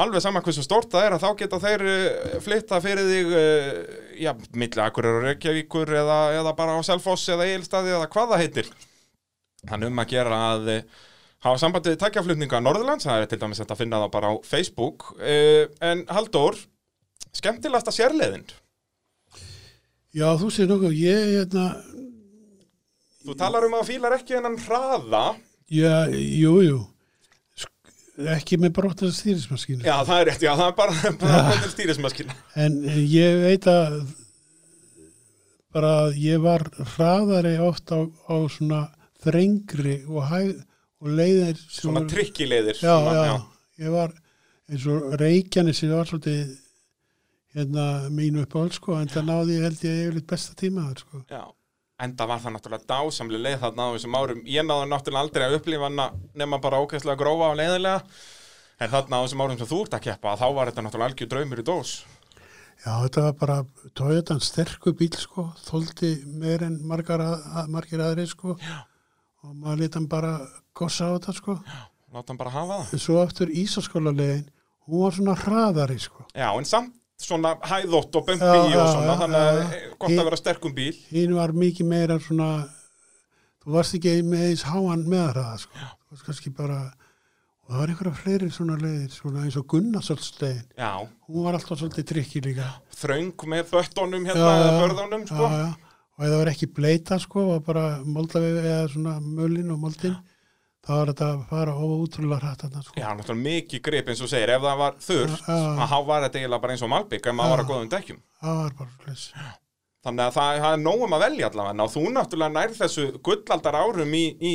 S1: alveg sama hversu stórt það er að þá geta þeir uh, flytta fyrir þig uh, já, milli Akureyri og Reykjavíkur eða, eða bara á Selfoss eða Egilstaði eða hvað það heitir þannig um að gera að uh, hafa sambandið takkjaflutninga Norðurlands, það er til dæmis hægt að finna það bara á Facebook uh, en Halldór, skemmtilegasta sérleiðin
S2: Já, þú sér nokkuð, ég, hérna,
S1: þú talar um að þú fílar ekki hennan hraða
S2: já, jú, jú, Sk ekki með brottar stýrismaskínu.
S1: já það er rétt, já það er bara [LAUGHS] það er stýrismaskina
S2: En ég veit að bara að ég var hraðari oft á, á svona þrengri og hæð og leiðir sem
S1: svona
S2: voru-
S1: trikkileiðir
S2: já,
S1: svona,
S2: já, ég var eins og reykjani sem var svolítið hérna mínu upp á öll sko en það náði ég held ég yfirleitt besta tíma þar sko
S1: já. enda var það náttúrulega dásamlega leið þarna á þessum árum, ég náðu náttúrulega aldrei að upplifa hana nema bara ókvæslega grófa og leiðilega en þarna á þessum árum sem þú ert að keppa þá var þetta náttúrulega algjör draumur í dós
S2: já þetta var bara Toyotan sterkur bíl sko þóldi meir en margar að, að- margir aðri sko já. og maður leta hann bara gossa á þetta sko já.
S1: láta hann bara hafa það
S2: en svo aftur Ísaskóla leiðin hún var svona hraðari sko
S1: Já, en samt svona hæðótt og bumpi
S2: Já, já,
S1: og svona,
S2: já,
S1: þannig að
S2: já, já.
S1: eh, gott að vera sterkum bíl.
S2: hinn var mikið meira svona þú varst ekki með eins háan meðraða sko. þú varst kannski bara og það var einhverja fleiri svona leiðir svona eins og Gunnarsöldslegin
S1: Já,
S2: hún var alltaf svolítið trikki líka
S1: þröng með böttunum
S2: Já,
S1: hérna, eða
S2: já,
S1: börðunum, sko.
S2: já, já. og ef það var ekki bleita sko var bara moldavefi eða svona mölin og moldin þá var þetta að fara ótrúlega hrætt þarna sko
S1: Já, náttúrulega mikið grip eins og segir, ef það var þurft,
S2: Já, já.
S1: að há var þetta eiginlega bara eins og malbygg, ef maður var að góðum dekkjum.
S2: það var bara slis
S1: Þannig að það, það er nógum að velja allavega, og þú náttúrulega nær þessu gullaldar árum í, í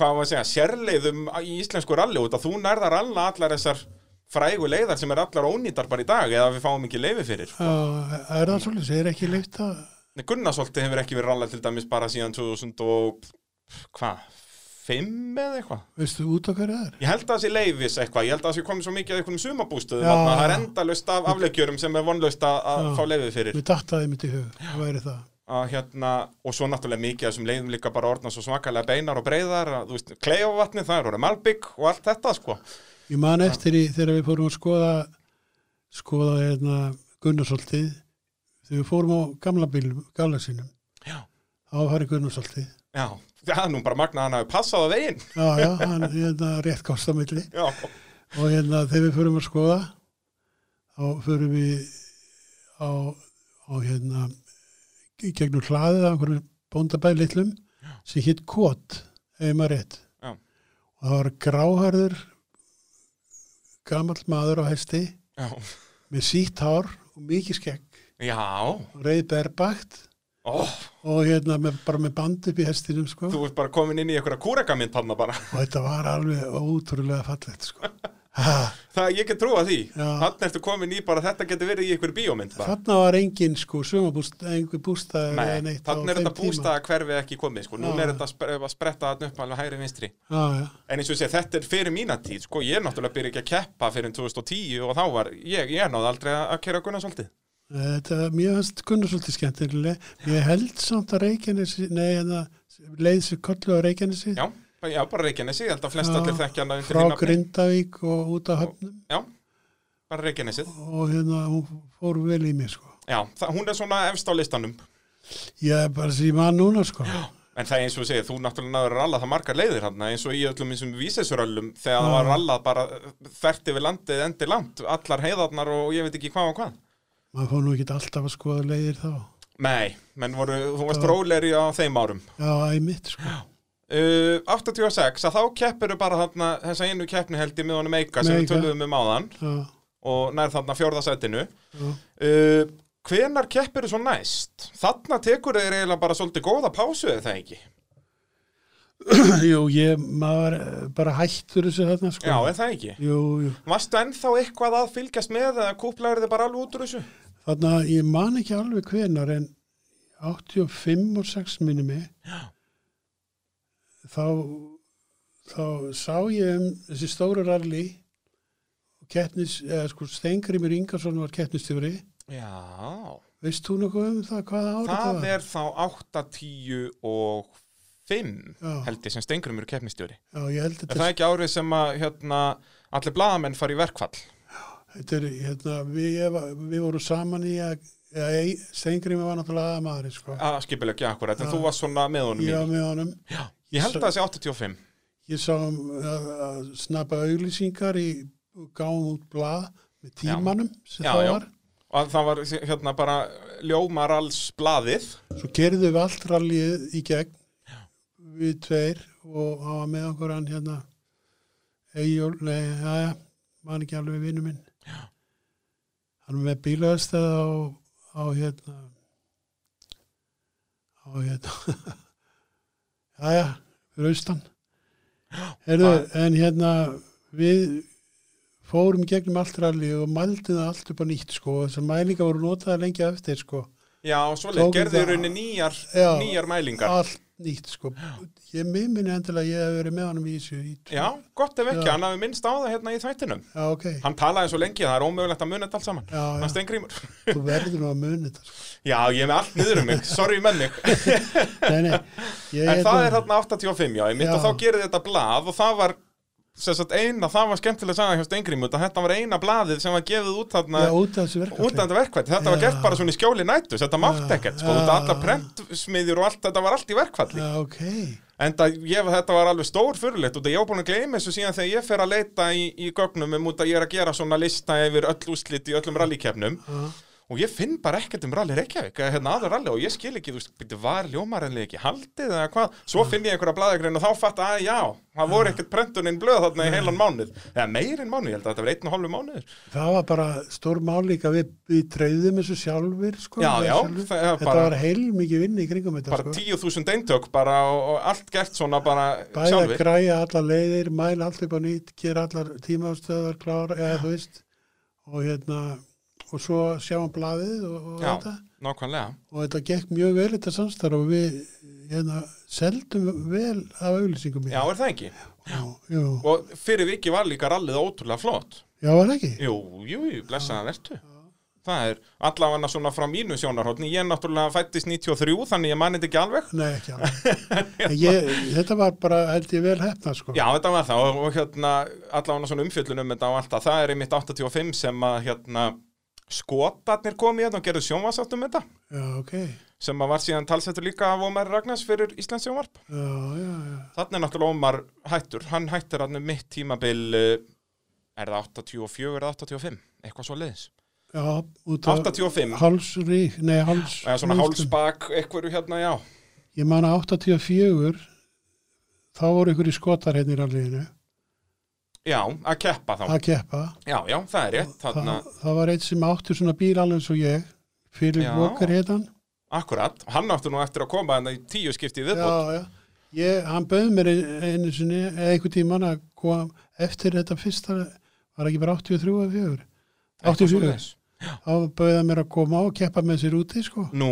S1: hvað var að segja, sérleiðum í íslensku ralli út að þú nærðar alla allar þessar frægu leiðar sem er allar ónýtar bara í dag eða við fáum ekki leifi fyrir.
S2: er það svolítið, er ekki leitt að
S1: Nei, Gunnarsholti hefur ekki verið rallað til dæmis bara síðan 2000 og hvað, 5 eða eitthvað?
S2: veistu út okkar það er
S1: Ég held að það sé leifis eitthvað, ég held að það sé komið svo mikið að einhvernum sumabústuðum,
S2: Já.
S1: þarna. það er endalaust af afleikjörum sem er vonlaust að, að
S2: Já.
S1: fá leifið fyrir.
S2: við dattaði mitt í hug, það væri það
S1: Að, hérna, og svo náttúrulega mikið af þessum leiðum líka bara orðna svo svakalega beinar og breiðar, að, þú veist, kleifavatni, það er orðið malbygg og allt þetta, sko.
S2: Ég man eftir í þegar við fórum að skoða skoða hérna Gunnarsoltið þegar við fórum á gamla bílum, gamla sínum
S1: Já.
S2: á Harry Gunnarsoltið
S1: Já, það er nú bara magnað að hann hafi passað á veginn.
S2: já, já, hann hérna rétt kostamilli
S1: Já,
S2: og hérna þegar við förum að skoða þá förum við á, á hérna í gegnum hlaðið af einhverjum bóndabæð litlum sem hitt Kot ef maður rétt
S1: Já.
S2: og það var gráharður gamall maður á hesti
S1: já,
S2: með sítt hár og mikið skegg
S1: já,
S2: og reið berbakt
S1: ó,
S2: og hérna með, bara með band upp í hestinum sko.
S1: þú ert bara komin inn í einhverja kúrekamynd hann bara.
S2: og þetta var alveg ótrúlega fallegt
S1: [LAUGHS]
S2: sko. ha,
S1: Það, ég get trúa því.
S2: Já.
S1: Hann ertu komin í bara, þetta getur verið í einhverju bíómynd bara.
S2: þarna var engin sko, sumabústa, einhver bústa
S1: Nei, þannig er þetta bústað að hverfi ekki komið, sko. Núna
S2: Já.
S1: er þetta að spre- að spretta þarna upp alveg hægri vinstri.
S2: já, já,
S1: En eins og ég segi, þetta er fyrir mína tíð, sko, ég er náttúrulega byrja ekki að keppa fyrir 2010 og þá var, ég, ég náði aldrei að að kera Gunnarsvaldið.
S2: þetta mér fannst Gunnar svolítið skemmtilega ég held samt að Reykjanesi nei, hérna, leið sér kollu á Reykjanesi
S1: Já, bara- já, bara Reykjanesi, ég held að flest
S2: Já,
S1: allir þekkja hana undir
S2: frá
S1: því nafni.
S2: Grindavík og út á höfnum
S1: Já, bara Reykjanesið.
S2: og hérna, hún fór vel í mig sko.
S1: Já, það, hún er svona efst á listanum.
S2: ég er bara sem ég man núna sko.
S1: En það er eins og segið, þú náttúrulega náður að ralla það margar leiðir hann, eins og í öllum einsum vísesröllum þegar það
S2: Já.
S1: var rallað bara þert yfir landið endi langt, allar heiðarnar og ég veit ekki hvað og hvað.
S2: maður fór nú ekki alltaf að skoða leiðir þá
S1: Nei, menn voru, þú varst róleri á þeim árum.
S2: já, æmitt sko.
S1: Uh, 86, að þá keppir bara þarna, þessa einu keppni held í miðunum Eika sem við
S2: Meika.
S1: töluðum um áðan
S2: já, [CLEARS THROAT]
S1: og nær þarna fjórðasætinu
S2: já.
S1: uh, Hvenar keppir þú svo næst? Þarna tekur þeir eiginlega bara svolítið góða pásu eða það ekki?
S2: jú, ég maður eh, bara hættur þessu þarna sko.
S1: Já, eða það ekki?
S2: jú, jú.
S1: Varstu ennþá eitthvað að fylgjast með eða kúplaður þið bara alveg út úr þessu?
S2: Þannig að ég man ekki alveg hvenar en 85 og 6 minni mig þá, þá sá ég um þessi stóra ralli og kettnis, eða sko Stengrimur Ingarsson var kettnistifri
S1: Já,
S2: veist þú nokkuð um það hvaða árið það
S1: það
S2: var?
S1: er þá 8, 10 og 5
S2: Já.
S1: held ég sem stengrum eru keppnistjóri
S2: Já, ég held
S1: Er
S2: þetta,
S1: það ekki árið sem að hérna, allir blaðamenn fari í verkfall?
S2: þetta er, hérna, við, ég var- við vorum saman í að ja, Stengrimur var náttúrulega aðmaður sko.
S1: að skipilegja ekki akkurat, en
S2: Já.
S1: þú varst svona með honum
S2: ég
S1: í.
S2: var með honum
S1: Já, ég held að það sé 85
S2: Ég sá um að, að snappa auglýsingar í og gáum út blað með tímanum sem
S1: Já,
S2: það
S1: já.
S2: var.
S1: og að það var hérna bara ljómar alls blaðið
S2: Svo gerðum við allt rallið í gegn við tveir og hann var með okkur hann hérna Eyjól, nei, já, já, man ekki alveg vinnu minn. Já. Hann var með bílaðastæða á, á hérna á hérna [LAUGHS] já, já, fyrir austan. Heyrðu, en hérna við fórum í gegnum allt rallið og mældum það allt upp á nýtt sko, þessar mælingar voru notaðar lengi á eftir sko.
S1: já, svolítið,
S2: Tókum
S1: gerði í
S2: það-
S1: rauninni nýjar,
S2: Já.
S1: nýjar mælingar
S2: allt nýtt sko ég mér minni endilega að ég hef verið með honum í þessu í tvo-
S1: já, gott ef ekki,
S2: Já.
S1: hann hafi minnst á það hérna í þættinum
S2: já ok,
S1: hann talaði svo lengi að það er ómögulegt að muna þetta allt saman
S2: já,
S1: hann
S2: já.
S1: steingrímur
S2: þú verður nú að muni þetta sko.
S1: [LAUGHS] já, ég er með allt niður um mig, sorry með
S2: [LAUGHS]
S1: mig
S2: nei, nei,
S1: [LAUGHS]
S2: ég,
S1: en það er hérna 85, já, ég mitt
S2: Já.
S1: og þá gerði þetta blað og það var sem sagt, eina, það var skemmtilega að sagða hjá steingrímur þetta var eina blaðið sem var gefið út þarna
S2: já, út af
S1: út
S2: þessu
S1: af
S2: verkefni
S1: þetta verkvætt, þetta var
S2: Já.
S1: gert bara svona í skjóli nættus, þetta mátt
S2: Já.
S1: ekkert, sko, þetta
S2: Já.
S1: allar prentsmiðjur og allt, þetta var allt í verkvalli.
S2: já ok,
S1: En það, ég, þetta var alveg stór fyrirleitt, og ég var búin að gleyma þessu síðan þegar ég fer að leita í, í gögnum um út að ég er að gera svona lista yfir öll úslit í öllum rallykefnum
S2: já,
S1: og ég finn bara ekkert um rally Reykjavík, eða hérna aður rally og ég skil ekki, þú veist, byrju, var ljómarinlega ekki haldið eða hvað, svo finn ég einhverja blaðagrein og þá fatt að já, það voru ekkert prentuninn blöð þarna í heilan mánuð, eða meirinn mánuð, ég held að þetta var einn og hálfu mánuður.
S2: það var bara stór mál líka við, við treyðum þessu sjálfur sko,
S1: Já,
S2: við
S1: já,
S2: sjálfur.
S1: það er
S2: þetta
S1: bara-
S2: var heil mikið vinni í kringum þetta
S1: bara
S2: sko.
S1: tíu þúsund eintök bara og, og allt gert svona bara
S2: bæði að
S1: sjálfur
S2: græja allar leiðir mæla allt upp á nýtt, gera allar tímaðstöðar klára, eða þú veist og hérna, og svo sjáum blaðið og, og
S1: Já.
S2: þetta
S1: nákvæmlega,
S2: og þetta gekk mjög vel þetta samstarf og við hérna, seldum vel af auðlýsingum
S1: já er það ekki
S2: já, já,
S1: og fyrir viki var líka rallið ótrúlega flott
S2: já, var ekki
S1: jú, jú, jú blessaðan vertu það er allavega svona frá mínu sjónarhóttni ég er náttúrulega fættist 93 þannig ég mani þetta ekki alveg
S2: Nei, ekki alveg.
S1: [LAUGHS]
S2: En ég, þetta var bara, held ég, vel hefna, sko.
S1: Já, þetta var það og, og hérna allavega svona umfjöllun um þetta og allt það það er einmitt 85 sem að hérna skotarnir komið hérna og gerðu sjónvasátt um þetta
S2: Já, ok.
S1: sem að var síðan talsettur líka af Ómar Ragnars fyrir Íslands sjónvarp
S2: Já, já, já.
S1: þannig er náttúrulega Ómar hættur hann hættir hann um mitt tímabil eh, er það 84 eða 85 eitthvað svo leiðis
S2: Já, út af
S1: 85
S2: hálsrík, nei, háls...
S1: eða svona hálsbak eitthvað hérna já
S2: Ég man að 84, þá voru ykkur í skotar hérna í ralliðinu
S1: já að keppa þá
S2: að keppa.
S1: já já það er rétt
S2: Það,
S1: þarna
S2: það var eitt sem átti svona bíl alveg eins og ég, fyrir
S1: Já.
S2: vokkar hérna.
S1: akkurat hann áttu nú eftir að koma þannig tíu skipti í viðbútt
S2: Já, já. Ég, hann bauð mér einu sinni, eða einhver tíman að kom eftir þetta fyrsta, var ekki bara 83 eða 4? 84. Þá bauð hann mér að koma á og keppa með sér úti, sko.
S1: nú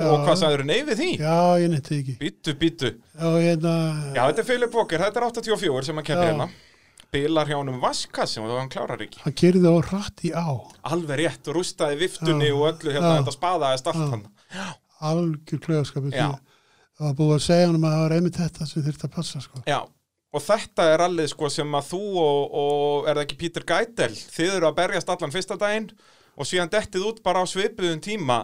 S2: Já.
S1: og hvað sagður nei við því
S2: Já, ég nefndi ekki.
S1: Bítu, bítu.
S2: Og hérna,
S1: Já, þetta er Filip Walker, þetta er 84 sem hann keppir
S2: Já.
S1: hérna. Bilar hjá honum Vaska sem hann klárar ekki.
S2: hann kyrði á rætt í á,
S1: Alveg rétt og rústaði viftunni
S2: Já.
S1: og öllu hérna,
S2: Já.
S1: þetta spaðaðist allt
S2: Já.
S1: hann.
S2: algjör klöðaskapur.
S1: Já.
S2: Það var búið að segja hann að það var einmitt þetta sem þurfti að passa, sko.
S1: Já, og þetta er allir sko sem að þú og, og er það ekki Pítur Gætel, þið eru að berjast allan fyrsta daginn og síðan dettið út bara á svipuðum tíma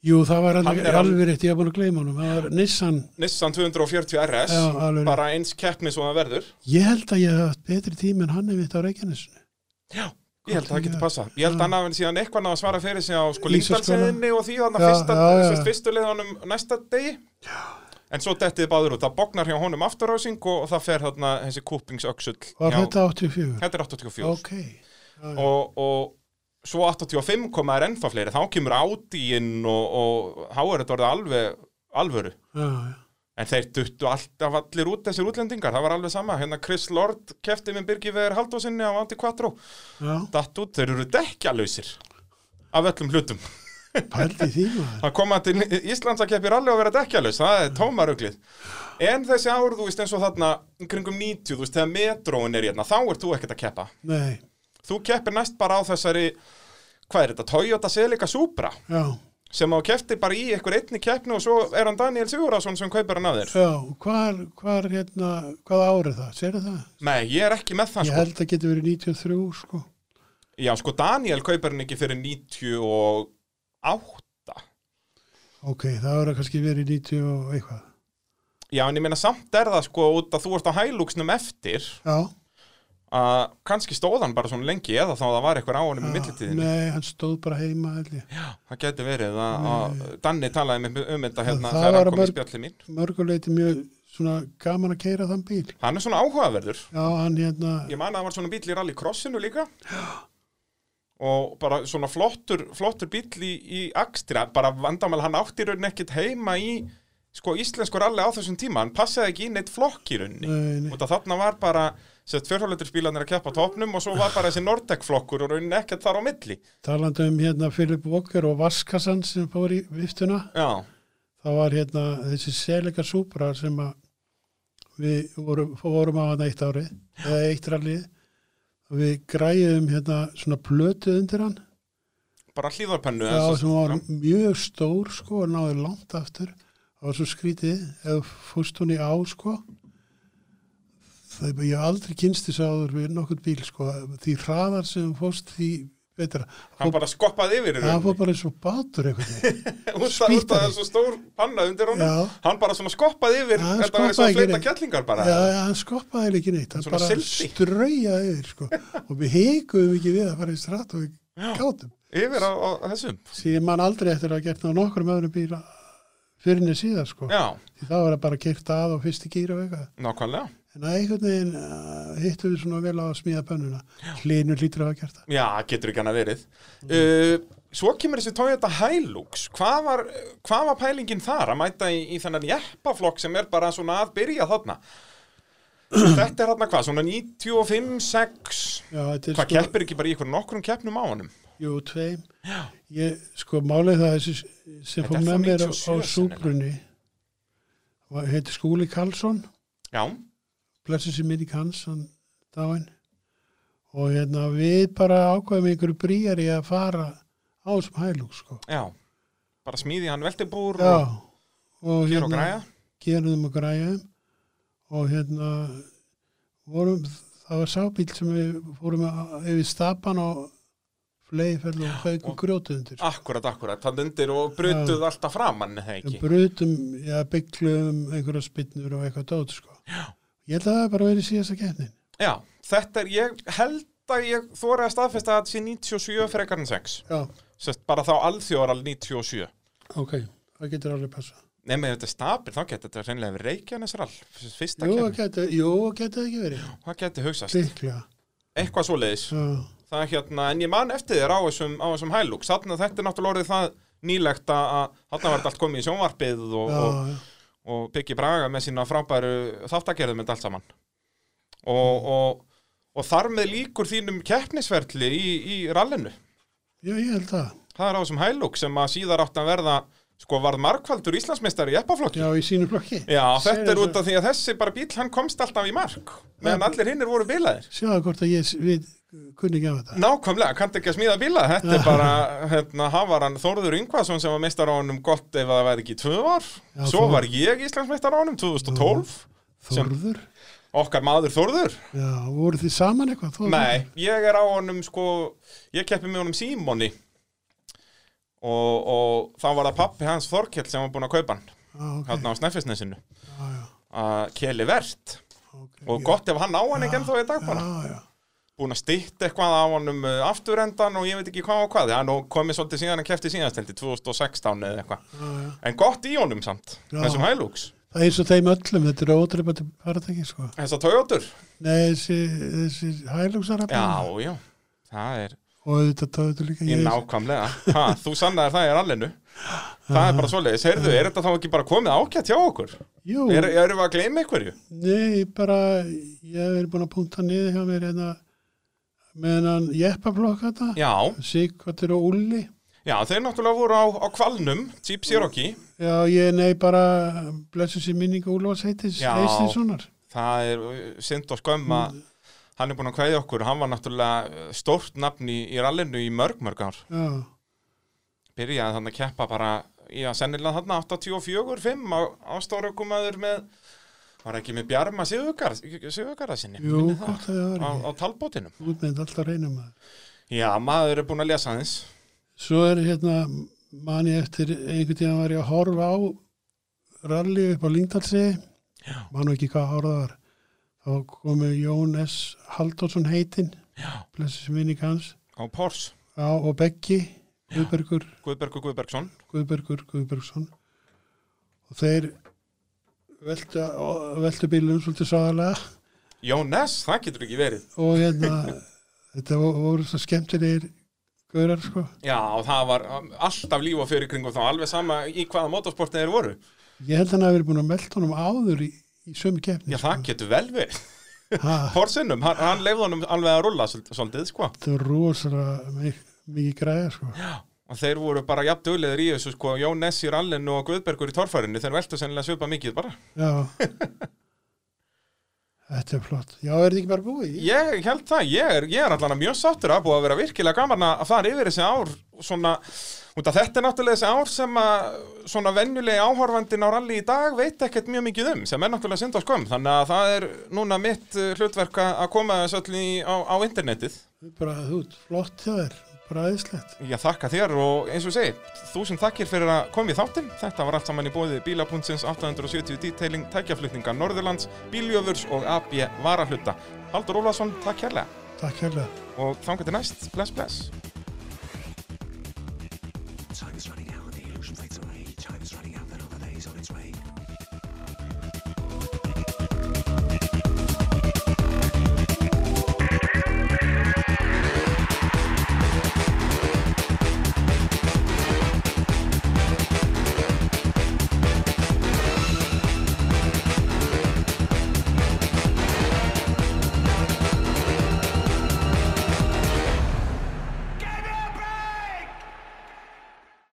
S2: Jú, það var
S1: Hann
S2: alveg,
S1: er al-
S2: alveg rétt, ég hef búin að gleyma honum. Það var Nissan,
S1: Nissan 240 RS,
S2: Já, alveg rétt.
S1: bara eins keppni svo það verður.
S2: ég held að ég hef haft betri tíma en hann einmitt á Reykjanesinu.
S1: Ég held að það
S2: Gott,
S1: getur
S2: já.
S1: passað. Ég held að hann hafi síðan eitthvað náða að svara fyrir sig á sko
S2: Ísaskóla.
S1: líndalsinni og því þannig
S2: Já,
S1: fyrsta,
S2: já, já.
S1: sérst, fyrstu leiðanum næsta degi. En svo dettið báður út. Það bognar hjá honum afturrásing og, og það fer þarna þessi kúpingsöksull.
S2: Var
S1: hjá-
S2: þetta 84?
S1: Þetta er 84.
S2: Ok. Já,
S1: Og, og svo 85 koma er ennþá fleiri. Þá kemur átíinn og, og háar þetta orðið alveg alvöru.
S2: já, já.
S1: En þeir duttu alltaf allir út þessir útlendingar. Það var alveg sama. Hérna Chris Lord kefti með Birgi Vegar Haldósinni á Andy Quattro.
S2: Já,
S1: datt út, þeir eru dekkjalausir af öllum hlutum.
S2: pældi í því maður.
S1: Það koma til Íslands að keppir alveg að vera dekkjalaus, það er tómaruglið. En þessi ár, þú veist, eins og þarna í kringum 90, þú veist, þegar metróin er hérna, þá ert þú ekkert að keppa.
S2: Nei,
S1: Þú keppir næst bara á þessari, hvað er þetta, Toyota Celica Supra,
S2: já,
S1: sem á kefti bara í einhver einni keppni og svo er hann Daniel Sigurðarsson sem kaupir hann að þér.
S2: já, hvar, hvar hérna, hvað árið það, sérðu það?
S1: Nei, ég er ekki með það,
S2: Ég
S1: sko.
S2: held að geti verið 93, sko.
S1: Já, sko, Daniel kaupir hann ekki fyrir 98.
S2: Ok, það voru kannski verið 90 og eitthvað.
S1: Já, en ég meina samt er það sko út að þú ert á hælúksnum eftir
S2: Já.
S1: að kannski stóð hann bara svona lengi eða þá það var eitthvað á honum í
S2: já,
S1: millitíðinni.
S2: Ah, Nei, hann stóð bara heima, held ég.
S1: Það geti verið að, að Danni talaði með um þetta hérna
S2: Það- það
S1: þegar
S2: var
S1: hann kom í
S2: bara-
S1: spjallið mín.
S2: Mörguleiti mjög svona gaman að keira þann bíl.
S1: Hann er svona áhugaverður.
S2: Já, hann hérna,
S1: Ég man að það var svona bíl í rallycrossinu líka. Og bara svona flottur, flottur bíl í, í akstra, bara vandamál hann átti í rauninni ekkit heima í sko íslensku rally á þessum tíma. Hann passaði ekki í neitt flokk í rauninni.
S2: nei, nei,
S1: Út af þarna var bara sett fjörhjólendursbílanir að keppa á topnum og svo var bara þessi Nordec flokkur og raunin ekkert þar á milli.
S2: talandi um hérna Philip Walker og Vaskassan sem fór í viftuna.
S1: Já,
S2: það var hérna þessi selika súpra sem að við vorum, vorum á hann eitt árið eða eitt rallið og við græðum hérna svona plötu undir hann
S1: bara hlýðarpennu.
S2: já, sem var mjög stór sko og náði langt aftur það var svo skrítið ef fórst hún í á sko það ég hef aldrei kynst þess áður við nokkurn bíl sko því hraðar sem þú fórst því betra
S1: Hann bara skoppaði yfir í
S2: það
S1: rauninni.
S2: fór bara eins og bátur einhvern veginn
S1: [LAUGHS] Út
S2: [LAUGHS]
S1: af-
S2: spýtaði.
S1: út af þessu stór panna undir honum.
S2: Já.
S1: Hann bara svona skoppaði yfir,
S2: Já, hann
S1: þetta var eins og að
S2: skoppaði
S1: fleita
S2: ekki.
S1: kettlingar bara.
S2: Já, já, hann skoppaði ekki neitt, hann
S1: Svona
S2: bara
S1: sildi.
S2: straujaði yfir, sko. Og við heikuðum ekki við að fara í strætt og við gátum.
S1: Yfir á, á þessum.
S2: Því ég man aldrei eftir að hafa gert það á nokkrum öðrum bíla fyrir henni síðar, sko.
S1: Já,
S2: Því það var bara kert að og fyrst í gýra og eitthvað.
S1: nákvæmlega.
S2: En að einhvern veginn uh, hittum við svona vel á að smíða pönnuna. Hlinur lítur að hafa gert það.
S1: Já, getur ekki hann að verið.
S2: Mhm.
S1: Uh, svo kemur þessi Toyota Hilux. Hvað var, hvað var pælingin þar að mæta í, í þennan jeppaflokk sem er bara svona að byrja
S2: [CLEARS THROAT]
S1: þarna? þetta er þarna hvað, svona 95, 6...
S2: Já, þetta er sko-
S1: Hvað keppir ekki bara í einhverjum nokkrum keppnum á honum?
S2: Jú, tveim. Ég, sko, málið það þessi sem
S1: Þetta
S2: fór
S1: er
S2: með
S1: frá
S2: mér á,
S1: 97
S2: á súbrunni. Heiti Skúli Karlsson.
S1: Já,
S2: blessið sér minni kanns hann dáinn og hérna við bara ákveðum einhverju brýjar í að fara á þessum hælug sko.
S1: já, bara smíði hann veltibúr
S2: Já, Hérna.
S1: og
S2: og
S1: hér og græja
S2: gerum og græjum og hérna vorum, það var sábíl sem við fórum að- yfir stapan og fleiðferð og Ah, haukum grjótið undir. sko.
S1: Akkurat, akkurat, þannig undir og brutuð alltaf framann, eða
S2: Við
S1: ekki?
S2: brutum, já, byggluðum einhverja spinnur og eitthvað dót sko. Já. Ég held að það hafi bara verið síðasta keppnin.
S1: Já, þetta er, ég held að ég þóra að staðfesta að þetta sé 97 frekar en 6.
S2: Já,
S1: Sest bara þá alþjóral 97.
S2: ok, það getur alveg passað.
S1: Nei, með þetta stapir, þá getur þetta reynilega verið reykjanesrall, fyrsta
S2: Jú, það
S1: kemur.
S2: getur, jú, það getur ekki verið.
S1: Hvað getur hugsast?
S2: Líklega.
S1: Eitthvað svoleiðis.
S2: Já,
S1: Það er hérna, en ég man eftir þér á þessum, á þessum hælúk. Þannig að þetta er náttúrulega orðið það nýlegt að þarna var þetta allt komið í sjónvarpið og, og,
S2: já, já.
S1: og Biggi Braga með sína frábæru þáttagerðum með allt saman
S2: Mm.
S1: og, og, og þar með líkur þínum keppnisverli í, í rallinu
S2: Já, ég held það.
S1: það er á þessum hælúk sem að síðar átt að verða sko varð markvaldur Íslandsmeistari í eppaflokki
S2: Já, í sínu flokki.
S1: Já, þetta
S2: Segðu
S1: er út
S2: þessu.
S1: af því að þessi bara bíl hann komst alltaf í mark meðan
S2: Já.
S1: allir hinnir voru bilaðir
S2: Sjáðu hvort að ég við, kunni ekki á þetta.
S1: Nákvæmlega, kannti ekki að smíða bíla þetta er bara, hérna, hafa hann Þórður Yngvason sem var meistar á honum gott ef það væri ekki tvö ár,
S2: Já,
S1: svo
S2: Þórður.
S1: var ég Íslandsmeistar á honum 2012, Sem-
S2: Þórður?
S1: okkar maður Þórður
S2: Já, voru þið saman eitthvað? Þórður?
S1: Nei, ég er á honum sko, ég keppi með honum Símoni og, og þá var það pappi hans Þorkell sem var búinn að kaupa hann
S2: Já, ok.
S1: hérna á Snæfisnesinu
S2: Já, já,
S1: að keli verðt
S2: ok.
S1: og gott ef hann á hann ekki ennþá í dag bara
S2: Já, já.
S1: búinn að stýtt eitthvað á honum eh, afturendan og ég veit ekki hvað og hvað hann komið svolítið síðan að kefti síðasteldi 2016 eða eitthvað
S2: Já, já.
S1: en gott í honum samt,
S2: Já.
S1: þessum hælúks
S2: Það er eins og þeim öllum, þetta er ótrefandi fartæki, sko.
S1: þessar Toyotur,
S2: Nei, þessi, þessi
S1: já,
S2: hælúksarabbi
S1: já það er
S2: og þetta tóðu þetta líka
S1: Í
S2: Mm. ég.
S1: nákvæmlega, ha, þú sannaðir það í rallinu Það er bara svoleiðis, heyrðu, er þetta þá ekki bara komið ágætt hjá okkur?
S2: Jú,
S1: Er, erum við að gleyma einhverju?
S2: nei, ég bara, ég hef verið búin að punta niður hjá mér hérna með hann jeppaflokk þetta,
S1: Já,
S2: Sigvatur og Ulli.
S1: já, þeir náttúrulega voru á, á kvalnum, Jeep Cherokee
S2: Já, ég nei bara blessu sér minning Úlfars heitis
S1: Já.
S2: Heistinssonar.
S1: Það er uh, synd og skömm að
S2: Mm.
S1: hann er búin að kveðja okkur Hann var náttúrulega uh, stórt nafn í, í rallinu í mörg, mörg ár
S2: Já,
S1: Byrjaði þannig að keppa bara í að sennilega þarna 84, 5 á, á stórukumæður með Var ekki með Bjarma Sigurgarða sinni
S2: jú, gott að það var
S1: á,
S2: ekki.
S1: á talbótinum
S2: Út með þetta alltaf reynum maður.
S1: Já, maður er búin að lesa aðeins
S2: Svo er hérna, man ég eftir einhvern tíðan var ég að horfa á rally upp á Lyngdalsi,
S1: Já.
S2: man nú ekki hvað ár það var. Þá komu Jón S. Halldórsson heitin,
S1: Já.
S2: blessu sér minning hans,
S1: á Pors
S2: já, og Beggi, Guðbergur,
S1: Guðbergur Guðbergsson
S2: Guðbergur Guðbergsson og þeir veltu, veltu bílum svolítið sáðalega
S1: Jónes, það getur ekki verið
S2: og hérna [LAUGHS] þetta vo- voru svo skemmtilegir gaurar sko
S1: Já, og það var um, alltaf líf og fyrir kringum þá alveg sama í hvaða motorsportið þeir voru
S2: ég held hann að verið búin að melda honum áður í, í sömu keppni
S1: Já, það getur vel verið
S2: sko. ha,
S1: Porsinum, hann, hann leifði honum alveg að rulla svol- svolítið, sko
S2: þetta var rosalega mi- mikið græða sko
S1: og þeir voru bara jafn dugleðir í þessu, sko Jónes í rallinu og Guðbergur í torfærinu þeir veltu sennilega svipa mikið bara
S2: já þetta er flott já, er þetta ekki bara búið?
S1: Ég held það, ég er, ég er allan að mjög sáttur að búa að vera virkilega gaman að fara yfir þessi ár svona, út að þetta er náttúrulega þessi ár sem að svona venjulegi áhorfandin á rally í dag veit ekkert mjög mikið um sem er náttúrulega synd á skömm þannig að það er núna mitt uh, hlutverk að að koma þessu öll í, á, á internetið
S2: bara þú, ert flott hjá þér bara aðeinslegt
S1: Ég þakka þér og eins og ég segi þú sem þakkir fyrir að koma í þáttinn þetta var allt saman í bóði bíla.sins 870 detailing, tækjaflutninga Norðurlands, bíljöfurs og AB varahluta Haldur Ólafsson, takk kærlega
S2: takk hérlega
S1: og þangað til næst, bless bless